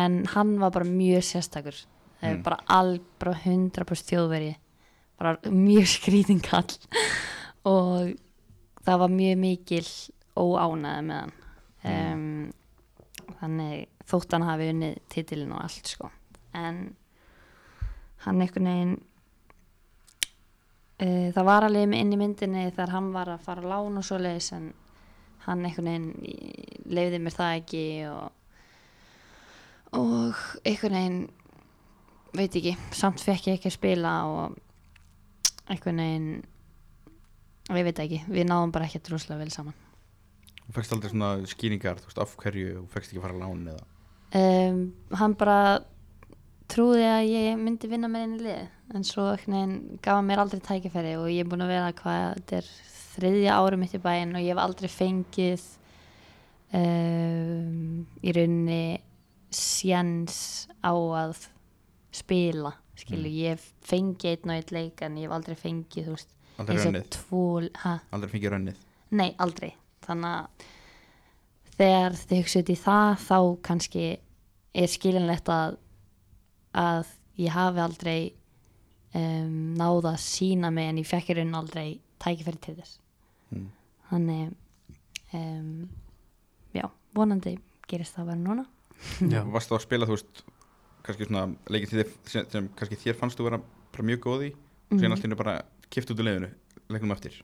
Speaker 4: en hann var bara mjög sérstakur mm.
Speaker 1: Mm.
Speaker 4: bara al, bara 100% þjóðveri bara mjög skrýtingall [laughs] og það var mjög mikil óánaði með hann um, þannig þótt hann hafi unnið titilin og allt sko en hann einhvern veginn Uh, það var alveg inn í myndinni þegar hann var að fara á lán og svoleiðis en hann einhvern veginn leiði mér það ekki og, og einhvern veginn veit ekki, samt fekk ég ekki að spila og einhvern veginn og ég veit ekki, við náðum bara ekki drúslega vel saman
Speaker 1: Þú fegst aldrei svona skýringar, þú veist, af hverju þú fegst ekki að fara að lána eða
Speaker 4: um, hann bara trúði að ég myndi vinna með einu lið en svo neginn, gaf hann mér aldrei tækifæri og ég er búin að vera hvað þetta er þriðja árum mitt í bæinn og ég hef aldrei fengið um, í rauninni sjens á að spila skilu,
Speaker 1: Mm.
Speaker 4: ég hef fengið einn og einn leik en ég hef aldrei fengið þú veist,
Speaker 1: Aldrei rönnið,
Speaker 4: tvo ha?
Speaker 1: aldrei fengið rönnið
Speaker 4: Nei, aldrei. Þannig að þegar þið hugsa út í það þá kannski er skiljanlegt að, að ég hafi aldrei um, náð að sína mig en ég fekk í raun aldrei tækifæri til þess.
Speaker 1: mm.
Speaker 4: Þannig, um, já, vonandi gerist það bara núna.
Speaker 2: já,
Speaker 1: Varst þá að spila, þú veist, kannski svona leikið til þér sem, sem kannski þér fannst þú vera bara mjög góð í og síðan
Speaker 4: Mhm.
Speaker 1: allt innu bara kipt út úr leiðinu, leikum eftir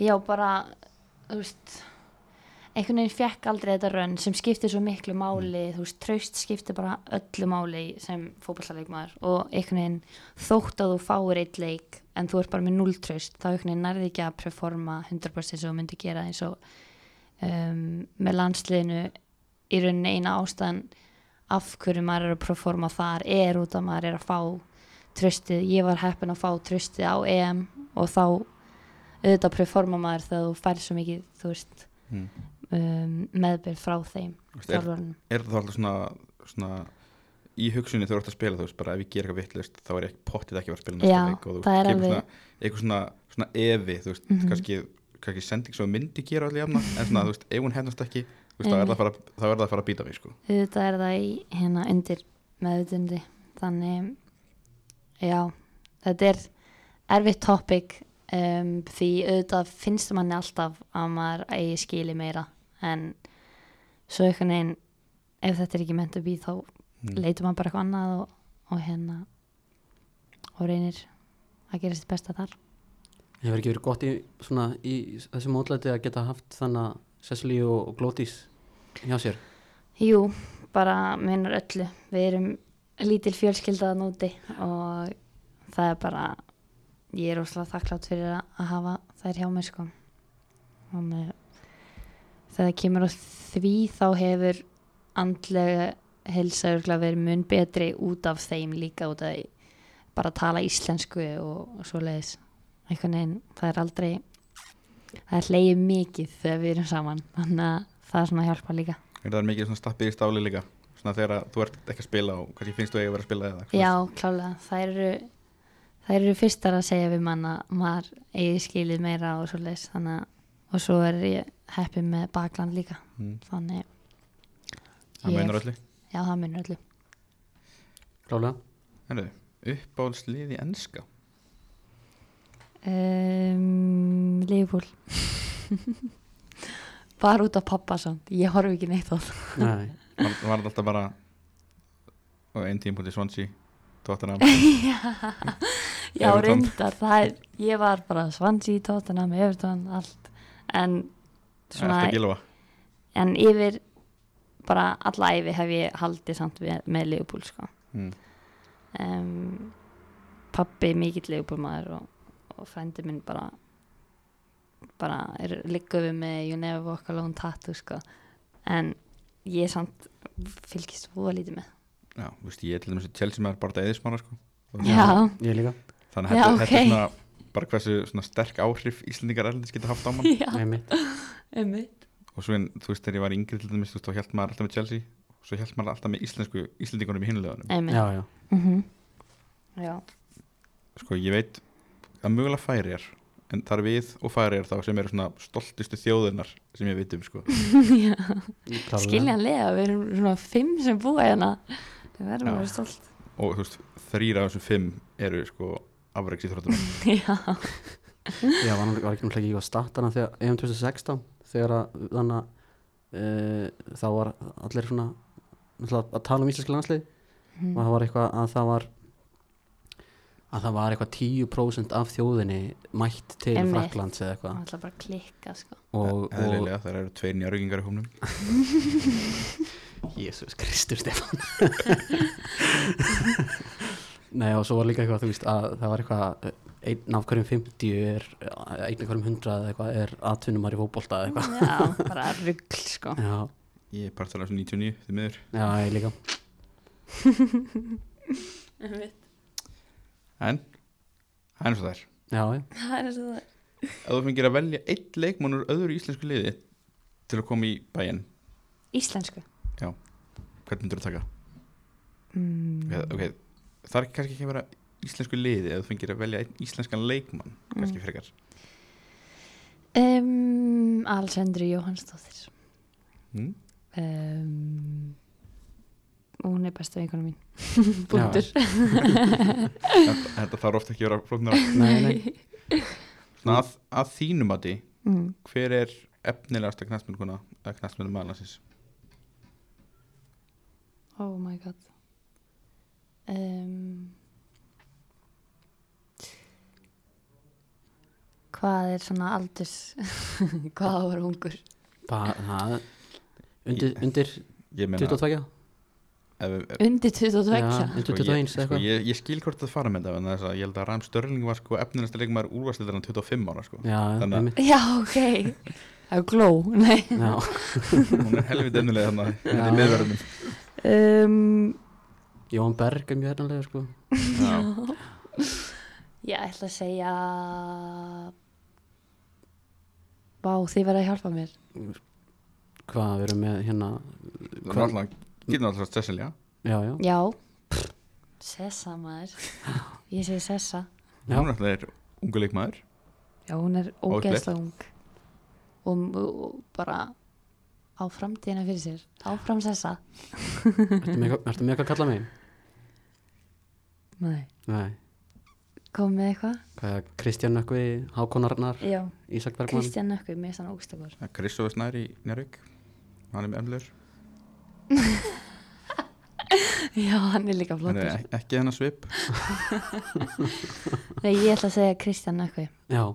Speaker 4: Já, bara, þú veist, einhvern veginn fekk aldrei þetta rönn sem skiptir svo miklu máli, þú veist, traust skiptir bara öllu máli sem fótballaleikmaður og einhvern veginn þótt að þú fáir eitt leik en þú ert bara með null traust, þá einhvern veginn nærði ekki að performa 100% sem þú myndi gera eins og um, með landsliðinu í rauninni eina ástæðan af hverju maður er að performa þar er út að maður er að fá tröstið, ég var heppin að fá tröstið á EM og þá auðvitað performa maður þegar þú fær svo mikið þú veist,
Speaker 1: mm.
Speaker 4: um, meðbyrð frá þeim
Speaker 1: Þú veist, er,
Speaker 4: þjálfarinn
Speaker 1: er það alltaf svona, svona í hugsunni þegar þú ert að spila, þú veist, bara ef ég ger eitthvað vittlust þá er ég pottið ekki að fara að spila næsta
Speaker 4: Já,
Speaker 1: leik og þú
Speaker 4: það er
Speaker 1: kemur
Speaker 4: alveg-
Speaker 1: svona, eitthvað svona, svona evi, þú veist,
Speaker 4: Mhm.
Speaker 1: kannski, kannski sending sem þú myndi gera allir jafna, en svona, þú veist, ef hún hennast ekki, þú veist, þá er það að fara, þá er það að fara að býta við, sko.
Speaker 4: auðvitað er það í hérna undir meðutundi þannig já, þetta er erfitt topic um, því auðvitað finnst manni alltaf að maður eigi skili meira en svo einhvern veginn ef þetta er ekki meant to be þá
Speaker 1: Mm.
Speaker 4: leitur maður bara eitthvað annað og, og hérna og reynir að gera sitt besta þar
Speaker 2: hefur ekki verið gott í, svona, í þessu mótlæti að geta haft þannig að Cecily og, og Glótis hjá sér
Speaker 4: Jú, bara munar öllu. Við erum lítil fjölskyldaðan úti og það er bara, ég er óslega þakklátt fyrir að- að hafa þær hjá mér sko. Þannig að þegar það kemur á því þá hefur andlega helsa örgulega verið mun betri út af þeim líka út af bara að tala íslensku og, og svo leiðis. Einhvern veginn, það er aldrei, það er hleyið mikið þegar við erum saman, þannig að það er svona að hjálpa líka.
Speaker 1: Er það mikið svona stappið í stáli líka, svona þegar að þú ert ekki að spila og kannski finnst þú eiga að vera að spila eða, svona.
Speaker 4: Já, klálega, þær eru þær eru fyrstar að segja við mann að maður eigi skilið meira og svo leys þannig að, og svo er ég heppið með bakland líka,
Speaker 1: Mm.
Speaker 4: þannig
Speaker 1: Það
Speaker 4: Ég-
Speaker 1: meinar öllu.
Speaker 4: já, það munur öllu
Speaker 2: klálega
Speaker 1: Herðu, uppáhaldsliði enska.
Speaker 4: um, Leifúl [laughs] bara út af pappa samt, ég horf ekki neitt á það
Speaker 2: Nei,
Speaker 1: Var, var þetta alltaf bara, og einn tímpúti Swansea, Tottenham,
Speaker 4: [laughs] Já,
Speaker 1: Everton.
Speaker 4: reyndar, það er ég var bara svansi í tóttina með Evertón, allt en
Speaker 1: alltaf gilva.
Speaker 4: en yfir bara alla æfi hef ég haldið samt við, með Leopold sko
Speaker 1: Mm.
Speaker 4: um, pappi mikill Leopold maður og, og frendi minn bara bara er ligguð við með You Never Walk Alone tattoo sko en ég samt fylgist voða lítið með
Speaker 1: Já, þú veist, ég er til dæmis að Chelsea maður bara dæðið smára, sko. Og-
Speaker 4: Já,
Speaker 2: ég líka
Speaker 1: Þannig að
Speaker 4: Já,
Speaker 1: þetta, þetta
Speaker 4: ok.
Speaker 1: er svona bara hversu svona sterk áhrif Íslendingar erlendis geta haft á mann
Speaker 4: [laughs] já,
Speaker 2: Nei, mitt.
Speaker 4: einmitt
Speaker 1: og svo en þú veist þegar ég var yngri til dæmis þú veist þá held maður alltaf með Chelsea og svo held maður alltaf með íslensku Íslendingunum í hinlegaðunum
Speaker 4: einmitt,
Speaker 2: já, já,
Speaker 4: mhm já,
Speaker 1: sko ég veit að mögulega færiðar en það er við og færiðar þá sem eru svona stoltistu þjóðunar sem ég veit um sko
Speaker 4: já.
Speaker 2: klálega
Speaker 4: skiljanlega við erum svona fimm sem búa hérna við verðum
Speaker 1: Já.
Speaker 4: að vera stolt
Speaker 1: og þú veist þrýra af þessum fimm eru sko afreiksi þróttum
Speaker 4: [laughs] já,
Speaker 2: Já, var, var ekki náttúrulega ekki á statana þegar, EM 2016 þegar að þannig að e, þá var allir svona náttúrulega að tala um íslenski landslið
Speaker 4: Mm.
Speaker 2: og það var eitthvað að það var að það var eitthvað 10% af þjóðinni mætt til
Speaker 4: Einmitt.
Speaker 2: Fraklands eða
Speaker 4: það
Speaker 2: eitthvað
Speaker 4: ætla bara að klikka sko
Speaker 2: og, og
Speaker 1: eðlilega það eru tveir njárvíkingar í hómnum
Speaker 2: Jésús Kristur [laughs] Stefán Nei og svo var líka eitthvað þú veist að það var eitthvað einn af hverjum 50 er einn af hverjum 100 eða eitthvað er atvinnumar í fótbolta eða eitthvað
Speaker 4: Já, bara ruggl sko
Speaker 2: já,
Speaker 1: Ég er partur af þessu 99, þið miður
Speaker 2: já, ég líka
Speaker 1: En, það er eins og það er
Speaker 2: já, já,
Speaker 4: Það er svo það
Speaker 1: Ef þú fengir að velja einn leikmann úr öðru íslensku liði til að koma í bæinn
Speaker 4: Íslensku
Speaker 1: Hvern myndur þú taka?
Speaker 4: mm.
Speaker 1: Mm. Okay, það er kannski ekki að vera íslensku liði ef þú fengir að velja einn íslenskan leikmann kannski
Speaker 4: Mm.
Speaker 1: frekar
Speaker 4: um, Alessandru Jóhannsdóttir
Speaker 1: mm?
Speaker 4: um, Hún er besta vinkona mín [laughs] Búndur
Speaker 1: Þetta [laughs] þetta þarf ofta ekki að vera flóknara
Speaker 2: [laughs] nei, nei
Speaker 1: Svona að, að þínum að því
Speaker 4: mm.
Speaker 1: hver er efnilegasta knastmennuna eða knastmennum aðlandsins
Speaker 4: Oh my god um, Hvað er svona aldurs [laughs] Hvað á að vera ungur
Speaker 2: bara, það undir, undir
Speaker 1: ég meina
Speaker 2: 22 já,
Speaker 1: ef, ef,
Speaker 4: Undir
Speaker 1: sko,
Speaker 2: undir
Speaker 4: 22
Speaker 2: 21
Speaker 1: ég, sko,
Speaker 2: eitthvað
Speaker 1: ég, ég skil hvort það fara með það en þess að ég held að Ram Störling var sko efnilegasta leikmaður úrvarsleitarna 25 ára
Speaker 2: [laughs]
Speaker 1: sko.
Speaker 2: já,
Speaker 1: Þannig að-
Speaker 2: einmitt.
Speaker 4: Já, ok
Speaker 2: [laughs]
Speaker 4: Það er gló, nei
Speaker 2: já,
Speaker 1: hún er helvit efnileg þannig þetta er liðverðinum
Speaker 4: um,
Speaker 2: Jón Berg er mjög hérnalega sko
Speaker 1: Já.
Speaker 4: Ég ætla að segja Vá, þið verða að hjálpa mér
Speaker 2: hvað við erum með hérna
Speaker 1: það er alltaf getur alltaf stessilja
Speaker 2: já, já,
Speaker 4: Já Pff, Sessa maður Ég segi Sessa
Speaker 2: Já.
Speaker 1: hún er alltaf ungu leikmaður
Speaker 4: Já, hún er
Speaker 1: Ógeðslega
Speaker 4: ógeðslega ung og, og bara á framtíðina fyrir sér áfram sessa
Speaker 2: ertu með eitthvað- ertu með eitthvað að kalla mig?
Speaker 4: Nei.
Speaker 2: nei,
Speaker 4: kom með eitthvað
Speaker 2: hvað er Kristján Nökkvi Hákonarnar,
Speaker 4: Já.
Speaker 2: Ísak Bergmann
Speaker 4: Kristján Nökkvi, mér er sann ógstakur
Speaker 1: Kristófi Snær í Njárvík hann er með efnilegur
Speaker 4: Já, hann er líka
Speaker 1: hann
Speaker 4: flottur
Speaker 1: er ek- ekki hennar svip
Speaker 4: Nei, ég ætla að segja Kristján Nökkvi
Speaker 2: já,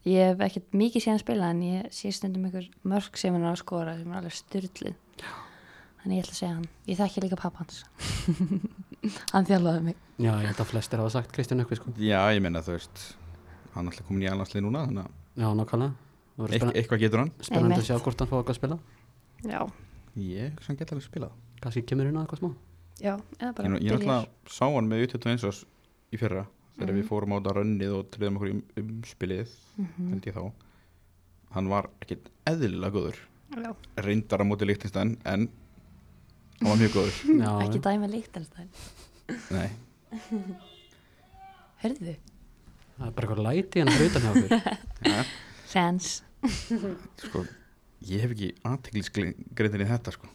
Speaker 4: Ég hef ekkert mikið séð að spila en ég sé stundum ykkur mörg sem hann er að skora sem er alveg styrlið Þannig ég ætla að segja hann Ég þekki líka pappa hans [laughs] Hann þjálfaði mig
Speaker 2: já, ég held að flestir hafa sagt Kristján Nökkvi sko
Speaker 1: já ég meina þú veist hann er alltaf komin í aðlandslið núna þannig að
Speaker 2: já, nákvæmlega Það verður
Speaker 1: eit-
Speaker 2: spennan-
Speaker 1: eitthvað getur hann
Speaker 2: spennandi að
Speaker 4: Einmitt.
Speaker 2: sjá hvort hann fá eitthvað að spila
Speaker 4: Já,
Speaker 1: ég hugsa hann geta alveg spilað
Speaker 2: kannski kemur inn á
Speaker 4: [laughs]
Speaker 2: eitthvað smá
Speaker 4: já, eða bara
Speaker 1: Ég, ég
Speaker 4: byrjar.
Speaker 1: náttúrulega sá hann með U21 ás í fyrra þegar
Speaker 4: Mhm.
Speaker 1: við fórum á þetta rönnið og triðum okkur í um- umspilið
Speaker 4: Mhm.
Speaker 1: held ég þá hann var ekkit eðlilega góður
Speaker 4: Já.
Speaker 1: reyndar á móti líktinstæn en hann var mjög
Speaker 4: [laughs]
Speaker 1: góður
Speaker 2: já,
Speaker 4: Ekki dæma líkt en
Speaker 1: Nei,
Speaker 4: Hörðu,
Speaker 2: það er bara eitthvað læti hann frautan hjá
Speaker 4: [laughs]
Speaker 2: okkur
Speaker 4: Rens
Speaker 1: sko, ég hef ekki aðteglisgreindin í þetta sko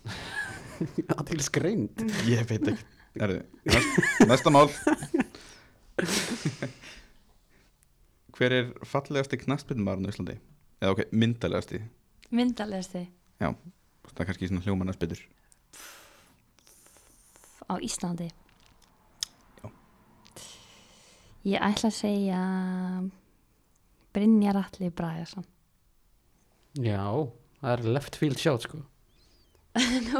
Speaker 2: að til skreind
Speaker 4: Mm.
Speaker 1: ég veit ekki Erðu,
Speaker 4: [laughs]
Speaker 1: næst, næsta mál hver er fallegasti knastbyrnumarinn á Íslandi eða ok, myndalegasti
Speaker 4: Myndalegasti
Speaker 1: það er kannski svona hljómanarspytur
Speaker 4: á Íslandi
Speaker 1: Já.
Speaker 4: Ég ætla að segja Brynjar Atli Bræðarsson
Speaker 2: já, það er left field shot sko
Speaker 4: [laughs] Nú,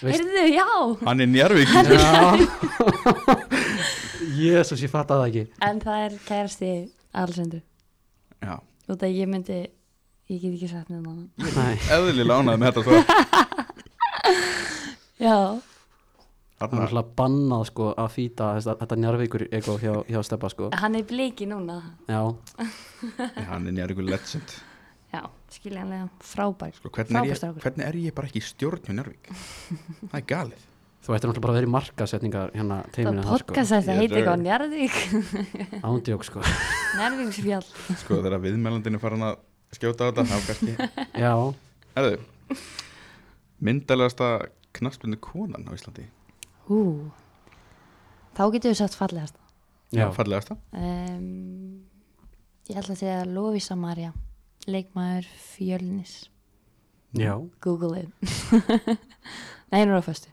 Speaker 2: Veist-
Speaker 4: heyrðu, já
Speaker 1: hann er njárvík
Speaker 2: já jésus, ég fatt að það ekki
Speaker 4: En það er kærasti Alessandur
Speaker 1: Já,
Speaker 4: Út að ég myndi, [laughs] ég get ekki sagt nefnum hana
Speaker 2: nei,
Speaker 1: eðlilega ánægð með þetta svo
Speaker 4: Já,
Speaker 2: það er
Speaker 1: Þarna,
Speaker 2: alltaf bannað sko að fýta þetta njarvíkur ego hjá, hjá steppa sko
Speaker 4: hann er bliki núna
Speaker 2: já,
Speaker 1: hann er njárvíkur legend
Speaker 4: Já, skiljanlega, frábær
Speaker 1: sko, hvernig, er ég,
Speaker 4: Frábær strákur.
Speaker 1: hvernig er ég bara ekki í stjórn hjá
Speaker 4: [laughs]
Speaker 1: njárvík? Það er galið
Speaker 2: þú ættir náttúrulega bara að vera í markasetningar hérna
Speaker 4: Það
Speaker 2: teiminu
Speaker 4: podcast þetta
Speaker 1: sko. Ég er-
Speaker 4: heitir eitthvað
Speaker 1: [laughs]
Speaker 4: Njarðvík
Speaker 2: sko ándjók
Speaker 4: [laughs]
Speaker 2: sko,
Speaker 4: Njarðvíksfjall
Speaker 1: sko, þegar viðmælandin er farin að skjóta á þetta þá kannski
Speaker 2: já
Speaker 1: Erðu, myndalegasta knastbyrnu konan á Íslandi
Speaker 4: Hú Þá getur við sagt fallegast
Speaker 2: já,
Speaker 1: fallegasta
Speaker 4: um, ég ætla að segja Lovisa Maria leikmaður fjölnis
Speaker 2: já,
Speaker 4: Google it [laughs] nei, hún er á föstu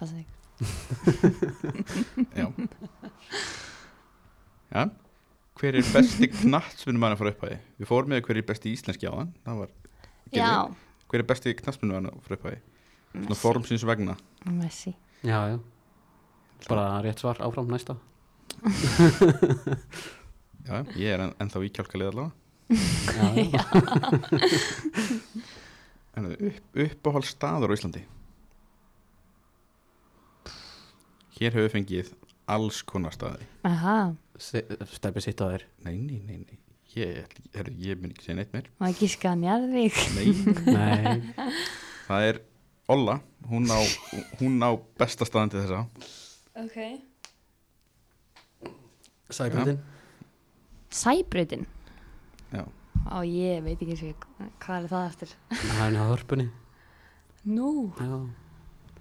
Speaker 4: Passa þig.
Speaker 1: Já Já Hver er besti knastbyrnum mann að fara upp að því? Við fórum með hver er besti íslenski á hann Það var Gylfi.
Speaker 4: já,
Speaker 1: Hver er besti knastbyrnum mann að fara upp að því? Svona
Speaker 4: Messi,
Speaker 1: fórum síns vegna
Speaker 4: Messi.
Speaker 2: já, já bara rétt svar áfram næsta
Speaker 1: Já, ég er en, ennþá í kjálkalið allavega
Speaker 2: já, já.
Speaker 1: En upp, uppáhald staður á Íslandi Hér hefur við fengið alls konar staði
Speaker 4: Aha,
Speaker 2: Se- steppi sitt
Speaker 4: [laughs]
Speaker 2: á þér
Speaker 1: Nei, nei, nei, nei Ég, ætl- herru, ég minn ekki segja neitt meir
Speaker 4: maður ekki skan jarðvík.
Speaker 2: [laughs]
Speaker 1: Nei,
Speaker 2: nei,
Speaker 1: það er Olla Hún á, hún á besta staðan til þessa
Speaker 4: Ok.
Speaker 2: sæbröndin
Speaker 4: Sæbröðin.
Speaker 1: Já,
Speaker 4: Á, ég veit ekki eins og ég- hvað er það eftir.
Speaker 2: það er náða hörpunni
Speaker 4: Nú.
Speaker 2: já,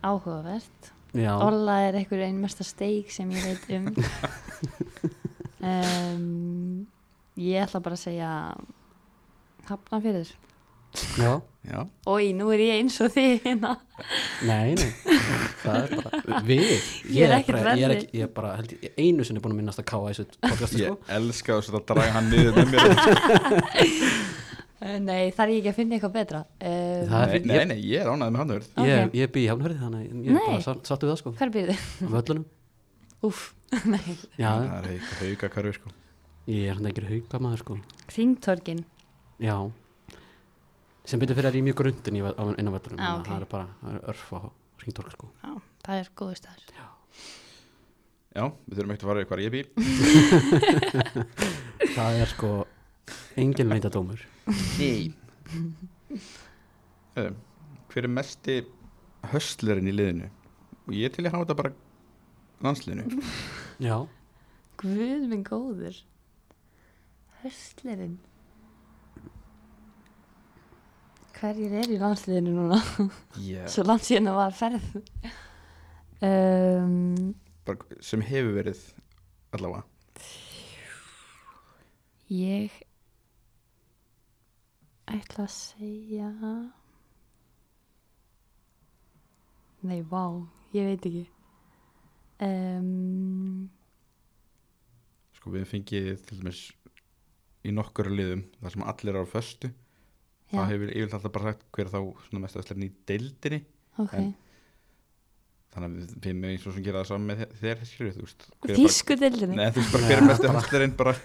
Speaker 4: Áhugavert.
Speaker 2: já.
Speaker 4: Olla er einhver einn mesta steik sem ég veit
Speaker 2: [laughs]
Speaker 4: um. um ég ætla bara að segja hafnafyrður.
Speaker 2: já.
Speaker 1: já,
Speaker 4: Ói, nú er ég eins og þið hérna.
Speaker 2: nei, nei það er bara við
Speaker 4: Ég er ekkert
Speaker 2: bara, ég er
Speaker 4: verri.
Speaker 2: ekki, ég er bara held, ég einu sinni búin að minnast að káa þessu podcastu sko
Speaker 1: ég elska þess að draga hann niður með mér
Speaker 4: Eh, Nei, þarf ég ekki að finna eitthvað betra. Um,
Speaker 2: [laughs] Það er
Speaker 1: Nei,
Speaker 2: fínt,
Speaker 1: nei,
Speaker 2: ég-
Speaker 1: nei, ég er ánægð með hann hörð
Speaker 2: ég,
Speaker 4: Ok.
Speaker 2: ég bý í hafnhörði þannig að ég er
Speaker 4: Nei.
Speaker 2: bara sátt- sáttu við það sko
Speaker 4: Hver býrðu?
Speaker 2: völlunum
Speaker 4: Úf, [laughs] nei.
Speaker 2: já,
Speaker 1: Það er eitthvað hauga karfi sko
Speaker 2: ég er hann ekki hauka maður sko
Speaker 4: Þingtorgin.
Speaker 2: já sem byrja fyrir að rýmja grundin í, ve- á, inn á völlunum
Speaker 4: Ah,
Speaker 2: þannig að
Speaker 4: ok.
Speaker 2: það er bara það er örf á ringdorg sko
Speaker 4: Já, það er góðu staður.
Speaker 1: Já, við þurfum ekkert að fara í hvað ég býr
Speaker 2: það er sko engin leindadómur
Speaker 1: Nei Hver er mesti höstlerinn í liðinu? Og ég er til að hafa þetta bara landsliðinu
Speaker 2: já,
Speaker 4: Guð minn góður. Höstlerinn. Hverjir er í landsliðinu núna?
Speaker 1: yeah.
Speaker 4: Svo langt síðan að var ferð. Um,
Speaker 1: bara, sem hefur verið allavega
Speaker 4: ég ætla að segja... Nei, vá, ég veit ekki. Um,
Speaker 1: sko við fengið til dæmis í nokkur liðum þar sem allir eru á föstu
Speaker 4: já,
Speaker 1: það hefur yfirleitt alltaf bara sagt hver er þá svona mest höstlerinn í deildinni
Speaker 4: ok.
Speaker 1: en- þannig að við- við með eins og sem gera það saman með þe- þér skilur þú veist Hver er bara-
Speaker 4: Þísku deildinni?
Speaker 1: Nei, þú veist bara hver er
Speaker 2: Nei,
Speaker 1: mesti
Speaker 2: [laughs] bara-
Speaker 1: höstlerinn bara,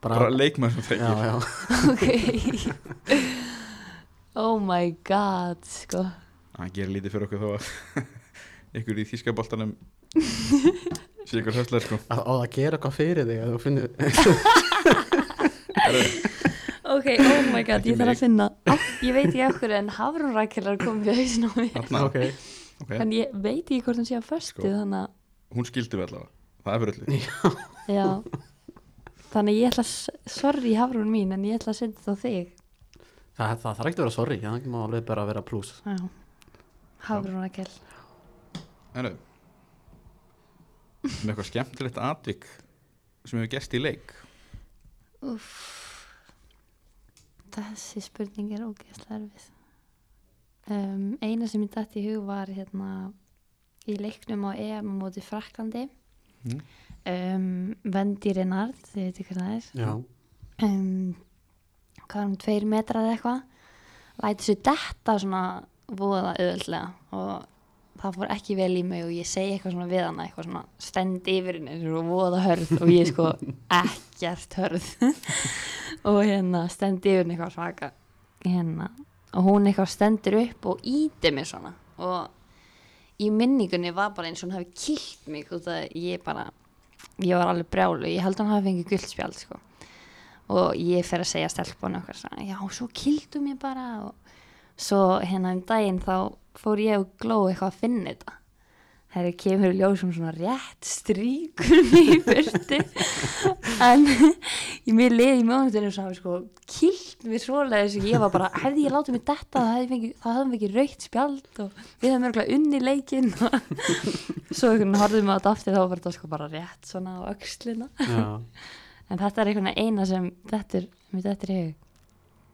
Speaker 1: bara,
Speaker 2: bara
Speaker 1: leikmann sem
Speaker 2: já,
Speaker 1: þekkir
Speaker 2: já
Speaker 4: Ok. oh my god, sko.
Speaker 1: hann gerir lítið fyrir okkur þó að [laughs] ykkur í þýskaboltanum sé ykkur höstler sko
Speaker 2: að, að gera eitthvað fyrir þig að þú
Speaker 1: [laughs]
Speaker 2: finnir
Speaker 4: Ok, oh my god,
Speaker 1: Ekki
Speaker 4: ég þarf
Speaker 1: mig.
Speaker 4: að finna. Á, ég veit ekki okkur en hafrunrakelar komið í hausin á mér.
Speaker 1: Þarna,
Speaker 2: ok
Speaker 1: ok.
Speaker 4: En ég veit ekki hvort hún sé á föstu,
Speaker 1: Sko.
Speaker 4: þannig að,
Speaker 1: hún skildi við allavega, það er fyrir öllu
Speaker 4: já. Þannig að ég ætla, að s- sorry hafrun mín, en ég ætla að senda þá þig.
Speaker 2: það, það þarf ekki að vera sorry það má alveg bara vera plus
Speaker 4: Já. Hafrunrakel.
Speaker 1: Herru með eitthvað skemmtilegt atvik sem hefur gæst í leik
Speaker 4: Uff. Þessi spurning er ógeðslega erfið. Um, eina sem ég dætti í hug var hérna í leiknum á EM á móti Fraklandi.
Speaker 1: Mm.
Speaker 4: Um, Vendi Renard, þið veitir hvað það er.
Speaker 2: já,
Speaker 4: Um, hvað er hún, tveir metrar eða eitthvað? Læti sér detta svona voða auðvöldlega og það fór ekki vel í mig og ég segi eitthvað svona við hana, eitthvað svona stend yfir henni eins og voða hörð og ég er sko ekkert hörð [laughs] og hérna stend yfir henni eitthvað svaka hérna og hún eitthvað stendur upp og íti mér svona og í minningunni var bara eins og hún hafi kilt mig út að ég bara ég var alveg brjálu, ég held að hún hafi fengið guldspjald sko og ég fer að segja stelpun okkar svona, já, svo kildu mér bara og svo hérna um daginn þá fór ég og gló eitthvað að finna þetta þegar ég kemur í ljósum svona rétt stríkur mig í burtu en ég mér leið í mjónutinu og sagði sko kilt mér svoleiðis og ég var bara hefði ég látið mér detta þá hefði fengi, það hefði ekki raukt spjald og við hefðum örgulega unni leikinn [laughs] og svo einhvern veginn horfðum við á þetta aftur þá var þetta sko bara rétt svona á öxlina
Speaker 2: já
Speaker 4: En þetta er einhvern veginn eina sem þetta er, mér þetta er í hug.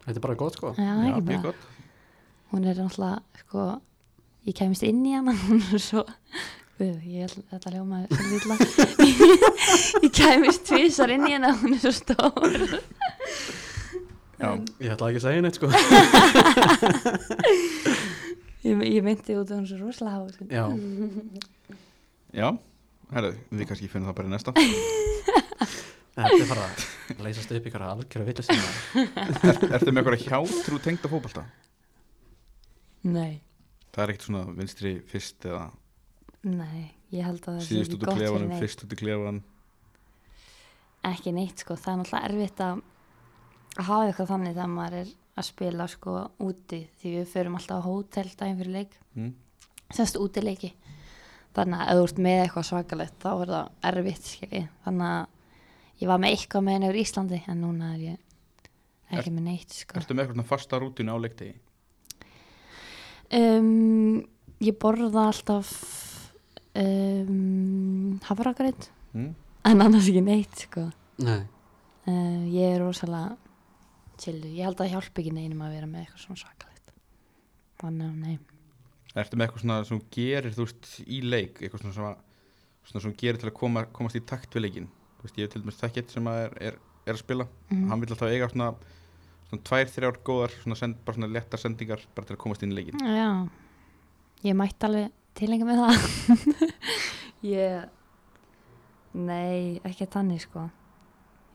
Speaker 2: þetta er bara gott sko
Speaker 4: Já, það er ekki
Speaker 1: mjög
Speaker 4: bara.
Speaker 1: gott
Speaker 4: Hún er náttúrulega, sko, ég kemist inn í hana, [laughs] hún er svo, guð, ég ætla þetta ljóma sem lilla. [laughs] ég kemist tvísar inn í hana, hún er svo stór.
Speaker 1: Já,
Speaker 4: Um.
Speaker 2: ég ætla ekki að segja neitt sko
Speaker 4: Ég, ég myndi út að hún er svo rosalega háð. sko.
Speaker 2: já,
Speaker 1: já, herru, við kannski finnum það bara í næsta
Speaker 2: Þetta er bara að leysast upp ykkur algjör að vitast
Speaker 1: er, Ertu með eitthvað hjátrú tengd að fótbalta?
Speaker 4: Nei.
Speaker 1: Það er ekkert svona vinstri fyrst eða
Speaker 4: Nei, ég held að það sé
Speaker 1: síðust út
Speaker 4: ekki
Speaker 1: í
Speaker 4: gott fyrir
Speaker 1: klefanum,
Speaker 4: neitt.
Speaker 1: fyrst út í klefan
Speaker 4: Ekki neitt sko, það er náttúrulega erfitt að að hafa eitthvað þannig þegar maður er að spila sko úti því við förum alltaf á hótel daginn fyrir leik,
Speaker 1: mm.
Speaker 4: semst útileiki. Þannig að ef þú ert með eitthvað svakalegt þá er það erfitt skilji. Þannig að ég var með eitthvað með henni úr Íslandi en núna er ég ekki með neitt sko.
Speaker 1: Ertu með eitthvað svona fasta rútinu á leiktegi?
Speaker 4: Um, ég borða alltaf um, hafragreit
Speaker 1: Mm.
Speaker 4: en annars ekki neitt sko.
Speaker 2: Nei,
Speaker 4: Uh, ég er rosalega chillu. Ég held að það hjálpi ekki neinum að vera með eitthvað svona svakalegt. Þannig að nei.
Speaker 1: Ertu með eitthvað svona sem þú gerir þú veist í leik eitthvað svona sem, að, svona sem þú gerir til að koma, komast í takt við leikin Þú veist, ég hef til dæmis þekkjett sem að er, er, er að spila
Speaker 4: Mhm.
Speaker 1: hann vil alltaf eiga svona, svona tvær, þrjár góðar, svona send, bara svona lettar sendingar bara til að komast inn í leikin
Speaker 4: Já, ég mætti alveg tilengja með það. [laughs] ég, nei, ekki þannig sko.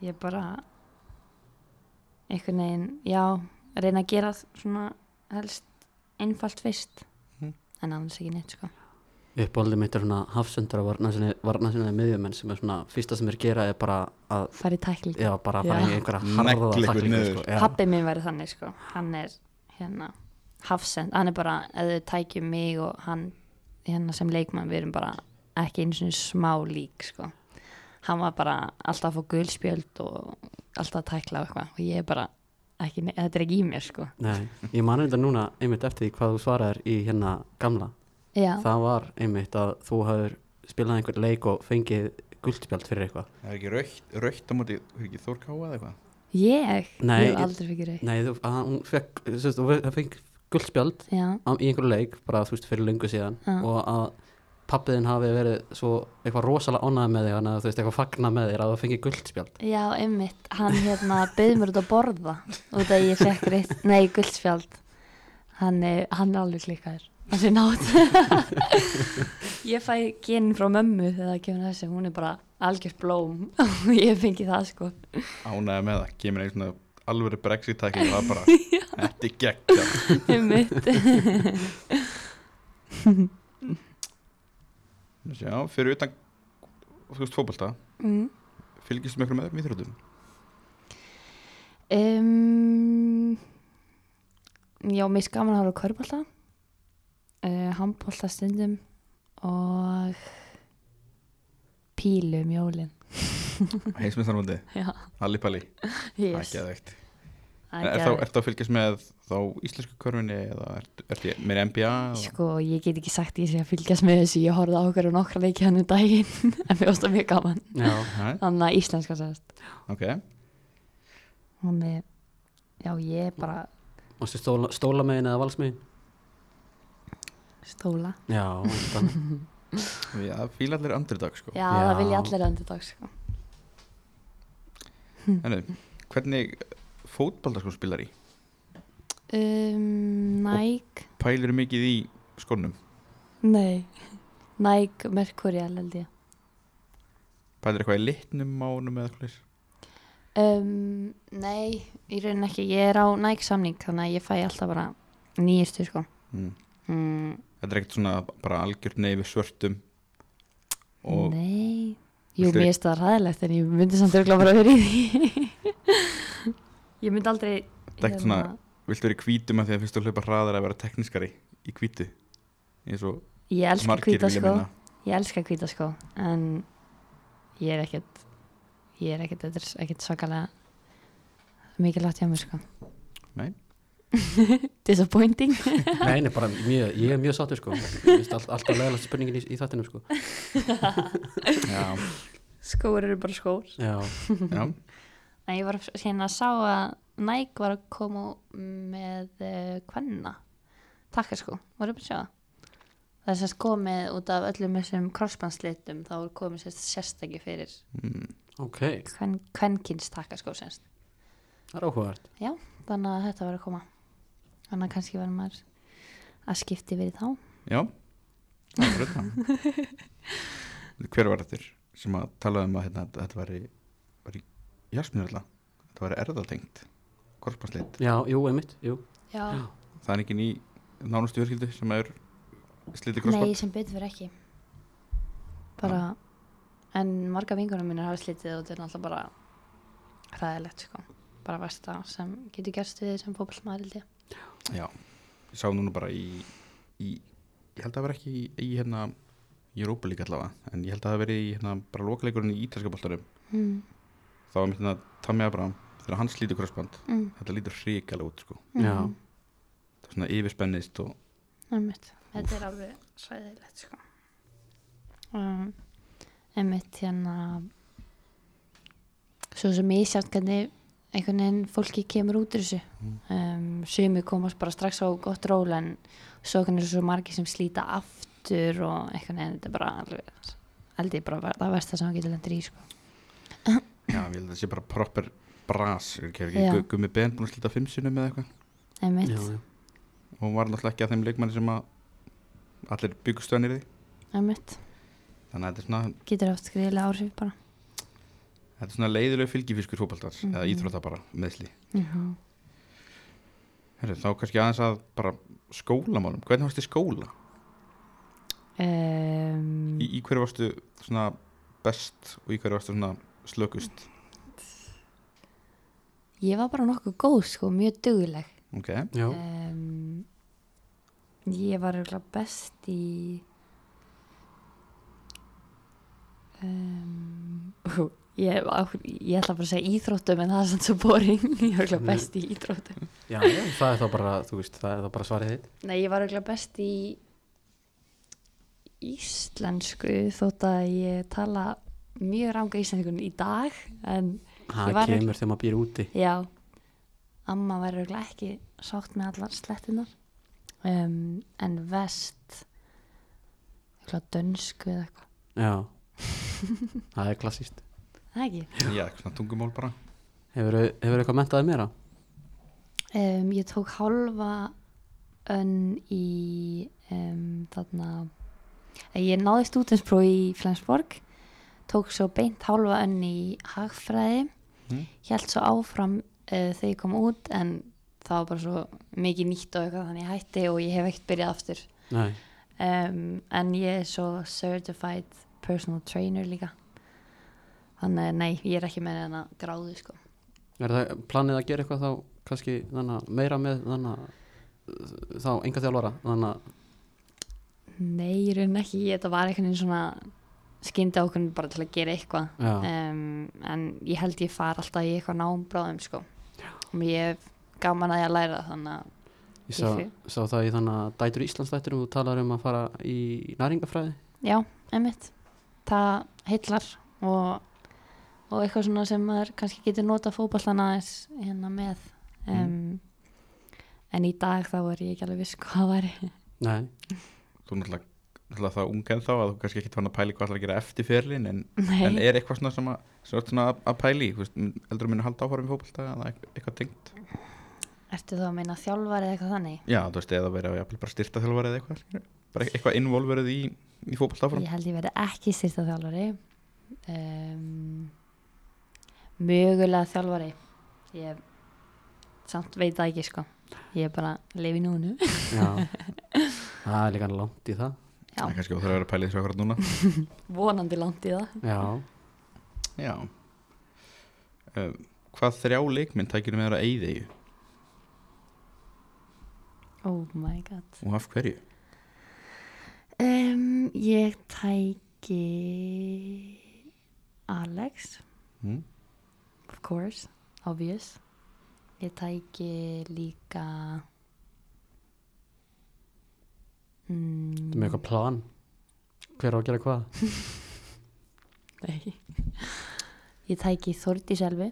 Speaker 4: Ég bara, einhvern veginn, já, reyna að gera svona helst einfalt fyrst.
Speaker 1: Mhm.
Speaker 4: En annars ekki neitt sko.
Speaker 2: uppáldið mitt er svona hafsöndar og varnasinnaði miðjumenn sem er svona fyrsta sem er gera er bara að
Speaker 4: Fari tækling.
Speaker 2: já, bara að
Speaker 4: Já.
Speaker 2: fara í
Speaker 1: Negla
Speaker 2: einhverja harða
Speaker 1: ykkur
Speaker 2: taklingu
Speaker 1: niður.
Speaker 2: sko. Já.
Speaker 4: Pappi minn væri þannig sko, hann er hérna hafsend, hann er bara ef þau tækjum mig og hann hérna sem leikmann, við erum bara ekki einu svona smá lík sko hann var bara alltaf að fá gulspjöld og alltaf að tækla og eitthvað og ég er bara, ekki, nei, þetta er ekki í mér sko
Speaker 2: Nei, ég man þetta núna einmitt eftir því hvað þú svaraðir í hérna gamla
Speaker 4: já,
Speaker 2: það var einmitt að þú hafur spilað einhvern leik og fengið guldspjald fyrir eitthvað
Speaker 1: Það er ekki raukt, raukt á móti, hefur ekki Þórkáa eða eitthvað?
Speaker 4: ég,
Speaker 2: Nei,
Speaker 4: ég
Speaker 2: ég-
Speaker 4: hef aldrei fyrir reyð
Speaker 2: Nei, þú, að, hún fekk, þú veist, hún fekk guldspjald
Speaker 4: já,
Speaker 2: á, í einhverju leik bara þú veist fyrir löngu síðan
Speaker 4: Já.
Speaker 2: og að pappiðin hafi verið svo eitthvað rosalega ánægð með þig þannig að þú veist eitthvað fagna með þér að þú fengið guldspjald
Speaker 4: já, einmitt hann hérna bauð mér út að borða út að ég fekk reyð, nei, gulspjöld hann er, hann er alveg klikkaður hann sé nátt [laughs] ég fæ genn frá mömmu þegar það kemur að þessu, hún er bara algjör blóm [laughs] og ég fengi það sko [laughs]
Speaker 1: Ánægði með það, kemur einu svona alvöru brexit-tækning og það [laughs] bara, þetta er gegn
Speaker 4: einmitt
Speaker 1: Já, fyrir utan þú veist fótbolta,
Speaker 4: mm.
Speaker 1: fylgist með ykkur með íþróttum
Speaker 4: Um, já, mér er gaman að horfa á körbólta uh, handbólta stundum og pílu um jólin
Speaker 1: heimsmyndsarmandi,
Speaker 4: já,
Speaker 1: Alli Palli
Speaker 4: yes,
Speaker 1: ekki aðeitt
Speaker 4: það
Speaker 1: er, er,
Speaker 4: er geðveikt.
Speaker 1: þá- ertu að fylgjast með þá íslensku körfinni eða ertu er, er, með NBA og,
Speaker 4: Sko, ég get ekki sagt ég sé að fylgjast með þessu, ég horfði á okkur og nokkra leikið hann um daginn, [laughs] en mér varst það mjög gaman.
Speaker 2: Já,
Speaker 1: Hæ,
Speaker 4: Þannig að íslenska sérst.
Speaker 1: ok,
Speaker 4: Og mér, já, ég er bara
Speaker 2: og stu stóla, stóla megin eða valsmegin
Speaker 4: stóla.
Speaker 2: Já, þannig
Speaker 1: já, fíla allir andridag sko.
Speaker 4: Já, það
Speaker 2: Já.
Speaker 4: vil ég allir endur dag, sko.
Speaker 1: Henni, hvernig fótbolta sko spilar í
Speaker 4: Um, Nike,
Speaker 1: pælir mikið í skónum
Speaker 4: nei, Nike Mercurial held ég.
Speaker 1: pælir eitthvað í litnum mánum eða eitthvað svoleiðis?
Speaker 4: Um, nei, í raunin ekki, ég er á Nike samning, þannig að ég fæ alltaf bara nýjustu, sko.
Speaker 1: mm.
Speaker 4: Mm,
Speaker 1: þetta er ekkert svona bara algjörn nei við svörtum og
Speaker 4: Nei, jú,
Speaker 1: Viltu-
Speaker 4: mér finnst það ræðilegt en ég myndi samt örgla bara verið í því Ég myndi aldrei hérna,
Speaker 1: er ekkert svona- viltu verið hvítum að því að finnst þú hlaupa hraðar að vera teknískari í hvítu eins og
Speaker 4: Ég elska
Speaker 1: margir
Speaker 4: hvíta
Speaker 1: vilja
Speaker 4: sko
Speaker 1: meina.
Speaker 4: Ég elska hvíta sko en ég er ekkert ég er ekkert, þetta er ekkert svakalega mikilvægt hjá mér sko
Speaker 1: Nei.
Speaker 4: [laughs] Disappointing
Speaker 2: Nei, nei, bara mjög, ég er mjög sáttur sko Mér finnst all, Alltaf leðalast spurningin í, í þættinum sko
Speaker 1: Já,
Speaker 4: Skóur eru bara skór
Speaker 2: Já,
Speaker 1: já,
Speaker 4: [laughs] En ég var hérna að sá að Nike var að koma með uh, kvenna takka sko, voru bara að sjá það? það er sérst komið út af öllum þessum krossbandslitum þá er komið sérst sérstakki fyrir
Speaker 1: mm,
Speaker 2: ok,
Speaker 4: kven, kvenkins takka sko sérst
Speaker 2: það er áhugavert
Speaker 4: þannig að þetta var að koma þannig að kannski var maður að skipti verið þá
Speaker 1: já Það er [laughs] þetta Hver var þetta sem að talaði um að hérna, þetta væri, væri Jasmín alltaf, þetta var erðatengt korpansleitt,
Speaker 2: já, jú, einmitt, jú
Speaker 4: já,
Speaker 2: Já.
Speaker 1: það er ekki ný nánustu verkildu sem er sliti
Speaker 4: nei,
Speaker 1: korpans
Speaker 4: sem betur fyrir ekki bara en marga vingunum mínir hafa slitið og þetta er náttúrulega bara hræðilegt sko bara versta sem getur gerst við sem fótballmaður held ég
Speaker 1: Já, ég sá núna bara í, í ég held að það var ekki í, í hérna Europa líka allavega, en ég held að það hafi verið í hérna bara lokaleikurinn í ítalska boltarum
Speaker 4: mm.
Speaker 1: þá var mitt hérna Tammy Abraham þegar hann slítur krossband,
Speaker 4: Mm.
Speaker 1: þetta lítur hrikalega út sko.
Speaker 2: Já.
Speaker 4: Mhm.
Speaker 1: það er svona yfirspennist og
Speaker 4: Einmitt. Þetta er alveg sæðilegt sko. Um, einmitt hérna svo sem ég sjátt hvernig einhvern veginn fólki kemur út úr þessu um, sumi komast bara strax á gott ról en svo hvernig er svo margir sem slíta aftur og einhvern veginn þetta er bara alveg held ég bara ver- það versta sem hann getur lendur í sko.
Speaker 1: já, ég held að það sé bara proper bras, er ekki
Speaker 4: Já.
Speaker 1: ekki gummi ben búin að slíta fimm sinum eða eitthvað
Speaker 4: einmitt,
Speaker 2: já, já.
Speaker 1: og hún var náttúrulega ekki að þeim leikmanni sem að allir byggstöðanir því
Speaker 4: einmitt
Speaker 1: þannig að þetta er svona,
Speaker 4: getur haft skriðilega áhrif bara
Speaker 1: þetta er svona leiðilegu fylgifiskur fótballtars eða
Speaker 4: Mhm.
Speaker 1: íþrótta bara, meðsli
Speaker 4: mm -hmm.
Speaker 1: Herru, þá kannski aðeins að bara skólamálum, hvernig varstu í skóla?
Speaker 4: um,
Speaker 1: Í, í hverju varstu svona best og í hverju varstu svona slökust?
Speaker 4: ég var bara nokkuð góð sko, mjög dugleg
Speaker 1: Ok,
Speaker 2: já.
Speaker 4: um, ég var örugglega best í um, hú, ég, á, ég ætla bara að segja íþróttum en það er sann svo boring ég var örugglega best í íþróttum
Speaker 2: Já, já, það er þá bara, þú veist, það er þá bara svarið þitt
Speaker 4: nei ég var örugglega best í íslensku þótt að ég tala mjög ranga íslensku í dag en Ég
Speaker 2: Það
Speaker 4: var
Speaker 2: kemur þegar maður býr úti
Speaker 4: Já, amma var auðvitað ekki sátt með allar slettinar um, en vest eitthvað dönsku eða eitthvað,
Speaker 2: Já, [laughs] það er klassíst
Speaker 4: það ekki
Speaker 1: já, eitthvað svona tungumál bara
Speaker 2: Hefur hefur eitthvað mentaðið meira?
Speaker 4: um, Ég tók hálfa önn í um, þarna eh, ég náði stúdenspróf í Flensborg tók svo beint hálfa önn í hagfræði
Speaker 1: Mm.
Speaker 4: held svo áfram uh, þegar ég kom út en það var bara svo mikið nýtt og eitthvað þannig ég hætti og ég hef ekkert byrjað aftur
Speaker 2: Nei,
Speaker 4: um, en ég er svo certified personal trainer líka þannig að nei, ég er ekki með þennan gráðu sko
Speaker 2: er það planið að gera eitthvað þá kannski þannig að meira með þannig að þá enga þjálfara þannig að,
Speaker 4: nei, ég raun ekki, þetta var einhvern veginn svona skyndi ákveðin bara til að gera eitthvað
Speaker 2: já,
Speaker 4: um, en ég held ég far alltaf í eitthvað námbráðum sko og ég hef gaman að ég að læra þannig að
Speaker 2: ég sá,
Speaker 4: ég
Speaker 2: sá það í þannig að dætur Íslandsdættur og þú talar um að fara í næringafræði
Speaker 4: já, einmitt það heillar og, og eitthvað svona sem maður kannski getur nota fótballan aðeins hérna með
Speaker 1: Mm.
Speaker 4: um, en í dag þá er ég ekki alveg viss hvað það væri
Speaker 2: Nei,
Speaker 1: Þú náttúrulega, náttúrulega það ung en þá að þú kannski ekki fann að pæli hvað það er að gera eftir fyrirlin [laughs] en, en
Speaker 4: Nei,
Speaker 1: er eitthvað svona sem að, sem er svona að, að pæli, þú veist, eldur minn að halda áfærum í fótbolta eða eit- eitthvað tengt
Speaker 4: ertu þá að meina þjálfari eða eitthvað þannig?
Speaker 1: Já, þú veist, eða verið að jafnvel bara styrta þjálfari eða eitthvað skilurðu. bara eitthvað involverið í, í fótbolta áfram
Speaker 4: Ég held ég verði ekki styrta þjálfari um, mögulega þjálfari ég samt veit það ekki sko ég er bara lifi núnu
Speaker 2: já [laughs] Það er líka langt í það
Speaker 1: Það er
Speaker 4: [laughs] já,
Speaker 1: kannski óþarfi að vera að pæli þessu akkurat núna
Speaker 4: vonandi langt í það
Speaker 2: Já,
Speaker 1: Já uh, Hvað þrjá leikmynd tækir með þér að eyði
Speaker 4: oh my god
Speaker 1: og af hverju?
Speaker 4: Um, ég tæki Alex,
Speaker 1: Mm?
Speaker 4: of course, obvious. Ég tæki líka... Mm,
Speaker 2: það er með eitthvað plan Hver á að gera hvað?
Speaker 4: Nei. Ég tæki Þórdís Elvi,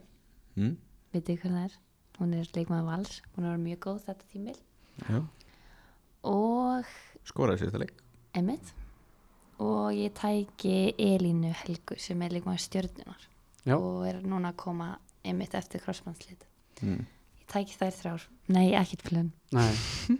Speaker 1: Mm?
Speaker 4: veitu hvað það er? Hún er leikmaður vals, hún er mjög góð þetta tímil.
Speaker 1: Já.
Speaker 4: Og
Speaker 1: Skoraði sér þetta leik
Speaker 4: Emmett. Og ég tæki Elínu Helgu sem er leikmaður stjörnunar.
Speaker 2: Já,
Speaker 4: og er núna að koma einmitt eftir krossmannslit
Speaker 1: mm.
Speaker 4: ég tæki þær þrjár, nei ekkert plön
Speaker 2: nei,
Speaker 4: um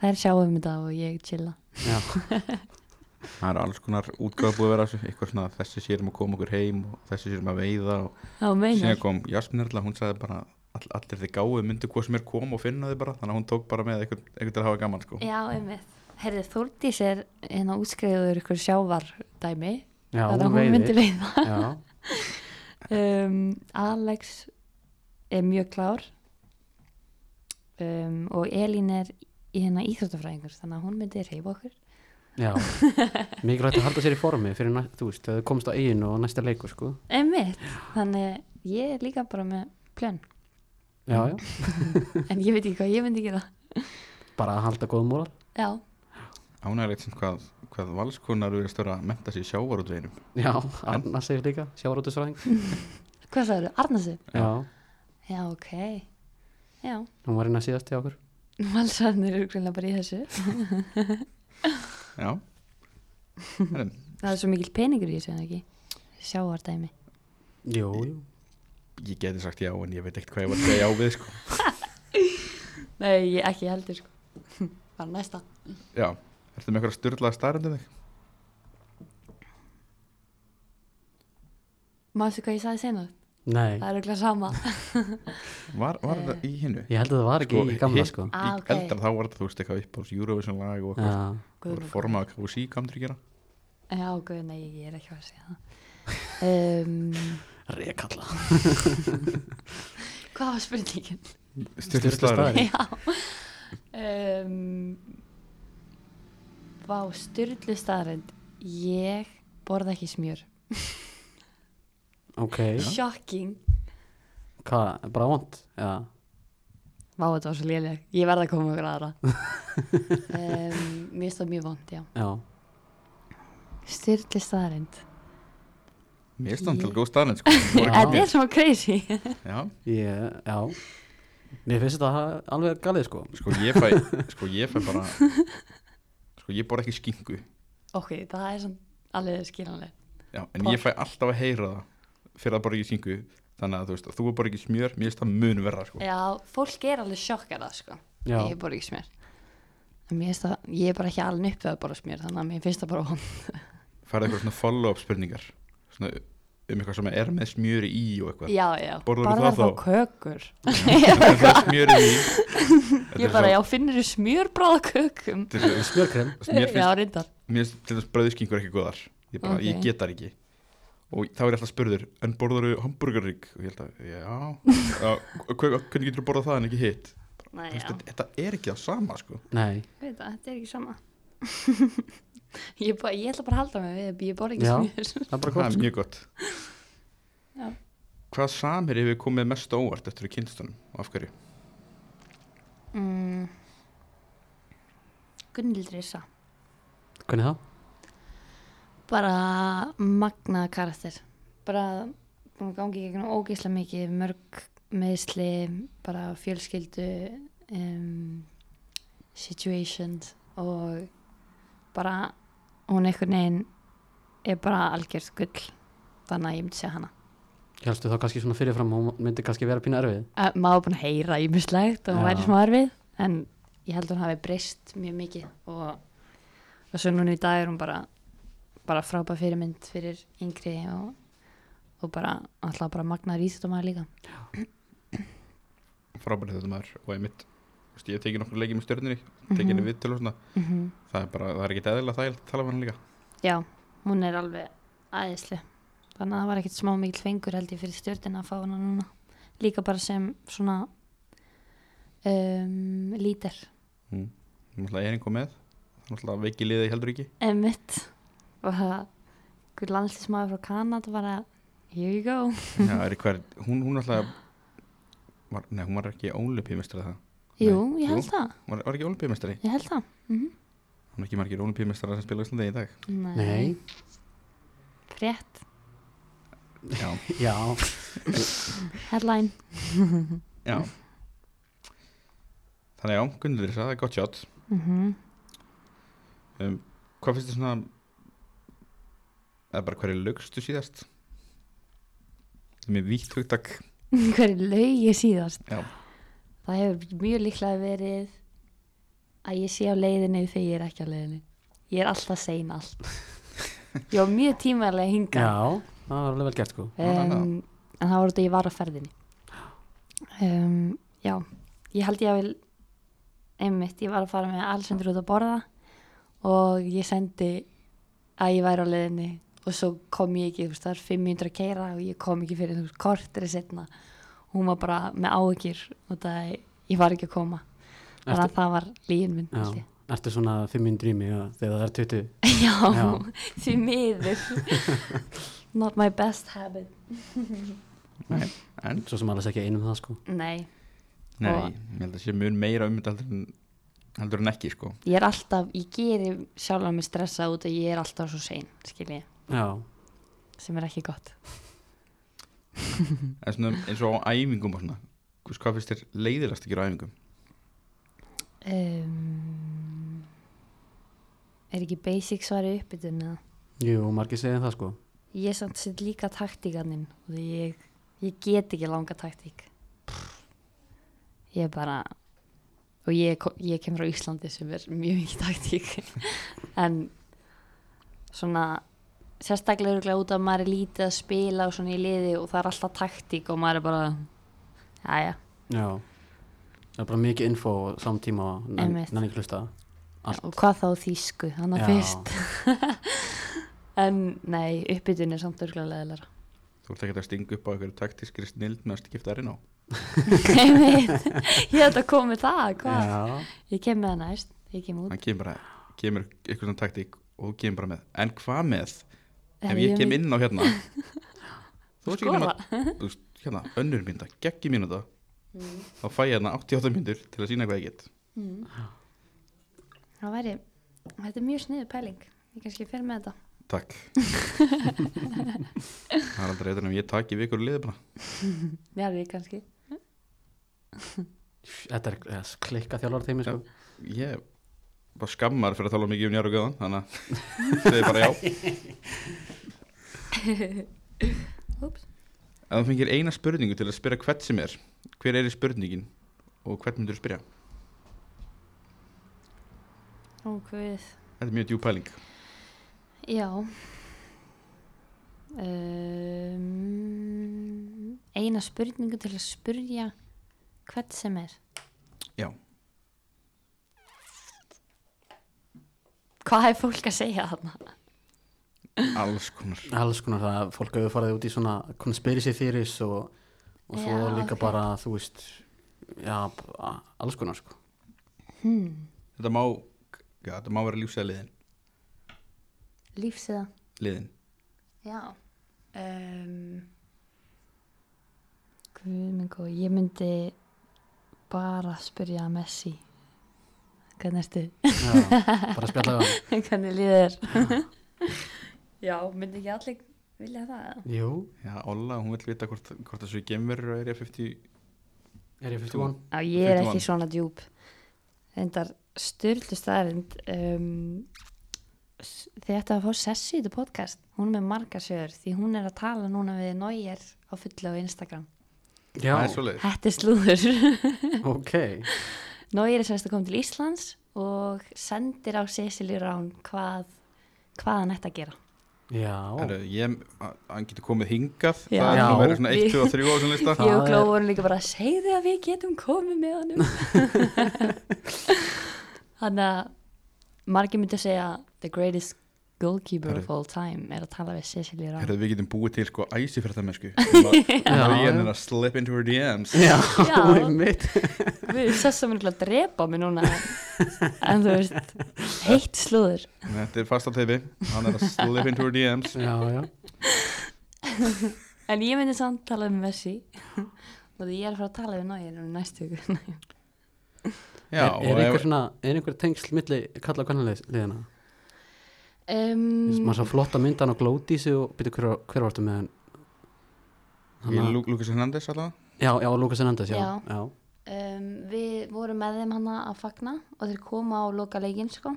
Speaker 4: þær sjáum þetta og ég chilla
Speaker 2: já
Speaker 1: það er alls konar útgáð búið að vera af þessu eitthvað svona þessi sérum að koma okkur heim og þessi sérum að veiða og
Speaker 4: Já, meinar
Speaker 1: síðan kom Jasminerla, hún sagði bara all, allir þið gáðu myndu hvað sem er kom og finna þið bara þannig að hún tók bara með eitthvað, eitthvað til að hafa gaman sko.
Speaker 4: Já, einmitt Herði Þórdís er hérna útskriður ykkur sjávardæmi
Speaker 2: Já,
Speaker 4: Þannig að
Speaker 2: hún
Speaker 4: hún myndi
Speaker 2: veiðir
Speaker 4: veiða
Speaker 2: Já,
Speaker 4: um, Alex er mjög klár um, og Elín er í hérna íþróttafræðingur þannig að hún myndi reyfa okkur
Speaker 2: já [laughs] Mikilvægt að halda sér í formi fyrir næst, þú veist, þegar þú komst á eiginu og næsta leikur, sko
Speaker 4: Einmitt, þannig ég er líka bara með plön
Speaker 2: Já, já,
Speaker 4: en ég veit ekki hvað ég myndi gera
Speaker 2: bara að halda góðum móral
Speaker 4: Já,
Speaker 1: ánægilegt sem hvað, hvað valskonar eru að störa að mennta sér sjávarútveinum
Speaker 2: Já, Arna segir líka, sjávarútusfræðing
Speaker 4: hvað sagður, Arnarsu?
Speaker 2: Já,
Speaker 4: Já, ok Já,
Speaker 2: hún var inn að síðast til okkur
Speaker 4: valsarnir eru greinlega bara í þessu
Speaker 1: já Herin,
Speaker 4: Það er svo mikil peningur í þessu en ekki Sjávardæmi
Speaker 2: Jú, jú
Speaker 1: ég geti sagt já en ég veit ekkert hvað ég var að segja já við sko.
Speaker 4: Nei, ég ekki heldur sko [laughs] Bara næsta
Speaker 1: já, ertu með eitthvað styrlaða starrendu þig?
Speaker 4: Mástu hvað ég sagði senast?
Speaker 2: Nei,
Speaker 4: Það er auðvitað sama
Speaker 1: var, var það í hinnu?
Speaker 2: ég held að það var ekki í gamla, sko
Speaker 1: í
Speaker 4: Ah, ok.
Speaker 1: eldra þá var þetta þú veist eitthvað upp á Eurovision lag og eitthvað
Speaker 2: Já,
Speaker 1: Það voru formað að KFC kom til að gera
Speaker 4: Já, guð, nei, ég er ekki að segja það um,
Speaker 2: rekalla
Speaker 4: [laughs] Hvað var spurningin?
Speaker 2: Sturlu staðreynd.
Speaker 4: Já um, Vá, styrlu staðrend Ég borða ekki smjör
Speaker 2: Ok,
Speaker 4: Shocking
Speaker 2: hvað, bara vond? Já,
Speaker 4: Vá, þetta var svo léleg Ég verða að koma með okkur
Speaker 1: [laughs]
Speaker 4: aðra um, Mér stóð mjög vond, já
Speaker 2: já
Speaker 4: Styrlu staðrend
Speaker 1: Mér stand til góð staðarinn sko. Það voru ekki
Speaker 4: Þetta er svona [laughs] crazy
Speaker 1: mér. Já,
Speaker 2: Ég, já Mér finnst þetta alveg galið, sko
Speaker 1: sko ég fæ Sko ég fæ bara
Speaker 4: [laughs]
Speaker 1: Sko ég borð ekki skingu
Speaker 4: Ok, það er svona alveg skiljanleg
Speaker 1: Já, en ég fæ alltaf að heyra það Fyrir að borða ekki skingu Þannig að þú veist, þú borð ekki smjör Mér finnst það mun verra sko.
Speaker 4: Já, fólk er alveg sjokkara, sko
Speaker 2: Já,
Speaker 4: Ég borða ekki smjör En mér finnst það, ég er bara ekki alveg upp við að borða smjör Þannig að mér finnst það bara vond
Speaker 1: Færðu eitthvað svona follow-up spurningar Svona um eitthvað sem er með smjöri í og eitthvað
Speaker 4: Já, já,
Speaker 1: Borðarðu
Speaker 4: bara
Speaker 1: það
Speaker 4: þá
Speaker 1: þá? [laughs]
Speaker 4: kökur [laughs]
Speaker 1: Það er smjöri í Þetta
Speaker 4: Ég
Speaker 1: er
Speaker 4: bara,
Speaker 1: svo-
Speaker 4: já, finnur þú smjörbráða kökum
Speaker 1: þetta er svo-
Speaker 2: smjörkrem
Speaker 1: Mér
Speaker 4: Já,
Speaker 1: finnst,
Speaker 4: reyndar
Speaker 1: mér finnst til þess bröðskingur ekki góðar Ég, bara, ég
Speaker 4: Ok.
Speaker 1: get það ekki Og þá er ég alltaf spurður, en borðar þú hambúrgarrygg? Og ég held að,
Speaker 4: [laughs]
Speaker 1: já, já hver- Hvernig getur þú borðað það en ekki hitt?
Speaker 4: Nei,
Speaker 1: Þú
Speaker 4: já,
Speaker 1: veist, þetta- þetta er ekki það sama sko
Speaker 2: Nei,
Speaker 4: veit það, þetta er ekki sama [laughs] ég, bara, ég ætla bara að halda mig við Ég borða ekki
Speaker 2: Já.
Speaker 4: smjör
Speaker 2: það er bara
Speaker 1: það
Speaker 2: gott,
Speaker 1: er
Speaker 2: sko
Speaker 1: mjög gott
Speaker 4: Já.
Speaker 1: hvað samir hefur komið mest á óvart eftir að kynst honum og af hverju
Speaker 4: mm. Gunnildur Issa
Speaker 2: Hvernig það?
Speaker 4: bara magnaða karakter bara búin að gangi í gegnum ógeðslega mikið mörg meðsli bara fjölskyldu um, situations og bara hún einhvern veginn er bara algjörð gull þannig að ég myndi segja hana
Speaker 2: Hélstu þá kannski svona fyrirfram að hún myndi kannski vera pínu erfið
Speaker 4: Eh, maður var búin að heyra ímislegt og hún
Speaker 2: Já.
Speaker 4: væri smá erfið en ég held að hún hafi breyst mjög mikið og, og svo núna í dag er hún bara bara frábæð fyrirmynd fyrir yngri og, og bara alltaf bara magnaður íþjóttumæður líka
Speaker 1: frábærið þetta maður og einmitt þú veist, ég hef tekið nokkur leikið með stjörnunni tekið henni við til og svona
Speaker 4: -hmm.
Speaker 1: það er bara, það er ekki eðlilega þægilegt að tala um hann líka
Speaker 4: já, hún er alveg aðeinsli þannig að það var ekkert smá mikil fengur held ég fyrir stjórnina að fá hana núna líka bara sem svona um, lítir
Speaker 1: mm. náttúrulega er einhver með náttúrulega veiki liðið heldur ekki
Speaker 4: emitt og það hver landslismæður frá Kanada bara here you go
Speaker 1: Já, er hver, hún, hún náttúrulega var, nei, hún var ekki ólimpíumestari það
Speaker 4: jú,
Speaker 1: Nei,
Speaker 4: ég held
Speaker 1: jú.
Speaker 4: það,
Speaker 1: var, var ekki ólimpíumestari
Speaker 4: ég held það mm
Speaker 1: hún er ekki margir ólimpíumestari sem spila á Íslandi í dag
Speaker 2: Nei,
Speaker 4: frétt,
Speaker 1: já,
Speaker 2: já,
Speaker 4: headline
Speaker 1: já. þannig já, Gunnildur Yrsa, það er gott sjátt
Speaker 4: mm [laughs]
Speaker 1: um, hvað finnst þið svona eða bara hverju lögstu síðast það er mjög vítt hugtak
Speaker 4: hverju laug ég síðast
Speaker 1: Já.
Speaker 4: það hefur mjög líklega verið að ég sé á leiðinni þegar ég er ekki á leiðinni Ég er alltaf sein allt Ég var mjög tímalega hingað
Speaker 2: Já, það var alveg vel gert sko
Speaker 4: um, en það var þetta ég var á ferðinni um, já ég held ég að vil einmitt, ég var að fara með Alexander út að borða og ég sendi að ég væri á leiðinni og svo kom ég ekki, þú veist, það er 500 að keira og ég kom ekki fyrir þú veist, kortir setna hún var bara með áhyggjur og það er, ég var ekki að koma þannig að
Speaker 2: Ertu-
Speaker 4: það var líin minn held
Speaker 2: Já,
Speaker 4: ég. [laughs]
Speaker 2: ertu svona 500 drými já, þegar það er 20
Speaker 4: já,
Speaker 2: Já.
Speaker 4: því miður
Speaker 2: [laughs]
Speaker 4: not my best habit
Speaker 1: Nei, en,
Speaker 2: Svo sem alveg ekki einum það sko
Speaker 4: nei
Speaker 1: nei,
Speaker 4: Og-
Speaker 1: ég held að sé mun meira um þetta heldur en, heldur en ekki sko
Speaker 4: ég er alltaf, ég geri sjálf að mig stressa út að ég er alltaf svo sein skilji,
Speaker 2: Já,
Speaker 4: sem er ekki gott
Speaker 1: en svona, eins og á æfingum og svona þú veist, hvað finnst þér leiðilegast að gera á æfingum
Speaker 4: um, er ekki basic svari uppbytun eða?
Speaker 2: jú, margir segja það sko
Speaker 4: ég er samt sitt líka taktíkaninn og því ég, ég get ekki langa taktík ég er bara og ég, ko- ég kem frá Íslandi sem er mjög mikið taktík [laughs] en svona sérstaklega örugglega út af að maður er lítið að spila og svona í liði og það er alltaf taktík og maður er bara aðja,
Speaker 2: Já Það er bara mikið info á samtíma og nenn
Speaker 4: Einmitt.
Speaker 2: nenni ekki hlusta Allt.
Speaker 4: og hvað þá þýsku hann að
Speaker 2: Já.
Speaker 4: fyrst en nei, uppbytun er samt örgulega leðilega
Speaker 1: þú ert ekki að stinga upp á einhverju taktískri snild með að skipta erinn á
Speaker 4: [laughs] Einmitt. ég hef þetta komið það hvað?
Speaker 2: Já,
Speaker 4: ég kem með það næst, ég kem út
Speaker 1: hann kemur bara, kemur eitthvað svona taktík og þú kemur bara með, en hvað með ef
Speaker 4: Herri,
Speaker 1: ég
Speaker 4: ég
Speaker 1: kem inn á [laughs] hérna þú veist ekki nema
Speaker 4: Skora.
Speaker 1: þú veist, hérna, önnur mynda, geggi mínúta þá fæ ég hérna 88 myndur til að sína hvað ég get
Speaker 4: Mm. það væri, þetta er mjög sniðu pæling ég kannski fer með þetta
Speaker 1: takk það er aldrei eitthvað en ég taki við ykkur liði bara
Speaker 4: já, við kannski
Speaker 2: þetta er eh, klikka þjálfara þeim sko
Speaker 1: ég bara skammar fyrir að tala mikið um njár og göðan þannig að segi bara já
Speaker 4: Úps.
Speaker 1: ef þú fengir eina spurningu til að spyrja hvert sem er hver er í spurningin og hvert myndur spyrja
Speaker 4: ó, guð,
Speaker 1: þetta er mjög djú pæling
Speaker 4: já um, eina spurningu til að spurja hvert sem er
Speaker 1: já,
Speaker 4: hvað er fólk að segja þarna
Speaker 1: alls konar
Speaker 2: alls konar það að fólk hefur farið út í svona conspiracy theories og, og svo
Speaker 4: Já,
Speaker 2: líka
Speaker 4: ok.
Speaker 2: bara þú veist já, b- a- alls konar
Speaker 4: [laughs]
Speaker 2: sko
Speaker 1: þetta má, já, þetta má vera lífsæða liðin
Speaker 4: lífsiða
Speaker 1: liðin
Speaker 4: Já um, Guð minn góð, ég myndi bara spyrja Messi hvernig ertu, [laughs]
Speaker 2: já, bara spjalla við hann
Speaker 4: hvernig líður Já, myndi ekki allir vilja það eða?
Speaker 2: jú,
Speaker 1: já, Olla, hún vil vita hvort, hvort þessu gemverur er ég 50
Speaker 2: er ég 51?
Speaker 4: Já, ég er
Speaker 1: Fyrir
Speaker 4: ekki
Speaker 1: mann.
Speaker 4: svona djúb Reyndar styrlu staðarind um, s- þið ættu að fá sessi í þetta podcast hún er með margar sögur því hún er að tala núna við Nóir á fullu á Instagram
Speaker 2: já,
Speaker 1: það er svoleiðis
Speaker 4: Þetta er slúður
Speaker 2: ok
Speaker 4: Nóir er semst að koma til Íslands og sendir á Cecilie Rán hvað, hvað hann ætti að gera.
Speaker 2: já,
Speaker 1: Herru, ég, að- hann getur komið hingað
Speaker 4: Já.
Speaker 1: það er
Speaker 2: Já.
Speaker 1: númer svona 1,
Speaker 4: Við-
Speaker 1: 2 og 3 á þessum lista
Speaker 2: Það
Speaker 4: Ég og Gló
Speaker 2: er-
Speaker 4: vorum líka bara að segja að við getum komið með honum. [laughs] Þannig að margir myndi að segja the greatest goalkeeper of all time er að tala við Cecilie Rán.
Speaker 1: Herðu, við getum búið til sko æsi fyrir það
Speaker 2: [laughs]
Speaker 1: mennsku Ég er
Speaker 2: já.
Speaker 1: að slip into her DMs
Speaker 2: já,
Speaker 4: Já.
Speaker 2: mitt
Speaker 4: Við erum sess að mér að drepa mig núna. [laughs] En þú veist, heitt slúður.
Speaker 1: Þetta er fast á teipi Hann er að slip into her
Speaker 2: [laughs]
Speaker 1: DMs
Speaker 2: já, já,
Speaker 4: En ég myndi samt tala um [laughs] Messi og því ég er að fara að tala við Nóir um næstu ykkur.
Speaker 1: Já,
Speaker 2: er, er,
Speaker 1: og
Speaker 2: einhver
Speaker 1: ef,
Speaker 2: svona, er einhver tengsl milli kalla og kannanliðina
Speaker 4: Um,
Speaker 2: maður svo flotta myndan og glódísi og byrja hver, hver vartu með hann
Speaker 1: í
Speaker 2: Hanna-
Speaker 1: Lú- Lucas Hernandez allavega
Speaker 2: já, já, Lucas Hernandez, já,
Speaker 4: Já.
Speaker 2: já.
Speaker 4: um, við vorum með þeim hana að fagna og þeir koma á loka leikinn sko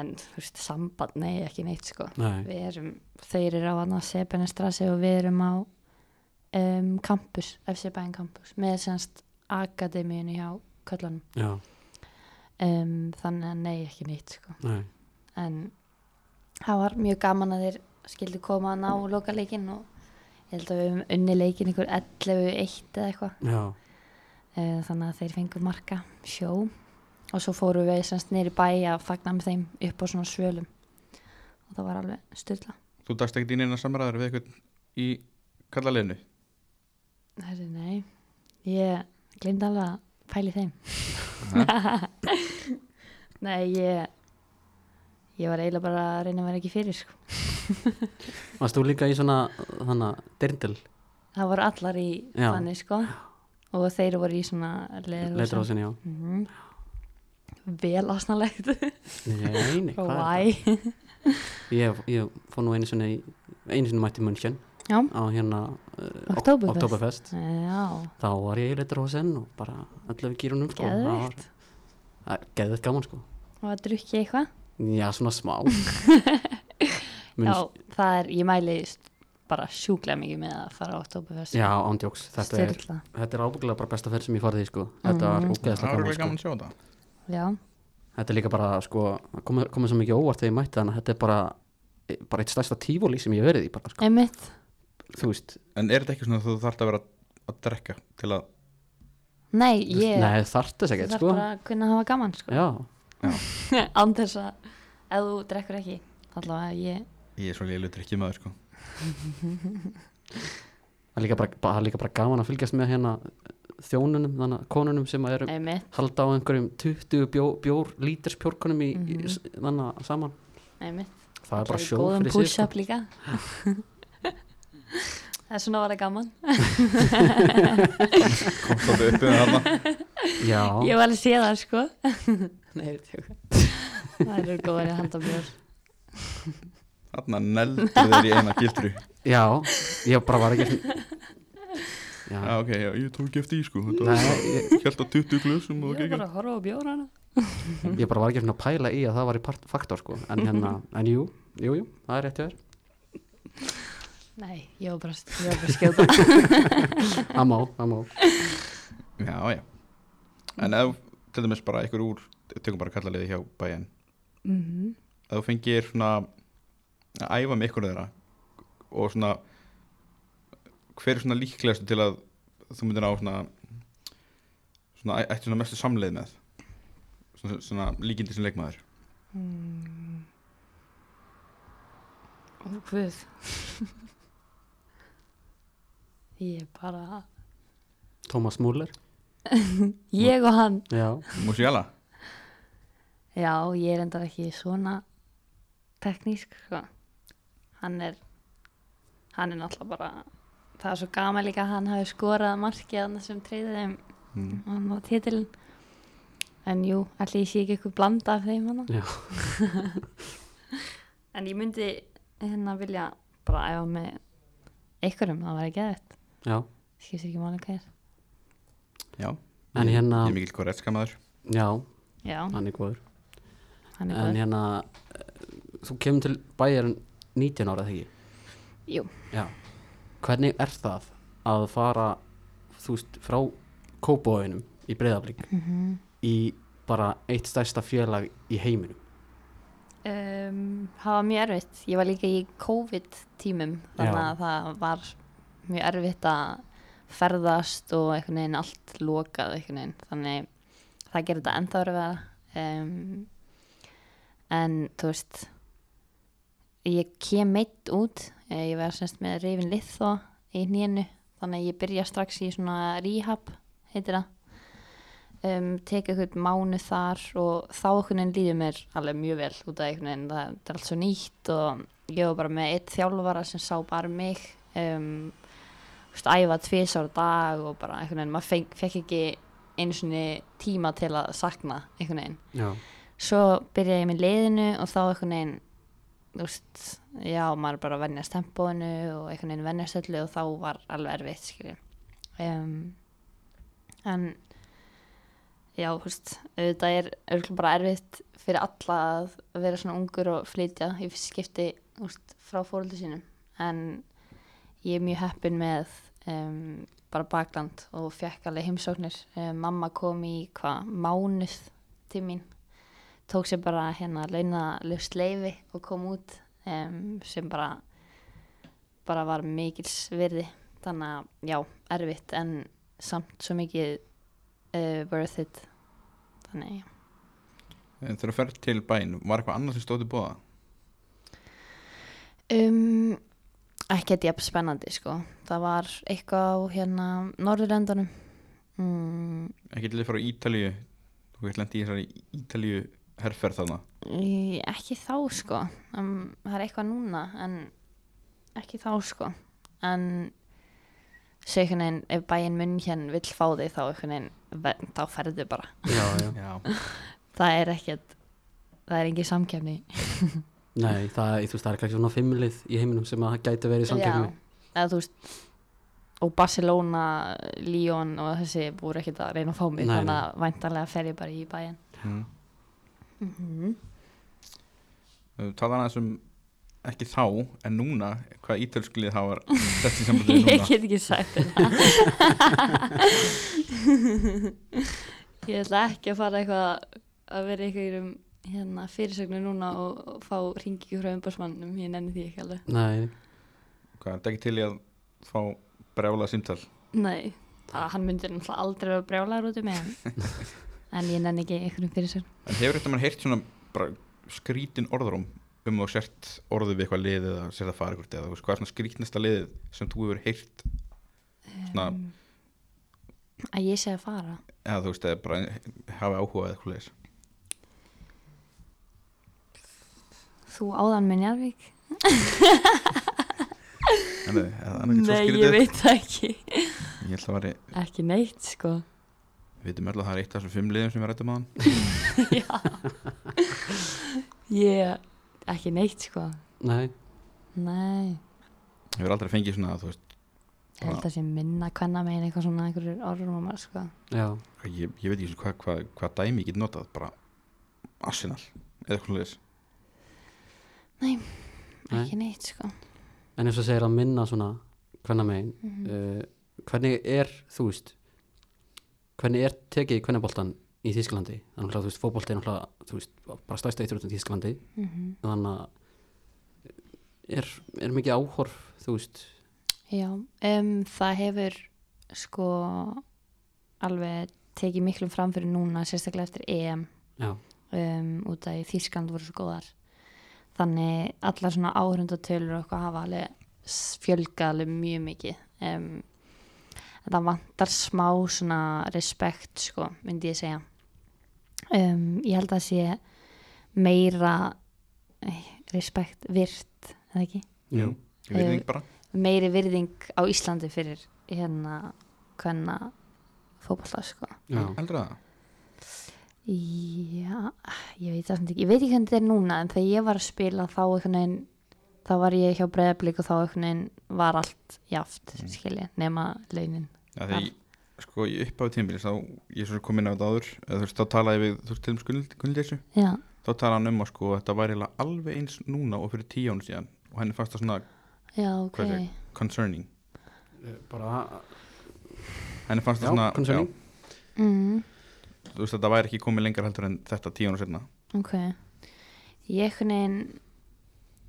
Speaker 4: en þú veist samband, nei ekki neitt sko
Speaker 2: Nei,
Speaker 4: við erum, þeir eru á hana Sebenestrasi og við erum á um, campus, FC Bæn campus með semst akademíunni hjá köllunum
Speaker 2: já,
Speaker 4: um, þannig að nei ekki neitt sko
Speaker 2: nei
Speaker 4: en það var mjög gaman að þeir skildu koma að ná loka leikinn og ég held að við höfum unni leikinn ykkur 11-1 eða eitthvað
Speaker 2: já,
Speaker 4: Eh, þannig að þeir fengu marka sjó og svo fóru við semst nýri bæ að fagna með þeim upp á svona svölum og það var alveg styrla
Speaker 1: Þú dagst ekkert í neina samræður við eitthvað í kallaliðinu
Speaker 4: Herri, nei, ég glemdi alveg að pæli þeim [laughs] Nei, ég ég var eiginlega bara að reyna að vera ekki fyrir sko.
Speaker 2: varst þú líka í svona þannig að dirndil
Speaker 4: það voru allar í
Speaker 2: Já.
Speaker 4: þannig sko og þeir voru í svona
Speaker 2: leitur á
Speaker 4: leðurósin
Speaker 2: sinni, já
Speaker 4: mm vel ásnalegt
Speaker 2: Nei, nei, hvað er það?
Speaker 4: why
Speaker 2: Ég, ég fór nú einu sinni, í- einu sinni mætti München
Speaker 4: Já.
Speaker 2: á hérna uh,
Speaker 4: Októberfest.
Speaker 2: Oktoberfest.
Speaker 4: já,
Speaker 2: Þá var ég í Leiturhósen og bara allaveg kýrunum sko. Það var-
Speaker 4: geðvikt
Speaker 2: það er Geðveikt gaman sko.
Speaker 4: og að drukki eitthvað
Speaker 2: Já, svona
Speaker 4: [laughs]
Speaker 2: smá.
Speaker 4: Já,
Speaker 2: Münch,
Speaker 4: það er, ég mæli st- bara sjúklega mikið með að fara á Oktoberfest
Speaker 2: já, ándjóks. Þetta er,
Speaker 4: Sturla.
Speaker 2: þetta er ábyggilega bara besta ferð sem ég farið í sko.
Speaker 4: Mm.
Speaker 2: Þetta var ógeðslega
Speaker 1: Það var
Speaker 2: gaman
Speaker 1: ekki
Speaker 2: sko.
Speaker 1: gaman að sjá þetta
Speaker 4: Já,
Speaker 2: Þetta er líka bara sko, það kom- komið svo mikið óvart þegar ég mætti þannig að þetta er bara e, bara eitt stærsta tífóli sem ég hef verið í bara, sko.
Speaker 4: einmitt
Speaker 2: þú veist,
Speaker 1: En er þetta ekki svona að þú þarft að vera að drekka til að
Speaker 4: Nei, ég
Speaker 2: nei þarft þess
Speaker 4: þú
Speaker 2: ekkert
Speaker 4: þarf
Speaker 2: sko.
Speaker 4: bara að kunna hafa gaman sko.
Speaker 2: já,
Speaker 4: Án þess að ef þú drekkur ekki allavega ég
Speaker 1: ég er svo leilu drikkið maður sko
Speaker 2: Það er líka bara, bara, það er líka bara gaman að fylgjast með hérna þjónunum, þannig að konunum sem að eru
Speaker 4: einmitt,
Speaker 2: halda á einhverjum 20 bjór, bjór líters bjórkonum í, mm þannig að saman
Speaker 4: einmitt
Speaker 2: það er bara
Speaker 4: Allavega Mhm. í
Speaker 2: sjó
Speaker 4: Góðum
Speaker 2: fyrir sig sko.
Speaker 4: push-up líka
Speaker 2: [laughs]
Speaker 4: Það er svona að vera gaman
Speaker 1: Komst það upp með þarna
Speaker 2: já,
Speaker 4: [laughs] Ég var alveg séð það sko Nei, ég tjóka Það eru góðar að handa bjór
Speaker 1: Þarna neldur þeir í eina
Speaker 4: [laughs]
Speaker 1: gildru
Speaker 2: já, ég bara var ekki já,
Speaker 1: Já ok, já, ég tók eftir í sko Þetta
Speaker 2: Nei,
Speaker 1: var
Speaker 2: ég,
Speaker 1: Hjælt að 20 glösum og
Speaker 4: Ég var
Speaker 1: geggjað.
Speaker 4: bara að horfa á bjórana
Speaker 2: ég bara var ekki svona að pæla í að það var í part, faktor sko, en
Speaker 4: [laughs]
Speaker 2: hérna, en jú jú, jú, það er rétt hjá þér
Speaker 4: Nei, ég var bara, ég var bara að skjóta
Speaker 2: það má, það má,
Speaker 1: Já, já En ef, til dæmis bara einhver úr Tökum bara kallaliði hjá bæinn
Speaker 4: mm
Speaker 1: Ef þú fengir svona að æfa með ykkur þeirra og svona hver er svona líklegast til að þú myndir á svona svona æ- ætti svona mestu samleið með svona, svona líkindi sem leikmaður
Speaker 4: Mm. Ó, Guð [laughs] Ég er bara
Speaker 2: Thomas Muller
Speaker 4: Ég og hann
Speaker 2: já,
Speaker 1: Musiala,
Speaker 4: Já, ég er endar ekki svona teknísk sko. Hann er hann er náttúrulega bara það er svo gaman líka að hann hafi skorað markið hann sem treyði þeim
Speaker 1: mm.
Speaker 4: hann á titilin en jú, allir ég sé ekki eitthvað blanda af þeim hann
Speaker 2: já,
Speaker 4: [laughs] en ég myndi hérna vilja bara æfa með einhverjum, það var ekki eða
Speaker 2: já
Speaker 4: skiptir ekki máli hver
Speaker 1: já
Speaker 2: En
Speaker 1: Ég-
Speaker 2: hérna-
Speaker 1: Ég er mikill korretska maður
Speaker 2: já,
Speaker 4: já,
Speaker 2: hann er góður
Speaker 4: hann er
Speaker 2: En
Speaker 4: góð
Speaker 2: hérna, eh, þú kemur til bæjarinn 19 ára þegar ekki?
Speaker 4: jú,
Speaker 2: Já. Hvernig er það að fara, þú veist, frá kópóinum í breyðablík í bara eitt stærsta félag í heiminum?
Speaker 4: um, það var mjög erfitt ég var líka í COVID tímum þannig
Speaker 2: Já.
Speaker 4: að það var mjög erfitt að ferðast og einhvern veginn allt lokað einhvern veginn, þannig það gerir þetta ennþá erfiða um, en þú veist ég kem meitt út eh, ég var semst með reyfin lið þó í hnýinu þannig að ég byrja strax í svona rehab heitir það um, tek eitthvað mánu þar og þá einhvern veginn líður mér alveg mjög vel út af einhvern veginn það, það er allt svo nýtt og ég var bara með eitt þjálfara sem sá bara mig um, þú veist, æfa tvisar dag og bara einhvern veginn maður fekk, fekk ekki einu svona tíma til að sakna einhvern veginn
Speaker 2: Já.
Speaker 4: svo byrjaði ég með liðinu og þá einhvern veginn þú veist, já, maður bara vennjast tempóinu og einhvern veginn vennjast öllu og þá var alveg erfitt, skiljum um, en já, þú veist auðvitað er örgulega bara erfitt fyrir alla að vera svona ungur og flytja í fyrst skipti, þú veist, frá fóröldu sínum en ég er mjög heppin með um, bara bakland og fekk alveg heimsóknir um, mamma kom í hvað, mánuð til mín tók sér bara hérna launalust leifi og kom út um, sem bara bara var mikils virði þannig að já, erfitt en samt svo mikið uh, worth it þannig já
Speaker 1: En þegar þú fer til bæinn, var eitthvað annað sem stóði bóða?
Speaker 4: Um, ekkert jafn spennandi sko. Það var eitthvað á hérna Norðurlendunum. Mm,
Speaker 1: Ekki til þið frá Ítalíu Þú veist lendi í þessari Ítalíu herrferð þarna
Speaker 4: í- ekki þá sko. Um, það er eitthvað núna en ekki þá sko. En svo einhvern veginn ef bæinn munn hérna vill fá þig þá einhvern veginn ver- þá ferðu bara.
Speaker 2: já, já.
Speaker 1: Já,
Speaker 4: Það er ekkert, það er engin samkefni.
Speaker 2: Nei, það, þú veist, það er kannski svona fimmlið í heiminum sem að gæti verið í samkjöfni
Speaker 4: Já, eða þú veist og Barcelona, Lyon og þessi voru ekkert að reyna að fá mig
Speaker 2: Nei,
Speaker 4: þannig að væntanlega fer ég bara í bæinn
Speaker 1: mm.
Speaker 4: mm -hmm.
Speaker 1: Talaði aðeins um ekki þá en núna, hvað ítalsklið það var sett í sambandið
Speaker 4: [laughs] Ég
Speaker 1: núna
Speaker 4: get ekki sagt þetta [laughs] Ég ætla ekki að fara eitthvað að vera eitthvað um hérna fyrirsögnu núna og, og fá ringi frá umbásmannum, ég nenni því ekki alveg
Speaker 2: Nei,
Speaker 1: Hvað, þetta ekki til í að fá brjála símtal
Speaker 4: Nei, það, hann myndi náttúrulega aldrei vera brjálaður út um mig en-
Speaker 1: [laughs]
Speaker 4: en ég nenni ekki eitthvað um fyrirsögnu
Speaker 1: En hefur þetta mann heyrt svona bara, skrítin orðarum um þú sért orðið við eitthvað lið eða sért að fara eitthvað eða þú veist, hvað er svona skrítnasta liðið sem þú hefur heyrt Svona-
Speaker 4: um, Að ég sé að fara
Speaker 1: eða þú veist, eða bara hafi áhuga eða eitthvað leiðis
Speaker 4: Þú áðan með Njarvík?
Speaker 1: En eða, það er ekkert svo
Speaker 4: Nei, ég
Speaker 1: skrítið
Speaker 4: veit það ekki
Speaker 1: Ég held að væri,
Speaker 4: Ekki neitt, sko
Speaker 1: við veitum öll að það er eitt af þessum fimm liðum sem við rættum á hann
Speaker 4: Já Ég, ekki neitt, sko
Speaker 2: nei,
Speaker 4: Nei,
Speaker 1: Hefur aldrei fengið svona, þú veist,
Speaker 4: ég held að sé minna hvenna megin eitthvað svona einhverjur orðrumar, sko
Speaker 2: já
Speaker 1: ég, ég veit ekki svona hvað hva, hva dæmi ég get notað, bara Arsenal, eða eitthvað leiðis
Speaker 2: Nei.
Speaker 4: Ekki neitt, sko
Speaker 2: En eins og segir að minna svona hvenna megin
Speaker 4: Mhm.
Speaker 2: uh, Hvernig er, þú veist Hvernig er tekið kvennaboltan í Þísklandi? Þannig að þú veist, fótbolti er náttúrulega þú veist, bara stærsta eitthvað í Þísklandi
Speaker 4: mm
Speaker 2: Þannig að er, er mikið áhorf, þú veist
Speaker 4: Já, um, það hefur sko alveg tekið miklum framfyrir núna sérstaklega eftir EM
Speaker 2: Já,
Speaker 4: um, út af í Þýrskand voru svo góðar þannig allar svona áhörundatölur og eitthvað hafa alveg s- fjölgað alveg mjög mikið um, en það vantar smá svona respekt sko, myndi ég segja um, ég held að sé meira eh, respekt virt, eða ekki?
Speaker 2: jú,
Speaker 1: Ég veit ekki bara,
Speaker 4: meiri virðing á Íslandi fyrir hérna hvenna fótbolta sko
Speaker 2: já,
Speaker 1: heldur það
Speaker 4: Já, ég veit það samt ekki, ég veit ekki hvernig þetta er núna en þegar ég var að spila þá einhvern veginn þá var ég hjá breyðablík og þá einhvern veginn var allt jaft,
Speaker 1: Mm.
Speaker 4: skilja, nema launin.
Speaker 1: Já, þegar ég, sko, ég uppáði tímabilið, þá, ég er svo sem kom inn á þetta áður eða þú veist, þá talaði ég við, þú veist, til um Gunnildísu
Speaker 4: Já,
Speaker 1: þá talaði hann um að sko, þetta væri eiginlega alveg eins núna og fyrir tíu ánum síðan og henni fannst það svona
Speaker 4: já, ok.
Speaker 1: Hvað er concerning
Speaker 2: Eh, bara
Speaker 1: henni fannst það
Speaker 2: Já,
Speaker 1: svona,
Speaker 2: concerning.
Speaker 4: Mm,
Speaker 1: já, þú veist, þetta væri ekki komið lengar heldur en þetta tíu ánum síðan
Speaker 4: ok. Ég einhvern veginn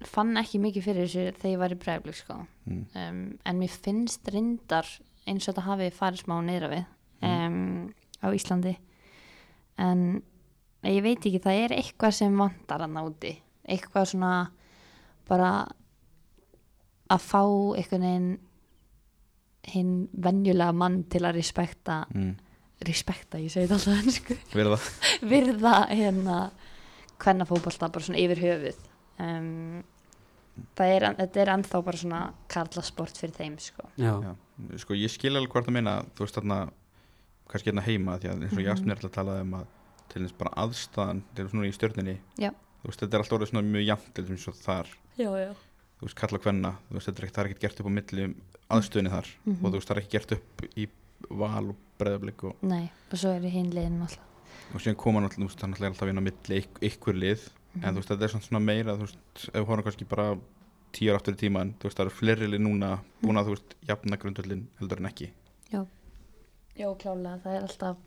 Speaker 4: fann ekki mikið fyrir þessu þegar ég var í breyðablík sko.
Speaker 1: mm.
Speaker 4: um, en mér finnst reyndar eins og þetta hafi farið smá neyra við um, á Íslandi en ég veit ekki það er eitthvað sem vantar að náti eitthvað svona bara að fá einhvern veginn hinn venjulega mann til að respekta
Speaker 1: Mm.
Speaker 4: respekta, ég segi þetta alltaf ennsku
Speaker 1: verið það
Speaker 4: virða hérna hvenna fótballta bara svona yfir höfuð um, það er, þetta er ennþá bara svona karlasport fyrir þeim sko
Speaker 2: Já,
Speaker 1: Já, sko ég skil alveg hvað það meina þú veist þarna, kannski hérna heima því að eins og Jasmín er alltaf að tala um að til þess bara aðstæðan, til þess núna í stjörninni
Speaker 4: Já.
Speaker 1: þú veist þetta er alltaf orðið svona mjög jafnt til þess að þar,
Speaker 4: já, já,
Speaker 1: þú veist kalla hvenna þú veist þetta er ekkert, það er ekkert gert upp á milli um aðstöðinni þar
Speaker 4: Mhm.
Speaker 1: og þú veist það er ekki gert upp í val og breðablik og,
Speaker 4: nei, og svo eru hinn liðin alltaf
Speaker 1: og síðan koma náttúrulega, þú veist það er náttúrulega alltaf inn á milli ykk- ykkur lið
Speaker 4: Mhm.
Speaker 1: en þú veist þetta er samt svona meira þú veist, ef við horfum kannski bara tíu ára aftur í tíman, þú veist það eru fleiri lið núna búin að þú veist jafna grundvöldin heldur en ekki
Speaker 4: já, klálega, það er alltaf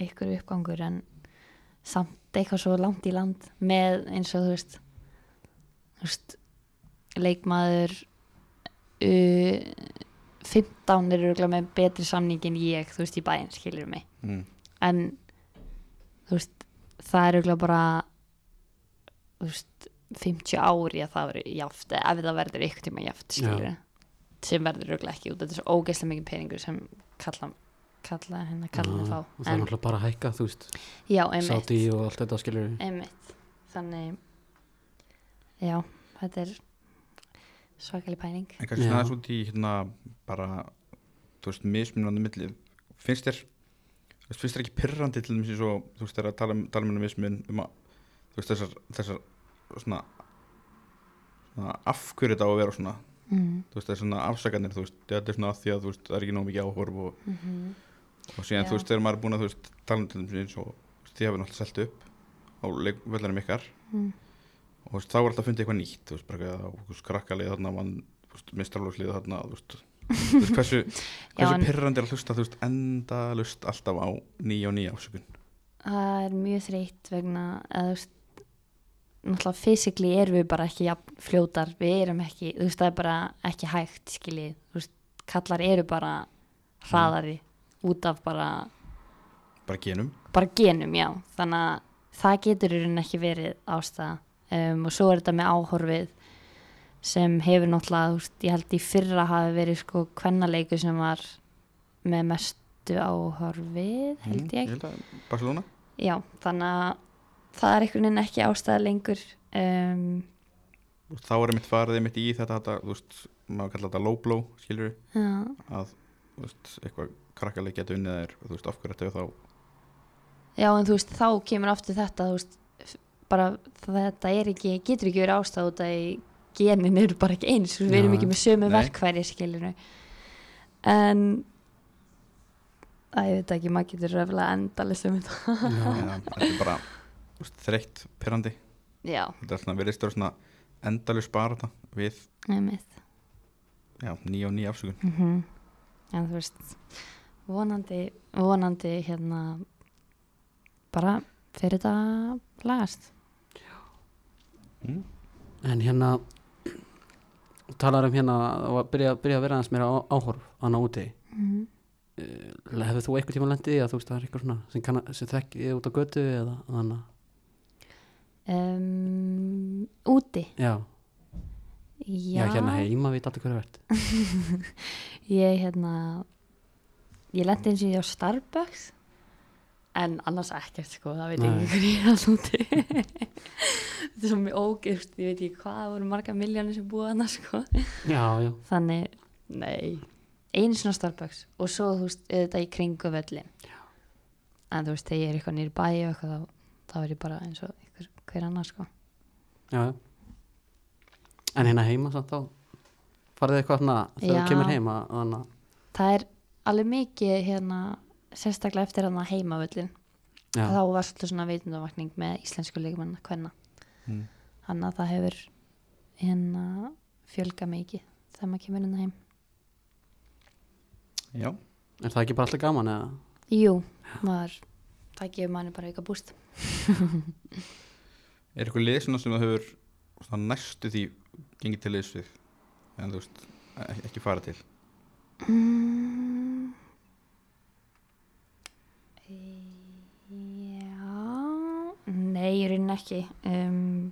Speaker 4: ykkur uppgangur en samt eitthvað svo langt í land með eins og þú veist, þú veist leikmaður uh, 15 er örugglega með betri samning en ég, þú veist, í bæinn skilur mig
Speaker 1: mm.
Speaker 4: en þú veist, það er örugglega bara þú veist 50 ári að það verður jaft ef það verður ykkur tíma jaft skilur sem verður örugglega ekki út þetta er svo ógeðslega mikið peningur sem kalla, kalla hérna kalla
Speaker 2: Já,
Speaker 4: fá
Speaker 2: og það er náttúrulega bara að hækka, þú veist
Speaker 4: já, einmitt,
Speaker 2: sáti og allt þetta skilur
Speaker 4: einmitt þannig já, þetta er svakalig pæling
Speaker 1: En kannski
Speaker 2: Já.
Speaker 1: svona aðeins út í hérna bara, þú veist, mismunandi milli finnst þér þú veist, finnst þér ekki pyrrandi til þessi svo þú veist, þegar að tala, um- tala um mismun um að, þú veist, þessar, þessar svona, svona af hverju þetta á að vera svona
Speaker 4: mm.
Speaker 1: þú veist, það er svona afsakanir, þú veist þetta er svona af því að, þú veist, það er ekki nóg mikið áhorf og,
Speaker 4: Mm -hmm.
Speaker 1: og síðan,
Speaker 4: Já.
Speaker 1: þú veist, þegar maður er búin að, þú veist, tala um til þessi eins og þú veist, þið hafið náttúrulega selt upp á leik- vellinum ykkar
Speaker 4: Mm.
Speaker 1: og þú veist, þá er alltaf að funda eitthvað nýtt þú veist, bara eitthvað, þú veist, krakkalið þarna mann, þú veist, mistralókslið þarna þú veist, þú veist,
Speaker 4: [laughs]
Speaker 1: hversu
Speaker 4: Já,
Speaker 1: hversu
Speaker 4: en-
Speaker 1: pyrrandi er að hlusta, þú veist, enda lust alltaf á nýja og nýja ásökun
Speaker 4: það er mjög þreytt vegna að þú veist náttúrulega fysikli erum við bara ekki jafn, fljótar, við erum ekki þú veist það er bara ekki hægt skiljið þú veist, kallar eru bara hraðari út af bara
Speaker 1: bara genum,
Speaker 4: bara genum, já þannig að það getur í rauninni ekki verið ástæða um, og svo er þetta með áhorfið sem hefur náttúrulega, þú veist, ég held í fyrra hafi verið sko kvennaleiku sem var með mestu áhorfið held Mm, ég
Speaker 1: held að Barcelona
Speaker 4: já, þannig að það er einhvern veginn ekki ástæða lengur um,
Speaker 1: Þú veist, þá er mitt farið mitt í þetta, þetta þú veist, maður kallar þetta low blow, skilur
Speaker 4: já,
Speaker 1: að, þú veist, eitthvað krakkalið geta unnið þær, þú veist, af hverju þetta er þá
Speaker 4: já, en þú veist þá kemur aftur þetta, þú veist f- bara þetta er ekki, getur ekki verið ástæða út að genin eru bara ekki eins við
Speaker 2: Já,
Speaker 4: erum ekki með sömu
Speaker 1: nei.
Speaker 4: verkværi skilur en að ég veit ekki, maður getur röflega endalist um þetta
Speaker 2: já,
Speaker 1: ja, þetta er bara, þú veist, þreytt pyrrandi,
Speaker 4: já,
Speaker 1: þetta er svona, við reistur svona endalust bara þetta við,
Speaker 4: nefnist
Speaker 1: já, nýja og nýja afsökun
Speaker 4: mm en þú veist vonandi, vonandi hérna bara fyrir þetta lagast
Speaker 1: mm.
Speaker 2: en hérna [clears throat] talar um hérna að byrja, byrja að vera aðeins meira á, áhorf annað úti
Speaker 4: Mhm.
Speaker 2: Eh, hefur þú einhvern tíma lendið í því að þú veist það er eitthvað svona sem, kann, að- sem þekk er út á götu eða þannig að-
Speaker 4: um, úti
Speaker 2: já, já,
Speaker 4: já,
Speaker 2: hérna heima veit alltaf hverju verð
Speaker 4: ég hérna ég lendi eins og ég á Starbucks en annars ekkert sko það veit
Speaker 2: Nei.
Speaker 4: ekki hverju ég er alltaf úti [laughs] þetta er svo mjög ógift ég veit ekki hvað, það voru marga miljónir sem búið annars sko
Speaker 2: já, já,
Speaker 4: þannig, nei einu svona Starbucks og svo þú veist auðvitað í kringu völlin en þú veist þegar ég er eitthvað nýr bæi og eitthvað þá, þá er ég bara eins og einhver, hver annar sko
Speaker 2: já, já en hérna heima samt þá farið eitthvað svona þegar
Speaker 4: Já.
Speaker 2: þú kemur heima þannig að-
Speaker 4: það er alveg mikið hérna sérstaklega eftir hann að heimavöllin
Speaker 2: já,
Speaker 4: þá var svolítið svona veitundavakning með íslensku leikmanna hvenna
Speaker 1: Mm.
Speaker 4: hann að það hefur hérna fjölga mikið þegar maður kemur hérna heim
Speaker 1: já,
Speaker 2: er það ekki bara alltaf gaman eða
Speaker 4: jú, maður það gefur manni bara eitthvað búst
Speaker 1: er eitthvað lið svona sem það hefur svona næstu því gengið til liðs við en þú veist, ek- ekki fara til
Speaker 4: mm. já nei, ég rinn ekki um,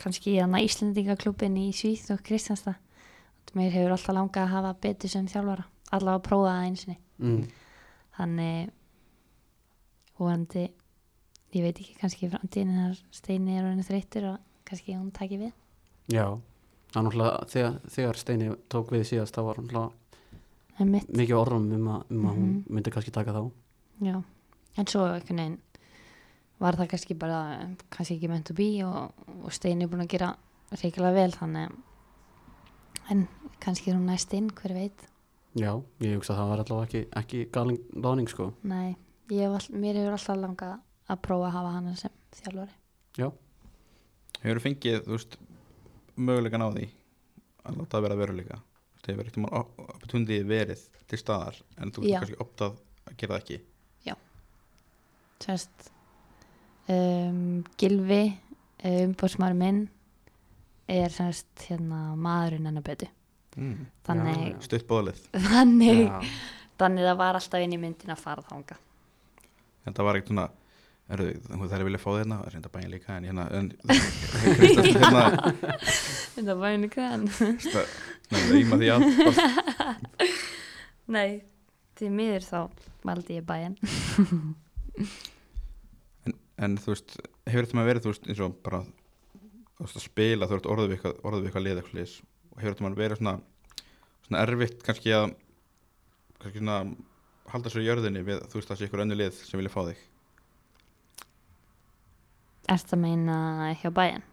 Speaker 4: kannski þannig að Íslendingaklubin í Svíð og Kristjansta mér hefur alltaf langað að hafa betur sem þjálfara allavega að prófa það einsinni
Speaker 2: mm.
Speaker 4: þannig vonandi ég veit ekki kannski í framtíðin þegar Steini er orðin þreyttur og kannski hún taki við
Speaker 2: já, það er náttúrulega þegar, þegar Steini tók við síðast þá var náttúrulega
Speaker 4: en mitt,
Speaker 2: mikið orðum um að, um að hún
Speaker 4: Mhm.
Speaker 2: myndi kannski taka þá
Speaker 4: já en svo einhvern veginn var það kannski bara kannski ekki meant to be og, og Steini er búin að gera reikilega vel þannig en kannski er hún næst inn, hver veit
Speaker 2: já, ég hugsa að það var allavega ekki, ekki galin láning sko
Speaker 4: nei, ég hef all, mér hefur alltaf langað að prófa að hafa hana sem þjálfari
Speaker 1: hefur fengið, þú veist, mögulegan á því að láta það vera veruleika Þú veist, hefur eitthvað opportunity verið til staðar en þú
Speaker 4: Já.
Speaker 1: veist kannski optað að gera það ekki
Speaker 4: sérst um, Gilvi umbóðsmar minn er semst hérna maðurinn hennar betu
Speaker 1: mm.
Speaker 4: þannig,
Speaker 2: Já,
Speaker 1: Stutt bóðlið
Speaker 4: þannig,
Speaker 2: Já.
Speaker 4: þannig það var alltaf inn í myndin að fara þanga
Speaker 1: Þetta var ekkert svona Erðu, það er vilja fá þið hérna, það er reynda bæin líka en hérna, en [laughs] [laughs] Kristján, hérna,
Speaker 4: þetta var einu kvæðan
Speaker 1: sta, nefnir, íma því að bara-
Speaker 4: [laughs] nei, því miður þá valdi ég bæinn
Speaker 1: en, en þú veist, hefur þetta maður verið þú veist, eins og bara þú veist, að spila, þú veist, orðið við eitthvað, orðið við eitthvað lið eitthvað liðs og hefur þetta maður verið svona svona erfitt kannski að kannski svona halda sér í jörðinni við, þú veist, það sé ykkur önnu lið sem vilja fá þig
Speaker 4: erst að meina hjá bæinn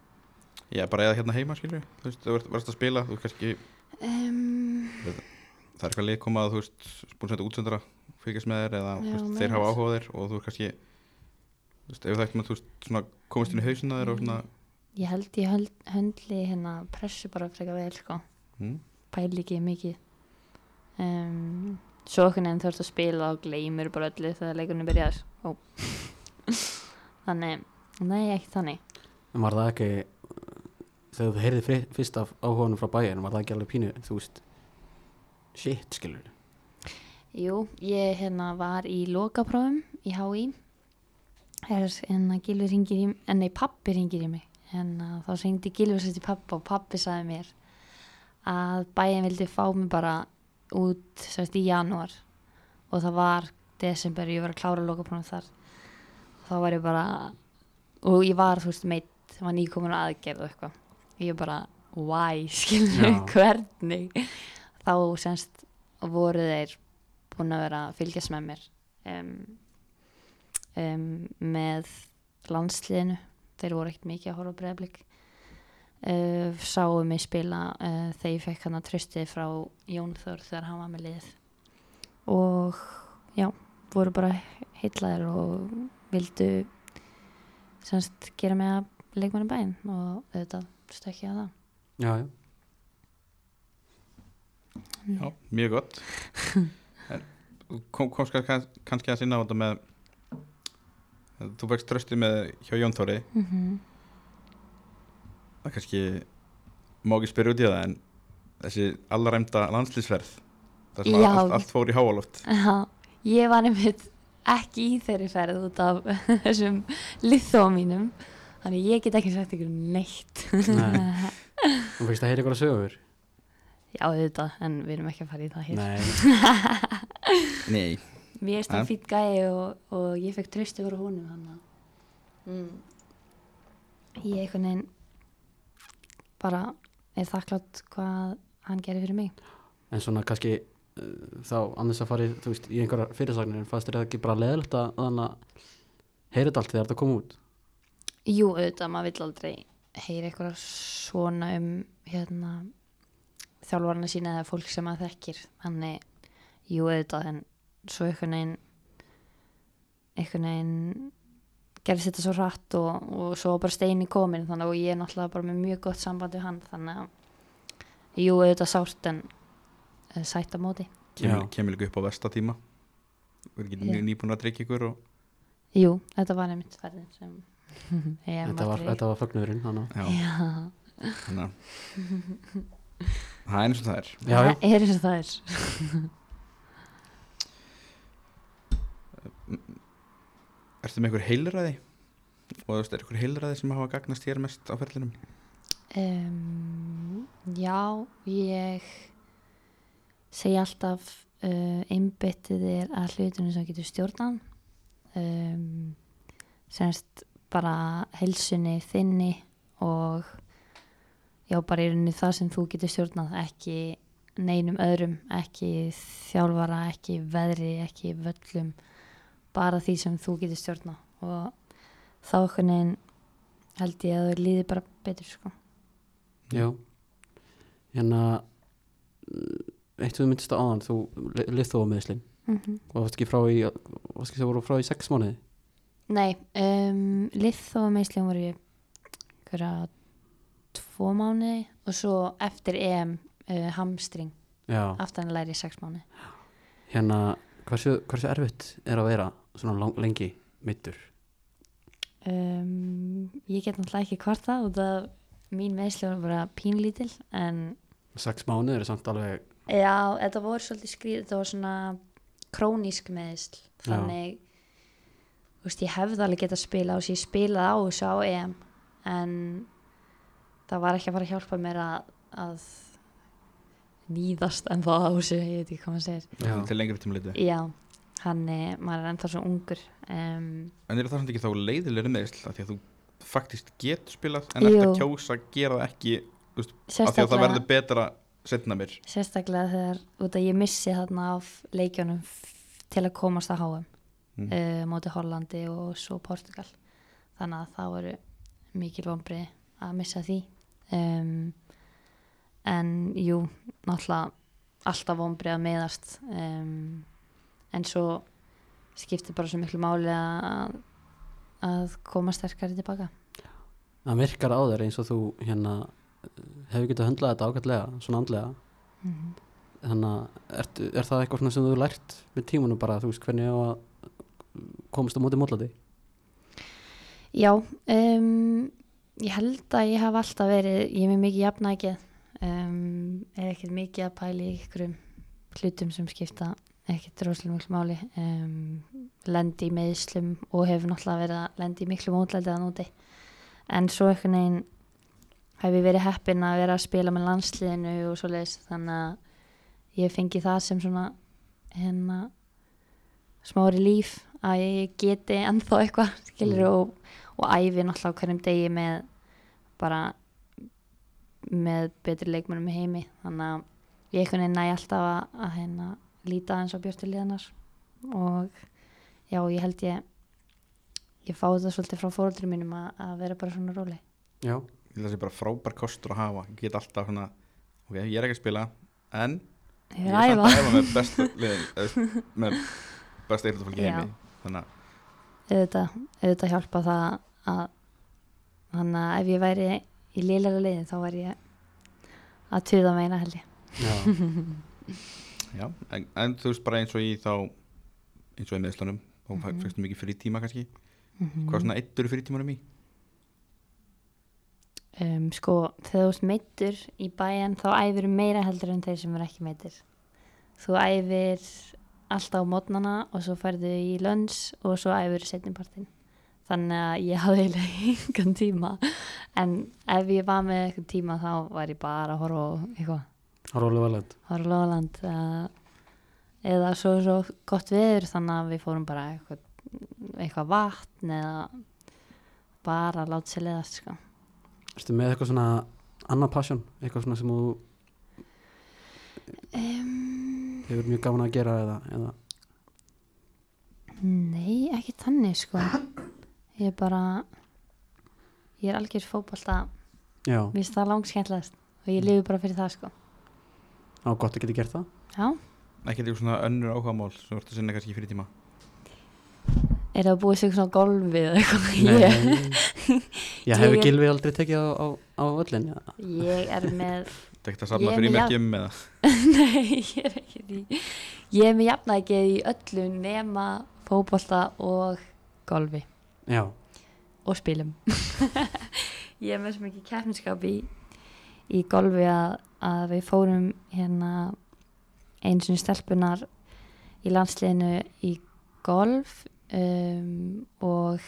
Speaker 1: Já, bara eða hérna heima, skilur þú veist, þú verðast að spila, þú veist, kannski
Speaker 4: um,
Speaker 1: það er eitthvað lið komað að þú veist búin að senda útsendara fylgjast með þér eða
Speaker 4: Já,
Speaker 1: þú veist,
Speaker 4: með
Speaker 1: þeir
Speaker 4: þér.
Speaker 1: hafa áhuga á þér og þú er kannski þú veist, ef það eitthvað þú veist, svona komast inn í hausina þér og svona
Speaker 4: ég held ég höld, höndli hérna pressu bara frekar vel sko
Speaker 1: mm,
Speaker 4: pæli ekki mikið um, svo okkur nefn þú ert að spila og gleymir bara öllu þegar leikunni byrjar Ó. [laughs] þannig, nei ekki þannig
Speaker 2: En var það ekki þegar þú heyrði fri- fyrst af áhuganum frá bæjar var það ekki alveg pínu, þú veist shit, skilur
Speaker 4: jú, ég hérna var í lokaprófum í HÍ er hérna Gilvi ringir í en nei pappi ringir í mig hérna þá syngdi Gilvi sér til pappa og pappi sagði mér að bæin vildi fá mig bara út semst í janúar og það var desember, ég var að klára lokaprófum þar og þá var ég bara og ég var þú veist meitt var nýkomin að aðgerð og eitthvað ég bara, why, [laughs] skilur
Speaker 2: Já.
Speaker 4: hvernig þá semst voru þeir búin að vera að fylgjast með mér um, um, með landsliðinu þeir voru ekkert mikið að horfa breyðblik uh, sáu mig spila uh, þegar ég fekk hann að trösti frá Jón Þór þegar hann var með lið og já, voru bara heitlaðir og vildu semst gera mig að leikmanni bæinn og auðvitað stökki að það
Speaker 2: já, já,
Speaker 1: Já, mjög
Speaker 4: [laughs]
Speaker 1: gott en þú kom, komst kann, kannski að sinna á þetta með þú vext tröstið með hjá Jón Þóri
Speaker 4: mm -hmm.
Speaker 1: það kannski má ekki spyrja út í það en þessi allaræmda landslýsverð það sem
Speaker 4: Já.
Speaker 1: að allt, allt fór í háaloft
Speaker 4: Já, ég var einmitt ekki í þeirri ferð út af [laughs] þessum liðþóa mínum þannig ég get ekki sagt ykkur neitt
Speaker 2: nei þú veist að heyra ykkur að sögur
Speaker 4: [laughs] já auðvitað, en við erum ekki að fara í það hér
Speaker 2: nei,
Speaker 1: Nei
Speaker 4: mér erst
Speaker 1: Nei.
Speaker 4: það fýtt gæi og, og ég fekk tröst yfir honum hann mm. ég einhvern veginn bara er þakklátt hvað hann gerir fyrir mig
Speaker 2: en svona kannski uh, þá annars að fara í, þú veist, í einhverjar fyrirsagnir en fannst þér það ekki bara leðilegt að þannig að heyra þetta allt þegar þetta kom út
Speaker 4: Jú, auðvitað, maður vill aldrei heyra eitthvað svona um hérna, þjálfarna sína eða fólk sem maður þekkir þannig, jú, auðvitað en svo einhvern veginn einhvern veginn gerðist þetta svo hratt og, og svo var bara steini komin þannig og ég er náttúrulega bara með mjög gott samband við hann þannig að jú, auðvitað sárt en eh, sætt á móti
Speaker 1: kemur,
Speaker 2: Já.
Speaker 1: kemur líka upp á vestatíma við erum ekki
Speaker 4: Já.
Speaker 1: yeah. nýbúin að drikja ykkur og
Speaker 4: Jú, þetta var einmitt ferðin
Speaker 2: [laughs]
Speaker 4: sem ég
Speaker 2: þetta var,
Speaker 4: [laughs]
Speaker 2: þetta var fögnurinn þannig
Speaker 1: já,
Speaker 4: Já,
Speaker 1: þannig að það er eins og það er
Speaker 2: að- já, já,
Speaker 4: það er eins og það er
Speaker 1: Ertu með einhver heilræði? Og þú veist, er einhver heilræði sem hafa gagnast hér mest á ferlinum?
Speaker 4: Um, já, ég segi alltaf uh, einbyttið er að hlutunum sem getur stjórnan um, semst bara helsunni þinni og já, bara í rauninni það sem þú getur stjórnað ekki neinum öðrum, ekki þjálfara, ekki veðri, ekki völlum bara því sem þú getur stjórnað og þá okkur neginn held ég að það líði bara betur sko
Speaker 2: já hérna uh, eitt við myndist á aðan þú lið þó á meðslinn og varst ekki frá í, varst ekki sem voru frá í sex mánuði
Speaker 4: Nei, um, lið og meðslum voru hverja tvo mánuði og svo eftir EM uh, hamstring,
Speaker 2: já,
Speaker 4: aftanlæri í sex mánuði.
Speaker 2: hérna hversu, hversu erfitt er að vera svona lang, lengi meittur
Speaker 4: um, ég get náttúrulega ekki kvarta út af mín meðsli var bara pínlítil en
Speaker 2: sex mánuður er samt alveg
Speaker 4: Já, þetta voru svolítið skrýð, þetta voru svona krónísk meðisl, þannig, þú veist, ég hefði alveg getað spilað á þessu, ég spilaði á þessu á EM, en það var ekki að fara að hjálpa mér að, að nýðast en það á þessu, ég veit ekki hvað maður segir.
Speaker 2: Já.
Speaker 1: til lengri tíma liti
Speaker 4: Já, hann er, maður er ennþá svo ungur. Um,
Speaker 1: en er það samt ekki þá leiðilegri meðsl af því að þú faktist getur spilað en eftir að
Speaker 4: Jú.
Speaker 1: kjósa að gera það ekki af því að það
Speaker 4: sérstaklega,
Speaker 1: verður betra setna mér
Speaker 4: sérstaklega þegar, út að ég missi þarna af leikjónum f- til að komast að háum.
Speaker 1: Mm.
Speaker 4: uh, móti Hollandi og svo Portugal þannig að það voru mikil vombri að missa því um, en jú, náttúrulega alltaf vombri að meðast um, en svo skiptir bara svo miklu máli að, að koma sterkari tilbaka
Speaker 2: það virkar á þér eins og þú hérna hefur getað höndlað þetta ágætlega svona andlega þannig að er, er það eitthvað svona sem þú hefur lært með tímanum bara þú veist hvernig á að komast á móti mótlati
Speaker 4: Já, um, ég held að ég haf alltaf verið, ég er með mikið jafnækið, um, er ekkert mikið að pæla í einhverjum hlutum sem skipta ekkert rosalega miklu máli, um, lendi í meðslum og hefur náttúrulega verið að lendi í miklu mótlætið að núti. En svo einhvern veginn hef ég verið heppin að vera að spila með landsliðinu og svoleiðis, þannig að ég fengi það sem svona hérna smári líf að ég geti ennþá eitthvað [laughs] skilur og, og æfi náttúrulega á hverjum degi með bara með betri leikmönnum í heimi þannig að ég einhvern veginn næ alltaf að, að hérna líta eins á björtuliðanar og já, ég held ég ég fái þetta svolítið frá fóröldur mínum að, að vera bara svona róli
Speaker 2: já,
Speaker 1: ég held að það sé bara frábær kostur að hafa ég get alltaf svona, ok, ég er ekki að spila en
Speaker 4: ég
Speaker 1: ég er samt
Speaker 4: er æfa
Speaker 1: að æfa með besta liðin, eða, þú veist, með besta íþróttafólki í
Speaker 4: Já.
Speaker 1: heimi þannig að
Speaker 4: [laughs] auðvitað, auðvitað hjálpa það að þannig að ef ég væri í lélæra liðin þá væri ég að tuða meina held ég
Speaker 2: já, [laughs]
Speaker 1: Já, en, en þú veist bara eins og í þá eins og í meðslunum þá mm
Speaker 4: Mhm.
Speaker 1: -hmm. fækstu mikið frítíma kannski hvað svona eittur frítímanum í?
Speaker 4: Um, sko, þegar þú ert meittur í bæjan þá æfir meira heldur en þeir sem eru ekki meittir. Þú æfir alltaf á mótnana og svo færðu í lönns og svo æfir setnipartin. Þannig að ég hafði eiginlega [laughs] einhvern tíma en ef ég var með einhvern tíma þá var ég bara að horfa á eitthvað,
Speaker 2: það er alveg valend
Speaker 4: horfa á Lóland eða, eða svo svo gott veður þannig að við fórum bara eitthvað, eitthvað vatn eða bara að láta sér leiðast sko.
Speaker 2: Erstu með eitthvað svona annað passion, eitthvað svona sem þú hefur mjög gaman að gera eða, eða
Speaker 4: Nei, ekki þannig sko Ég er bara Ég er algjör fótbolta
Speaker 2: já,
Speaker 4: Mér finnst það langskemmtilegast Og ég lifi bara fyrir það sko
Speaker 2: á gott að geta gert það
Speaker 4: Já,
Speaker 1: Ekki eitthvað svona önnur áhugamál sem verður að sinna kannski í frítíma
Speaker 4: er það búið sig svona á golfi eða eitthvað ég,
Speaker 2: [laughs] Nei, já, hefur
Speaker 4: Ég-
Speaker 2: Gilvi aldrei tekið á, á, á öllin já.
Speaker 4: ég er með
Speaker 1: Þetta ekki að safna
Speaker 4: Ég er
Speaker 1: fyrir
Speaker 4: með
Speaker 1: merkjum eða
Speaker 4: [laughs] Nei, ég er ekki því Ég er með jafnækið í öllu nema fótbolta og golfi
Speaker 2: já,
Speaker 4: og spilum [laughs] ég er með svo mikið keppniskap í, í golfi að, að við fórum hérna eins og stelpunar í landsliðinu í golf um, og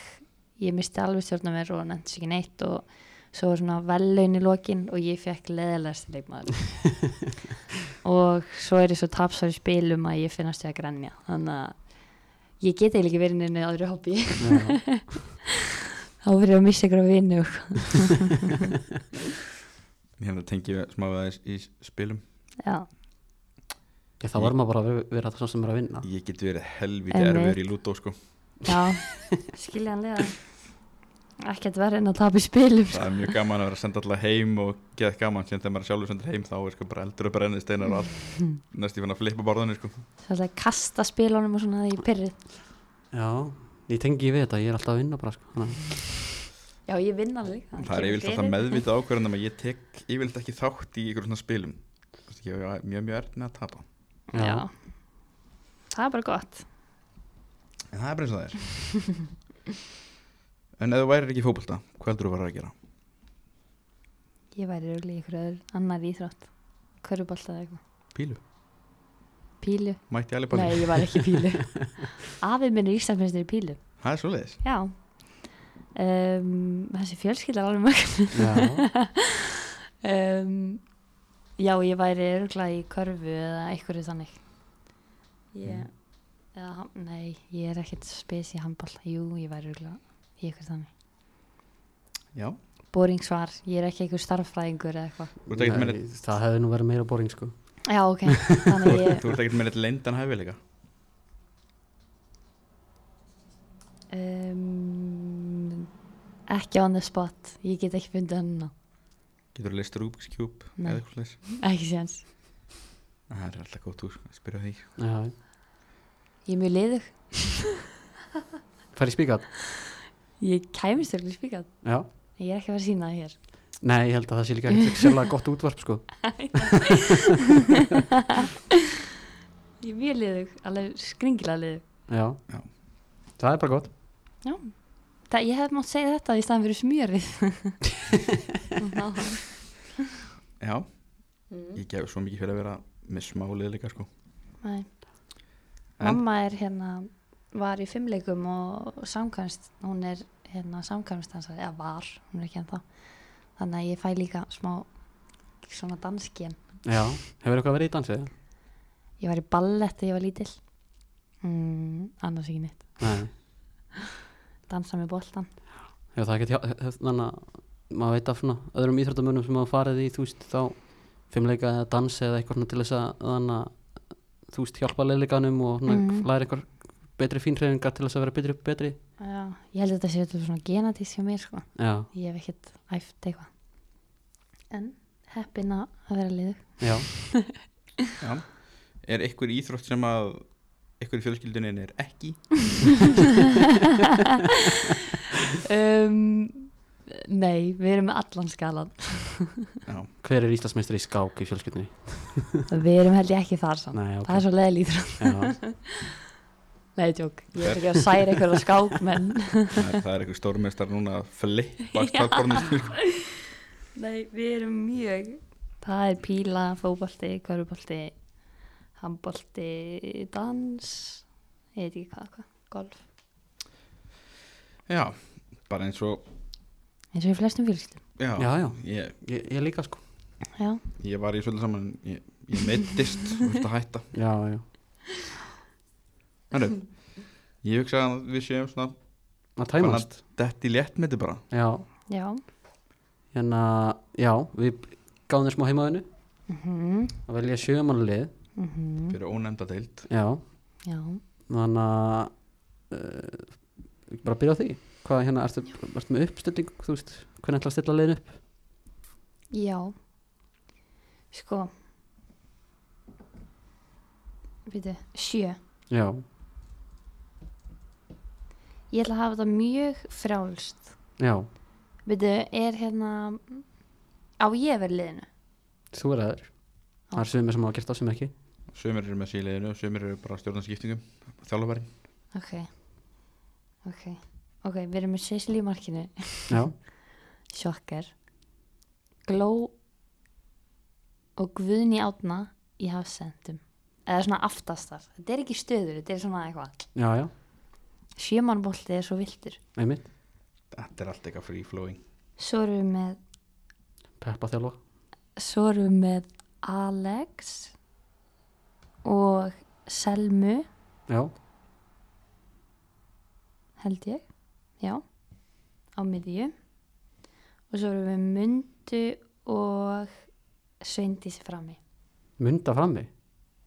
Speaker 4: ég misti alveg stjórna mér og nefndi ekki neitt og svo var svona vellaun í lokin og ég fekk leðalegasti leikmaður [laughs] og svo er ég svo tapsar í spilum að ég finnast ég að grænja þannig að ég get eiginlega ekki verið í neinu öðru hobby
Speaker 2: já.
Speaker 4: þá fyrir ég að missa ykkur að vinna
Speaker 1: hérna tengi við smá við aðeins í spilum
Speaker 4: já,
Speaker 2: Ég, þá var maður bara að vera- vera það sem er að vinna
Speaker 1: Ég get verið helviti
Speaker 4: Einmitt.
Speaker 1: erfiður í lútó sko
Speaker 4: já skiljanlega ekkert verið en að tapa í spilum
Speaker 1: Það er mjög gaman að vera að senda alla heim og geða gaman sem þegar maður er sjálfur sendur heim þá er sko bara eldur upp rennið steinar
Speaker 4: [laughs]
Speaker 1: og allt næst ég fann að flippa borðinu sko
Speaker 4: svolítið að kasta spilunum og svona því pyrrið
Speaker 2: já, ég tengi við þetta, ég er alltaf að vinna bara sko. þannig að-
Speaker 4: já, ég vinn alveg
Speaker 1: Það er
Speaker 4: kemur
Speaker 1: yfirleitt alltaf
Speaker 4: fyrir.
Speaker 1: meðvitað ákvörðan að ég tek yfirleitt ekki þátt í ykkur svona spilum Þú veist, Ég er mjög mjög erð með að tapa
Speaker 4: já. það er bara gott
Speaker 1: En það er bara eins og það En ef þú værir ekki í fótbolta, hvað heldur þú verður að gera?
Speaker 4: Ég væri röglega í ykkur öðru, annar íþrótt Körubólta eða eitthvað
Speaker 1: Pílu,
Speaker 4: Pílu
Speaker 1: mætti alveg bara
Speaker 4: Nei, ég var ekki í pílu
Speaker 1: [laughs]
Speaker 4: Afið minn er Íslandsmyndir í pílu
Speaker 1: Það er svoleiðis
Speaker 4: Já um, Þessi fjölskylda er alveg mögum
Speaker 2: já,
Speaker 4: um, Já, ég væri örgulega í körfu eða einhverju þannig Ég
Speaker 1: Mm.
Speaker 4: eða, ham- Nei, ég er ekkert spes í handbólta Jú, ég væri örgulega í einhverju þannig
Speaker 1: Já,
Speaker 4: Boring svar, ég er ekki einhver starffræðingur eða eitthvað
Speaker 1: þú ert ekkert með
Speaker 2: Nei, það hefði nú verið meira boring sko
Speaker 4: Já, ok, þannig
Speaker 1: neitt-
Speaker 4: [laughs] ég
Speaker 1: þú ert ekkert með neitt leyndan hæfileika
Speaker 4: um, Ekki on the spot Ég get ekki fundið hann ná
Speaker 1: Getur þú leist Rubik's Cube
Speaker 4: Nei.
Speaker 1: eða eitthvað svoleiðis
Speaker 4: Ekki séns
Speaker 1: Það er alltaf gótt úr, spyrja því
Speaker 2: já,
Speaker 4: Ég er mjög liðug
Speaker 2: fær í spíkat
Speaker 4: Ég kæmist þér ekki spíkat
Speaker 2: já,
Speaker 4: Ég er ekki að fara að sína það hér
Speaker 2: nei, ég held að það sé líka [laughs] ekki sérlega gott útvarp sko
Speaker 4: Ég er mjög liðug, alveg skringilega liðug
Speaker 2: já,
Speaker 1: Já.
Speaker 2: það er bara gott
Speaker 4: Það, Ég hef mátt segja þetta í staðan fyrir smjörið Já.
Speaker 1: Já, ég gef svo mikið fyrir að vera með smá liðleika sko
Speaker 4: Nei.
Speaker 1: En
Speaker 4: Mamma er hérna var í fimmleikum og samkvæmst hún er hérna samkvæmstansari eða var, hún er ekki ennþá þannig að ég fæ líka smá svona danskén
Speaker 2: já, hefur eitthvað verið í dansið?
Speaker 4: ég var í ballett þegar ég var lítil mm, annars ekki neitt
Speaker 2: nei,
Speaker 4: dansa með boltan
Speaker 2: Já, það get, þannig að maður veit af svona öðrum íþróttamönnum sem maður farið í, þú veist, þá fimmleika eða dans eða eitthvað svona til þess að þannig að þú veist, hjálpa leilikanum og svona,
Speaker 4: Mhm.
Speaker 2: læra eitthvað betri fíntreyfingar til þess að vera betri betri.
Speaker 4: Já, ég held að þetta sé þetta svona genatís hjá mér sko.
Speaker 2: Já,
Speaker 4: ég hef ekkert æft eitthvað en heppin að að vera
Speaker 2: [laughs]
Speaker 4: liðug
Speaker 2: já,
Speaker 1: já, er einhver íþrótt sem að einhver í fjölskyldunin er ekki
Speaker 4: um, Nei, við erum með allan skalan
Speaker 1: Já,
Speaker 2: hver er Íslandsmeistri í skák í fjölskyldinni?
Speaker 4: Við erum held ég ekki þar samt
Speaker 2: Nei, ok.
Speaker 4: Það er svo leðil íþrótt
Speaker 2: Já,
Speaker 4: Nei, tjók, ég er ekki að særa eitthvað skák menn
Speaker 1: það er, það er einhver stórmestar núna að flippa sko. starfborðinu
Speaker 4: [laughs] Nei, við erum mjög Það er píla, fótbolti, körubolti handbolti, dans ég veit ekki hvað, hvað, golf
Speaker 1: Já, bara eins og
Speaker 4: eins og í flestum fjölskyldum [laughs]
Speaker 1: Já,
Speaker 2: Já, já.
Speaker 1: Ég,
Speaker 2: ég, ég líka sko.
Speaker 4: Já,
Speaker 1: ég var í svolítið saman en ég, ég meittist og þurfti að hætta
Speaker 2: Já, já,
Speaker 1: Hörru, ég hugsa að við séum svona
Speaker 2: maður tæmast.
Speaker 1: detti létt með þetta bara
Speaker 2: Já,
Speaker 4: já
Speaker 2: hérna, já, við gáðum þér smá heimaðinu
Speaker 4: mm -hmm.
Speaker 2: að velja sjömanlið,
Speaker 4: mhm.
Speaker 1: fyrir ónefnda deild
Speaker 2: já,
Speaker 4: Já,
Speaker 2: þannig að uh, bara byrja á því hvað hérna, ertu, ertu með uppstilling þú veist, hvernig ætla að stilla leiðin upp
Speaker 4: já Sko Býtu, sjö
Speaker 2: já,
Speaker 4: Ég ætla að hafa þetta mjög frjálst
Speaker 2: já,
Speaker 4: Býtu, er hérna á ég verið liðinu
Speaker 2: þú er aður það er sumir sem hafa gert það sem ekki
Speaker 1: Sumir eru með síliðinu, sumir eru bara stjórnarskiptingum Þjálfari
Speaker 4: Ok Ok, ok, við erum með Sisli í markinu
Speaker 2: já,
Speaker 4: Sjokkar Gló og Guðni Átna í hafsendum eða svona aftastar, þetta er ekki stöður þetta er svona eitthvað,
Speaker 2: já, já,
Speaker 4: sjömanbolti er svo viltur
Speaker 2: einmitt
Speaker 1: Þetta er allt eitthvað free flowing
Speaker 4: svo erum við með
Speaker 2: peppa þjálfa,
Speaker 4: svo erum við með Alex og Selmu
Speaker 2: já,
Speaker 4: held ég já, á miðju og svo erum við Mundu og Sveindísi frammi
Speaker 2: mynda frammi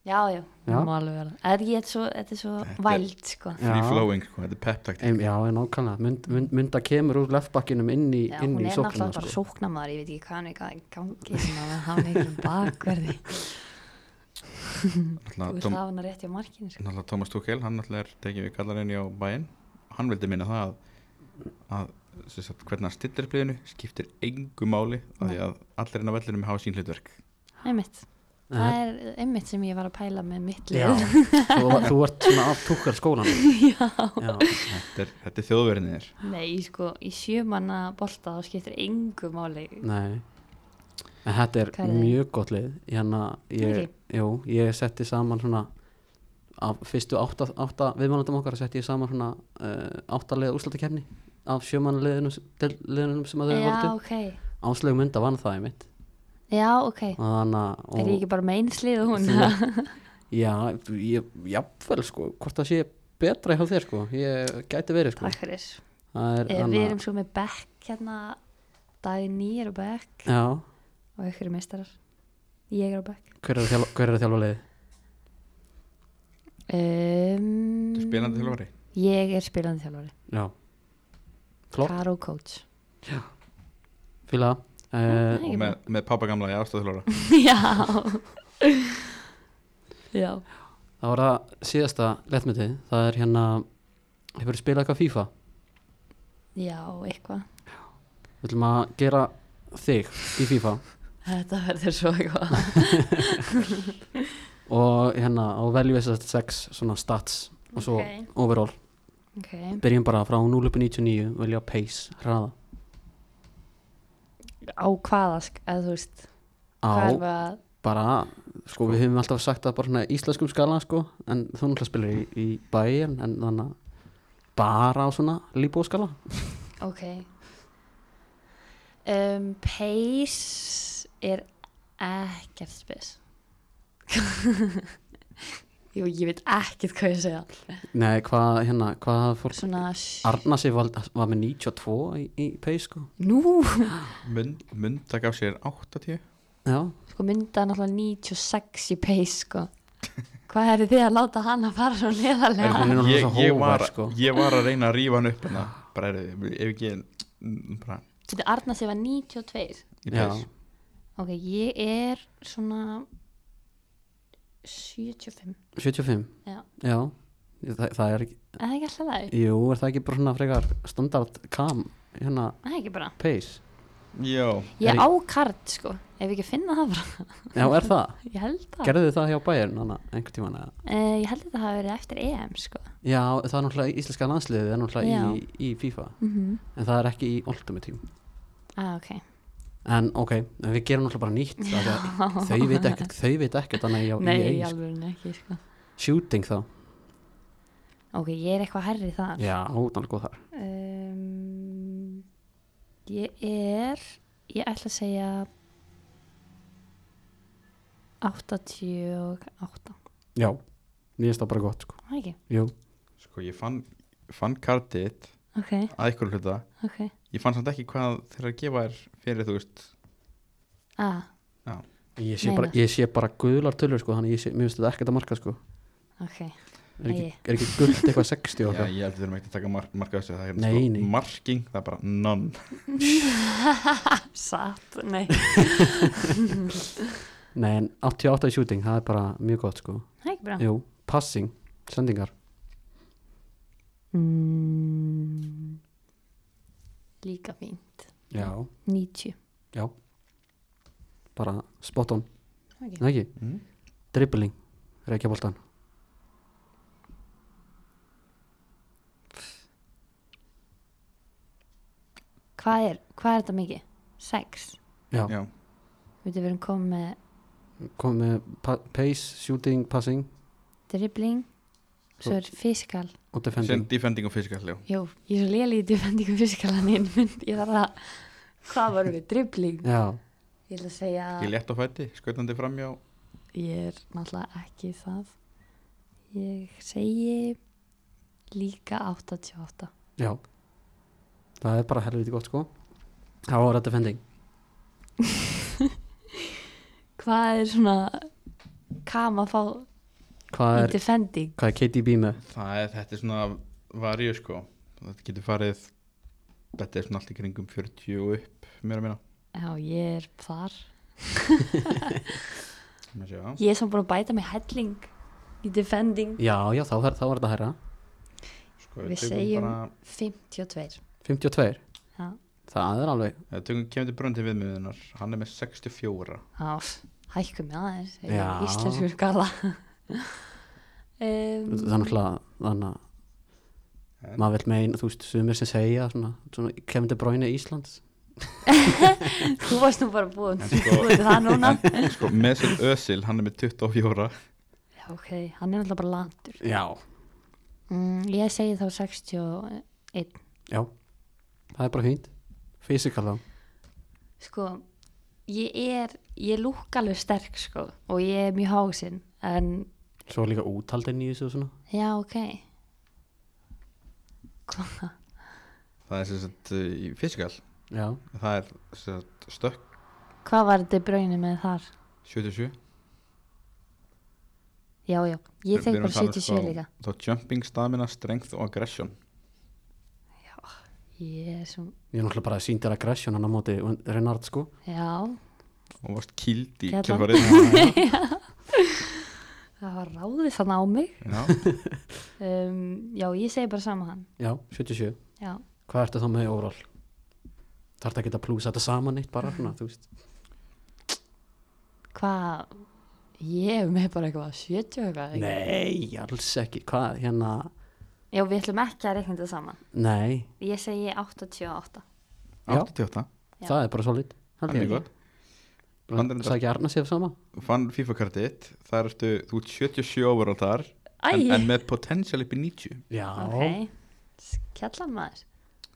Speaker 4: já, já,
Speaker 2: Já.
Speaker 4: það má alveg vera þetta er, ekki- þetta er svo, þetta er svo
Speaker 1: Þetta er-
Speaker 4: væld sko.
Speaker 1: Free
Speaker 2: Já.
Speaker 1: flowing, sko, þetta er pep-taktík
Speaker 2: Ein, já, en ákvæmlega, mynd, mynd, mynda kemur úr leftbakkinum inn í,
Speaker 4: Já,
Speaker 2: inn
Speaker 4: hún
Speaker 2: í
Speaker 4: er
Speaker 2: sóknina
Speaker 4: náttúrulega bara
Speaker 2: sko.
Speaker 4: sóknamaður, ég veit ekki hvað hann er hvað í gangi sem að hafa mikilum bakverði þú
Speaker 1: Náttúrulega
Speaker 4: vilt
Speaker 1: Tom-
Speaker 4: hafa hann rétt hjá markinu sko.
Speaker 1: náttúrulega Thomas Tuchel, hann náttúrulega er tekið við kallarinn á bæinn Hann vildi minna það að, að sem sagt, hvernig hann stillir bliðinu skiptir engu máli af því að allir inn á vellinum hafa sín hlutverk
Speaker 4: einmitt, það er einmitt sem ég var að pæla með mitt
Speaker 2: Já,
Speaker 4: lið
Speaker 2: þú, þú ert svona aftúkar skólan
Speaker 4: [laughs]
Speaker 2: Já, já.
Speaker 1: Þetta er, þetta er þjóðverðinir
Speaker 4: nei, sko, í sjömanna bolta þá skiptir engu máli
Speaker 2: Nei En þetta er
Speaker 4: Hvað er það?
Speaker 2: mjög gott lið hérna, ég,
Speaker 4: Ekki?
Speaker 2: jú, ég setti saman svona af fyrstu átta, átta viðmannandum okkar setti ég saman svona uh, áttalega úrslutakefni af sjömannaliðunum liðunum sem að þau
Speaker 4: já,
Speaker 2: völdu
Speaker 4: ok
Speaker 2: Áslaug mynda vann það einmitt
Speaker 4: já, ok,
Speaker 2: og þannig
Speaker 4: er ég
Speaker 2: að og,
Speaker 4: ekki bara með einslið og hún
Speaker 2: Já, ég, jafnvel sko hvort það sé betra hjá þér sko ég gæti verið sko
Speaker 4: [laughs] takk fyrir
Speaker 2: Það er
Speaker 4: Eh, við
Speaker 2: annað-
Speaker 4: erum svo með bekk hérna Dagný er á bekk
Speaker 2: Já,
Speaker 4: og ykkur er meistarar ég er á bekk
Speaker 2: hver er að þjálfa, hver er að þjálfa liðið?
Speaker 4: um,
Speaker 1: Þetta er spilandi þjálfari
Speaker 4: ég er spilandi þjálfari
Speaker 2: Já Flott,
Speaker 4: Karo [laughs] coach
Speaker 2: fíla uh,
Speaker 1: og
Speaker 4: Nei, ég
Speaker 1: með, með pappa gamla í aðstofþjálfara
Speaker 4: já já
Speaker 2: Það var það síðasta lettmyndið, það er hérna, hefur spilað eitthvað FIFA.
Speaker 4: já, eitthvað
Speaker 2: Við ætlum að gera þig í FIFA
Speaker 4: þetta verður svo eitthvað
Speaker 2: og hérna og veljum þess að sex svona stats og svo
Speaker 4: Ok.
Speaker 2: overall.
Speaker 4: ok,
Speaker 2: Byrjum bara frá 0 uppi 99, velja pace, hraða.
Speaker 4: á hvaða sk- eða þú veist, hvað er
Speaker 2: Á,
Speaker 4: það
Speaker 2: bara, sko við höfum alltaf sagt það bara svona í íslenskum skala sko, en þú náttúrulega spilar í, í bæin, en þannig að bara á svona líbóskala.
Speaker 4: ok um, pace er ekkert spes [laughs] jú, ég veit ekkert hvað ég að segja
Speaker 2: Nei, hvað hérna, hvað hafði fólk,
Speaker 4: svona s-
Speaker 2: Arna sig var, var með 92 í, í pace sko.
Speaker 4: nú,
Speaker 1: Mund, Munda gaf sér 80
Speaker 2: Já,
Speaker 4: sko mynda náttúrulega 96 í pace sko hvað eru þið að láta hann að fara svo neðarlega
Speaker 2: hún er náttúrulega
Speaker 1: ég,
Speaker 2: svo
Speaker 1: ég,
Speaker 2: hógvær,
Speaker 1: var,
Speaker 2: sko.
Speaker 1: ég var að reyna að rífa hann upp hana. bara er ef ekki mm, bara,
Speaker 4: getur Arna sig var 92
Speaker 1: í
Speaker 2: Já.
Speaker 1: pace.
Speaker 4: ok, ég er svona 75
Speaker 2: 75
Speaker 4: já,
Speaker 2: Já, Þa, það er ekki
Speaker 4: er það ekki alltaf það?
Speaker 2: Jú, er það ekki bara svona frekar standard cam hérna
Speaker 4: það er ekki bara
Speaker 2: pace
Speaker 1: já,
Speaker 4: Ég
Speaker 2: Er
Speaker 4: á kart sko, ef ég ekki finna það bara [laughs]
Speaker 2: Já, er það?
Speaker 4: Ég held [laughs] það
Speaker 2: Gerðu þið það hjá bæjarn hana einhvern tímann eða?
Speaker 4: uh, Ég held að það hafi verið eftir EM sko
Speaker 2: Já, það er náttúrulega í íslenska landsliðið er náttúrulega í, í FIFA
Speaker 4: mm -hmm.
Speaker 2: en það er ekki í Ultimate Team
Speaker 4: ah, ok
Speaker 2: En ok, en við gerum náttúrulega bara nýtt af því að þau veit ekkert, þau veit ekkert þannig að ég á
Speaker 4: Nei, í
Speaker 2: EA, sko.
Speaker 4: alveg ekki sko
Speaker 2: shooting þá
Speaker 4: Ok, ég er eitthvað herri þar
Speaker 2: Já, þannig góð þar
Speaker 4: um, Ég er Ég ætla að segja 88
Speaker 2: Já, mér finnst það bara gott sko
Speaker 4: Það ekki,
Speaker 2: Jú,
Speaker 1: sko ég fann fann kartið
Speaker 4: ok,
Speaker 1: að ykkur hluta
Speaker 4: ok
Speaker 1: ég fann samt ekki hvað þeirra að gefa er fyrir þú veist
Speaker 4: ah,
Speaker 2: ég sé,
Speaker 4: Nei,
Speaker 2: bara,
Speaker 4: nei.
Speaker 2: ég sé bara guðlar tölur sko þannig að ég sé, mér finnst þetta ekkert að marka sko
Speaker 4: Ok,
Speaker 2: Er ekki,
Speaker 4: Æi.
Speaker 2: er ekki gullt eitthvað 60
Speaker 1: já,
Speaker 2: okkar?
Speaker 1: ég held að þurfum ekki að taka mark, marka þessu það er sko
Speaker 2: Nei, nei.
Speaker 1: marking, það er bara none
Speaker 4: satt, nei [laughs]
Speaker 2: Nei, en 88 í shooting, það er bara mjög gott sko.
Speaker 4: Það ekki bara
Speaker 2: Jú, passing, sendingar.
Speaker 4: mm, Líka fínt
Speaker 2: Já.
Speaker 4: 90
Speaker 2: Já. Bara spot on,
Speaker 4: okay.
Speaker 2: Nei, ekki?
Speaker 1: Mm.
Speaker 2: Dribbling, reykjaboltan.
Speaker 4: hvað, er, hvað er þetta mikið? 6
Speaker 2: Já,
Speaker 1: já,
Speaker 4: Við erum verið komið með
Speaker 2: komið með pa pace, shooting, passing
Speaker 4: dribbling Svo er fiskal
Speaker 1: sem
Speaker 2: og defending.
Speaker 1: defending og physical já.
Speaker 4: Jó, ég er svo lélega í defendingu fiskalan einu [laughs] mynd Ég þarf að Hvað vorum við? Dribbling?
Speaker 2: Já,
Speaker 4: Ég ætla að segja
Speaker 1: ég létt á fæti, skautandi framjá
Speaker 4: Ég er náttúrulega ekki það Ég segi líka 88
Speaker 2: já. Það er bara helviti gott sko. Það var þetta defending.
Speaker 4: Hvað er svona Kam að fá
Speaker 2: Hvað
Speaker 4: í
Speaker 2: er,
Speaker 4: defending?
Speaker 2: hvað er KDB með?
Speaker 1: það er þetta er svona varju sko þetta getur farið þetta er svona allt í kringum 40 og upp mér að minna
Speaker 4: Já, ég er þar
Speaker 1: Má sjá.
Speaker 4: Ég er svo búin að bæta mig helling í defending
Speaker 2: Já, já, þá, var- þá var þetta herra.
Speaker 1: sko,
Speaker 4: Við
Speaker 1: tökum
Speaker 4: segjum-
Speaker 1: bara,
Speaker 4: 52
Speaker 2: 52,
Speaker 4: Já,
Speaker 2: það er alveg
Speaker 1: eh, tökum kemur til bröndi viðmiðunar hann er með 64
Speaker 4: já hækkum með aðeins eh,
Speaker 2: Já.
Speaker 4: íslenskur skala um,
Speaker 2: það er náttúrulega þannig að maður vil meina, þú veist, sumir sem segja svona, svona kemur til bráinu Íslands
Speaker 4: þú varst nú bara búin
Speaker 1: En sko-
Speaker 4: búin til það núna
Speaker 1: [laughs] sko, Mesil Özil, hann er með 24
Speaker 4: já, ok, hann er náttúrulega bara latur
Speaker 2: já,
Speaker 4: mm, ég segi þá 61
Speaker 2: já það er bara fínt, fysikal þá
Speaker 4: sko, ég er ég lúk alveg sterk sko og ég er mjög hásinn en
Speaker 2: svo er líka útaldin í þessu og svona
Speaker 4: já, ok hvað
Speaker 1: það er sem sagt uh, í fysikal
Speaker 2: já,
Speaker 1: það er sem sagt stökk
Speaker 4: hvað var þetta braunin með þar
Speaker 1: 77
Speaker 4: já, já, ég
Speaker 1: Við
Speaker 4: þekki
Speaker 1: erum
Speaker 4: bara
Speaker 1: að tala um
Speaker 4: 77
Speaker 1: sko-
Speaker 4: líka
Speaker 1: þá jumping, stamina, strength og aggression
Speaker 4: ég er svo,
Speaker 2: ég er náttúrulega bara sýndir aggression hann á móti Renard sko
Speaker 4: já
Speaker 1: og varst kýld í
Speaker 4: Gerðan.
Speaker 1: kjálfarið
Speaker 4: [laughs] það var ráðið þannig á mig
Speaker 1: Já,
Speaker 4: um, já, ég segi bara saman hann
Speaker 2: já, 77,
Speaker 4: já,
Speaker 2: hvað ertu þá með overall þarf það að geta plúsa þetta saman eitt bara svona, þú veist
Speaker 4: hvað ég er með bara eitthvað 70 eitthvað ekki?
Speaker 2: Nei, alls ekki, hvað, hérna
Speaker 4: já, við ætlum ekki að reikna þetta saman
Speaker 2: Nei,
Speaker 4: ég segi 88
Speaker 2: Já.
Speaker 1: 88
Speaker 4: Já.
Speaker 2: það er bara solid
Speaker 1: Það er mjög gott Bandurinn
Speaker 2: Sækja Arna sér sama
Speaker 1: Fann FIFA kartið þitt Það ertu, þú ert 77 overall þar en,
Speaker 4: Æi.
Speaker 1: en með potential upp í 90
Speaker 2: Já,
Speaker 4: ok, skellan maður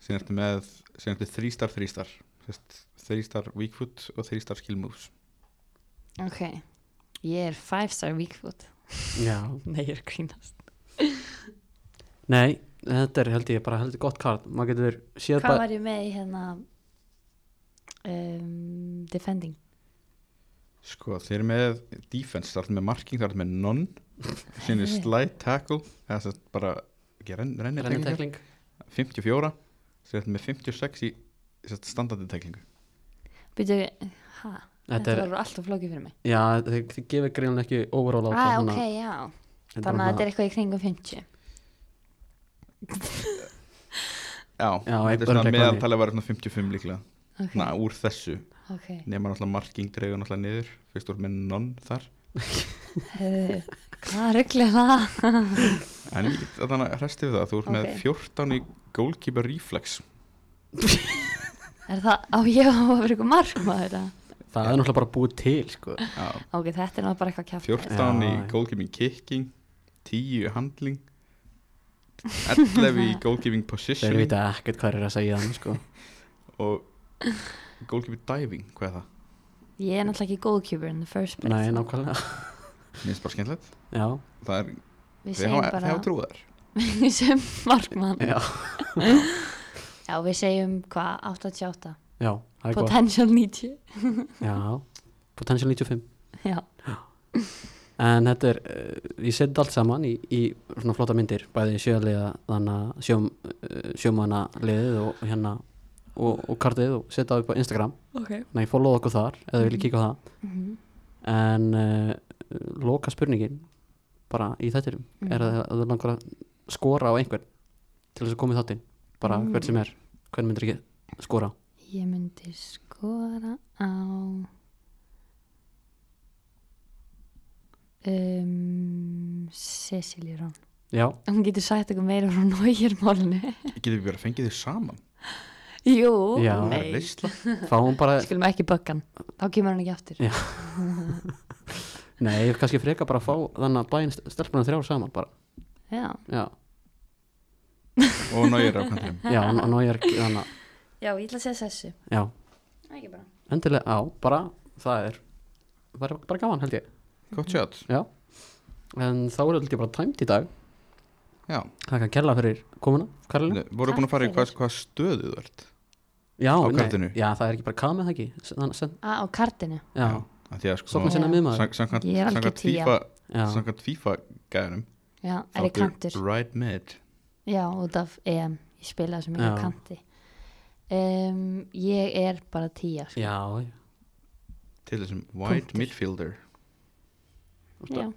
Speaker 1: Síðan ertu með, síðan ertu 3 star, 3 star Sest, 3 star weak foot og 3 star skill moves
Speaker 4: ok, ég er 5 star weak foot
Speaker 2: já
Speaker 4: nei, ég er að grínast
Speaker 2: Nei, þetta er held ég bara heldur gott kart Maður getur séð
Speaker 4: hvað
Speaker 2: bara
Speaker 4: var ég með í hérna um, defending
Speaker 1: Sko, þeir eru með defense, það ertu með marking, það ertu með none Síðan er
Speaker 4: Æi.
Speaker 1: slide tackle Það er sem sagt bara, ekki renn, renni,
Speaker 2: Renni
Speaker 1: renni
Speaker 2: tekling
Speaker 1: 54 Síðan ertu með 56 í sem sagt, standandi teklingu
Speaker 4: byrju, hæ,
Speaker 2: Þetta
Speaker 4: þetta
Speaker 2: er-
Speaker 4: verður alltaf flókið fyrir mig
Speaker 2: Já, þið, þið gefur greinlega ekki overall á
Speaker 4: ah,
Speaker 2: þetta,
Speaker 4: ok,
Speaker 2: þannig
Speaker 4: já
Speaker 2: að-
Speaker 4: Þannig að þetta er eitthvað í kringum 50
Speaker 1: Já, þetta er
Speaker 2: örugglega
Speaker 1: svona
Speaker 2: eitthvað
Speaker 1: meðaltalið var svona 55 líklega
Speaker 4: Ok,
Speaker 1: Na, úr þessu
Speaker 4: ok [laughs]
Speaker 1: nema náttúrulega marking dreigur náttúrulega niður fyrst úr með nonn þar
Speaker 4: Heyrðu, Hvað rugglir það?
Speaker 1: en þannig að resti við það, þú ert
Speaker 4: Ok.
Speaker 1: með 14 í goalkeeper reflex
Speaker 4: Er það á ég að hafa verið ykkur markmaður? eða?
Speaker 2: Það er náttúrulega bara búið til, sko
Speaker 1: já,
Speaker 4: Ok, þetta er náttúrulega bara eitthvað kjátt
Speaker 1: 14 í
Speaker 2: Já, já.
Speaker 1: goalkeeping kicking 10 í handling 11
Speaker 4: [laughs]
Speaker 1: í goalkeeping
Speaker 2: Þeir
Speaker 1: position
Speaker 2: vita ekkert hvað er að segja þannig, sko
Speaker 1: og goalkeeping diving, hvað er það?
Speaker 4: Ég er náttúrulega ekki goalkeeper in the first place
Speaker 2: Nei, nákvæmlega
Speaker 1: Mér finnst bara skemmtilegt
Speaker 2: Já,
Speaker 1: það er,
Speaker 4: Við
Speaker 1: þeir
Speaker 4: segjum
Speaker 1: hafa, þeir
Speaker 4: [laughs]
Speaker 1: hafa
Speaker 4: bara
Speaker 1: trúðar
Speaker 4: sem markmann
Speaker 2: já,
Speaker 4: Já, við segjum hvað, 88
Speaker 2: já, það er gott
Speaker 4: Potential 90
Speaker 2: Já, potential 95
Speaker 4: [laughs] Já,
Speaker 2: En þetta er, uh, ég seti allt saman í, í svona flotta myndir, bæði sjöliða, þannig að sjóm, uh, sjómanna liðið og hérna og, og kartið og setja það upp á Instagram.
Speaker 4: ok
Speaker 2: Nei, follow okkur þar, eða vilja kíka á það.
Speaker 4: Mhm.
Speaker 2: En uh, loka spurningin bara í þættinum,
Speaker 4: Mm. mhm.
Speaker 2: er að að þú langar að skora á einhvern til þess að koma í þáttinn, bara
Speaker 4: Mm.
Speaker 2: hvern sem er, hvern myndir ekki skora á?
Speaker 4: Ég myndi skora á um, Cecilie Rón
Speaker 2: Já,
Speaker 4: [laughs] Hún getur sagt eitthvað meira frá nógirmálinu
Speaker 1: getum við bara fengið þið saman
Speaker 4: [laughs] Jú,
Speaker 2: Já.
Speaker 1: það er
Speaker 4: nei
Speaker 1: veistla
Speaker 2: fáum bara,
Speaker 4: Skulum ekki böggan, þá kemur hann ekki aftur
Speaker 2: Já. nei, kannski freka bara að fá þannig að bæinn stelpunum þrjár saman bara,
Speaker 4: Já,
Speaker 2: já.
Speaker 1: og náir á kantinum
Speaker 2: Já, og ná ég er þannig að,
Speaker 4: já ég ætla að segja þessu
Speaker 2: já,
Speaker 4: Ekki bara
Speaker 2: endilega, á, bara, það er, það er bara gaman held ég,
Speaker 1: gott sjátt,
Speaker 2: já, en þá er held ég bara tæmt í dag,
Speaker 1: já
Speaker 2: þakka kella fyrir komuna, Karlina,
Speaker 1: voru búin að fara í hvað, hvað stöðu þú ert
Speaker 2: já,
Speaker 1: Á kartinu.
Speaker 2: já, það er ekki bara kamið það ekki, þannig að,
Speaker 4: Ah, Á, á kartinu
Speaker 2: já,
Speaker 1: Af því að sko
Speaker 2: sokna sinna
Speaker 4: Já.
Speaker 2: miðmaður,
Speaker 1: Sank- samkvæmt-
Speaker 4: Ég er algjör
Speaker 1: samkvæmt
Speaker 4: tía.
Speaker 1: FIFA
Speaker 2: já,
Speaker 1: samkvæmt FIFA gæðunum
Speaker 4: Já, er ég kantur
Speaker 1: right mid
Speaker 4: Já, út af EM Ég spila sem ég
Speaker 2: Já.
Speaker 4: er kanti um, Ég er bara tíja sko.
Speaker 2: já,
Speaker 1: til þessum wide
Speaker 4: Punktur.
Speaker 1: midfielder
Speaker 4: Já.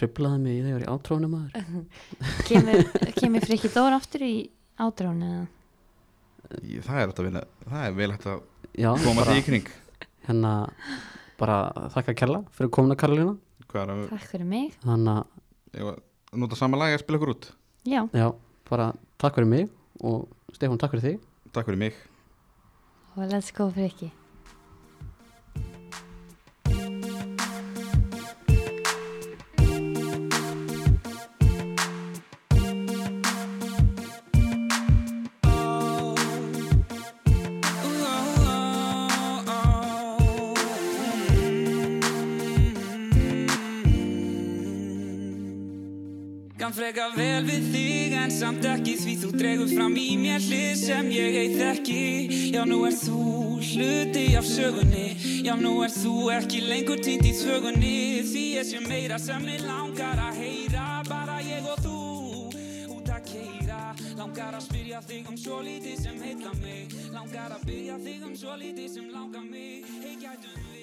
Speaker 2: trublaði mig þegar ég var í átrónu maður,
Speaker 4: Kemur, kemur Friki Dór aftur í ádrón eða?
Speaker 1: Í- það er hægt að vinna það er vel hægt að
Speaker 2: já,
Speaker 1: koma því
Speaker 2: bara,
Speaker 1: í kring
Speaker 2: hérna, bara þakka Kella fyrir komuna Karolina
Speaker 1: Hvað er að,
Speaker 4: Takk fyrir mig.
Speaker 2: þannig að,
Speaker 1: ég var að nota sama lagi að spila okkur út
Speaker 4: Já,
Speaker 2: já, bara takk fyrir mig og Stefán, takk fyrir þig
Speaker 1: Takk fyrir mig
Speaker 4: og let's go fyrir ekki.
Speaker 3: Kann freka vel við þig en samt ekki því þú dregur fram í mér hlið sem ég heit ekki Já nú er þú hluti af sögunni Já nú er þú ekki lengur týnd í svögunni Því ég sé meira sem mig langar að heyra Bara ég og þú út að keira Langar að spyrja þig um svo lítið sem heilla mig Langar að byrja þig um svo lítið sem langar mig Hey gætum við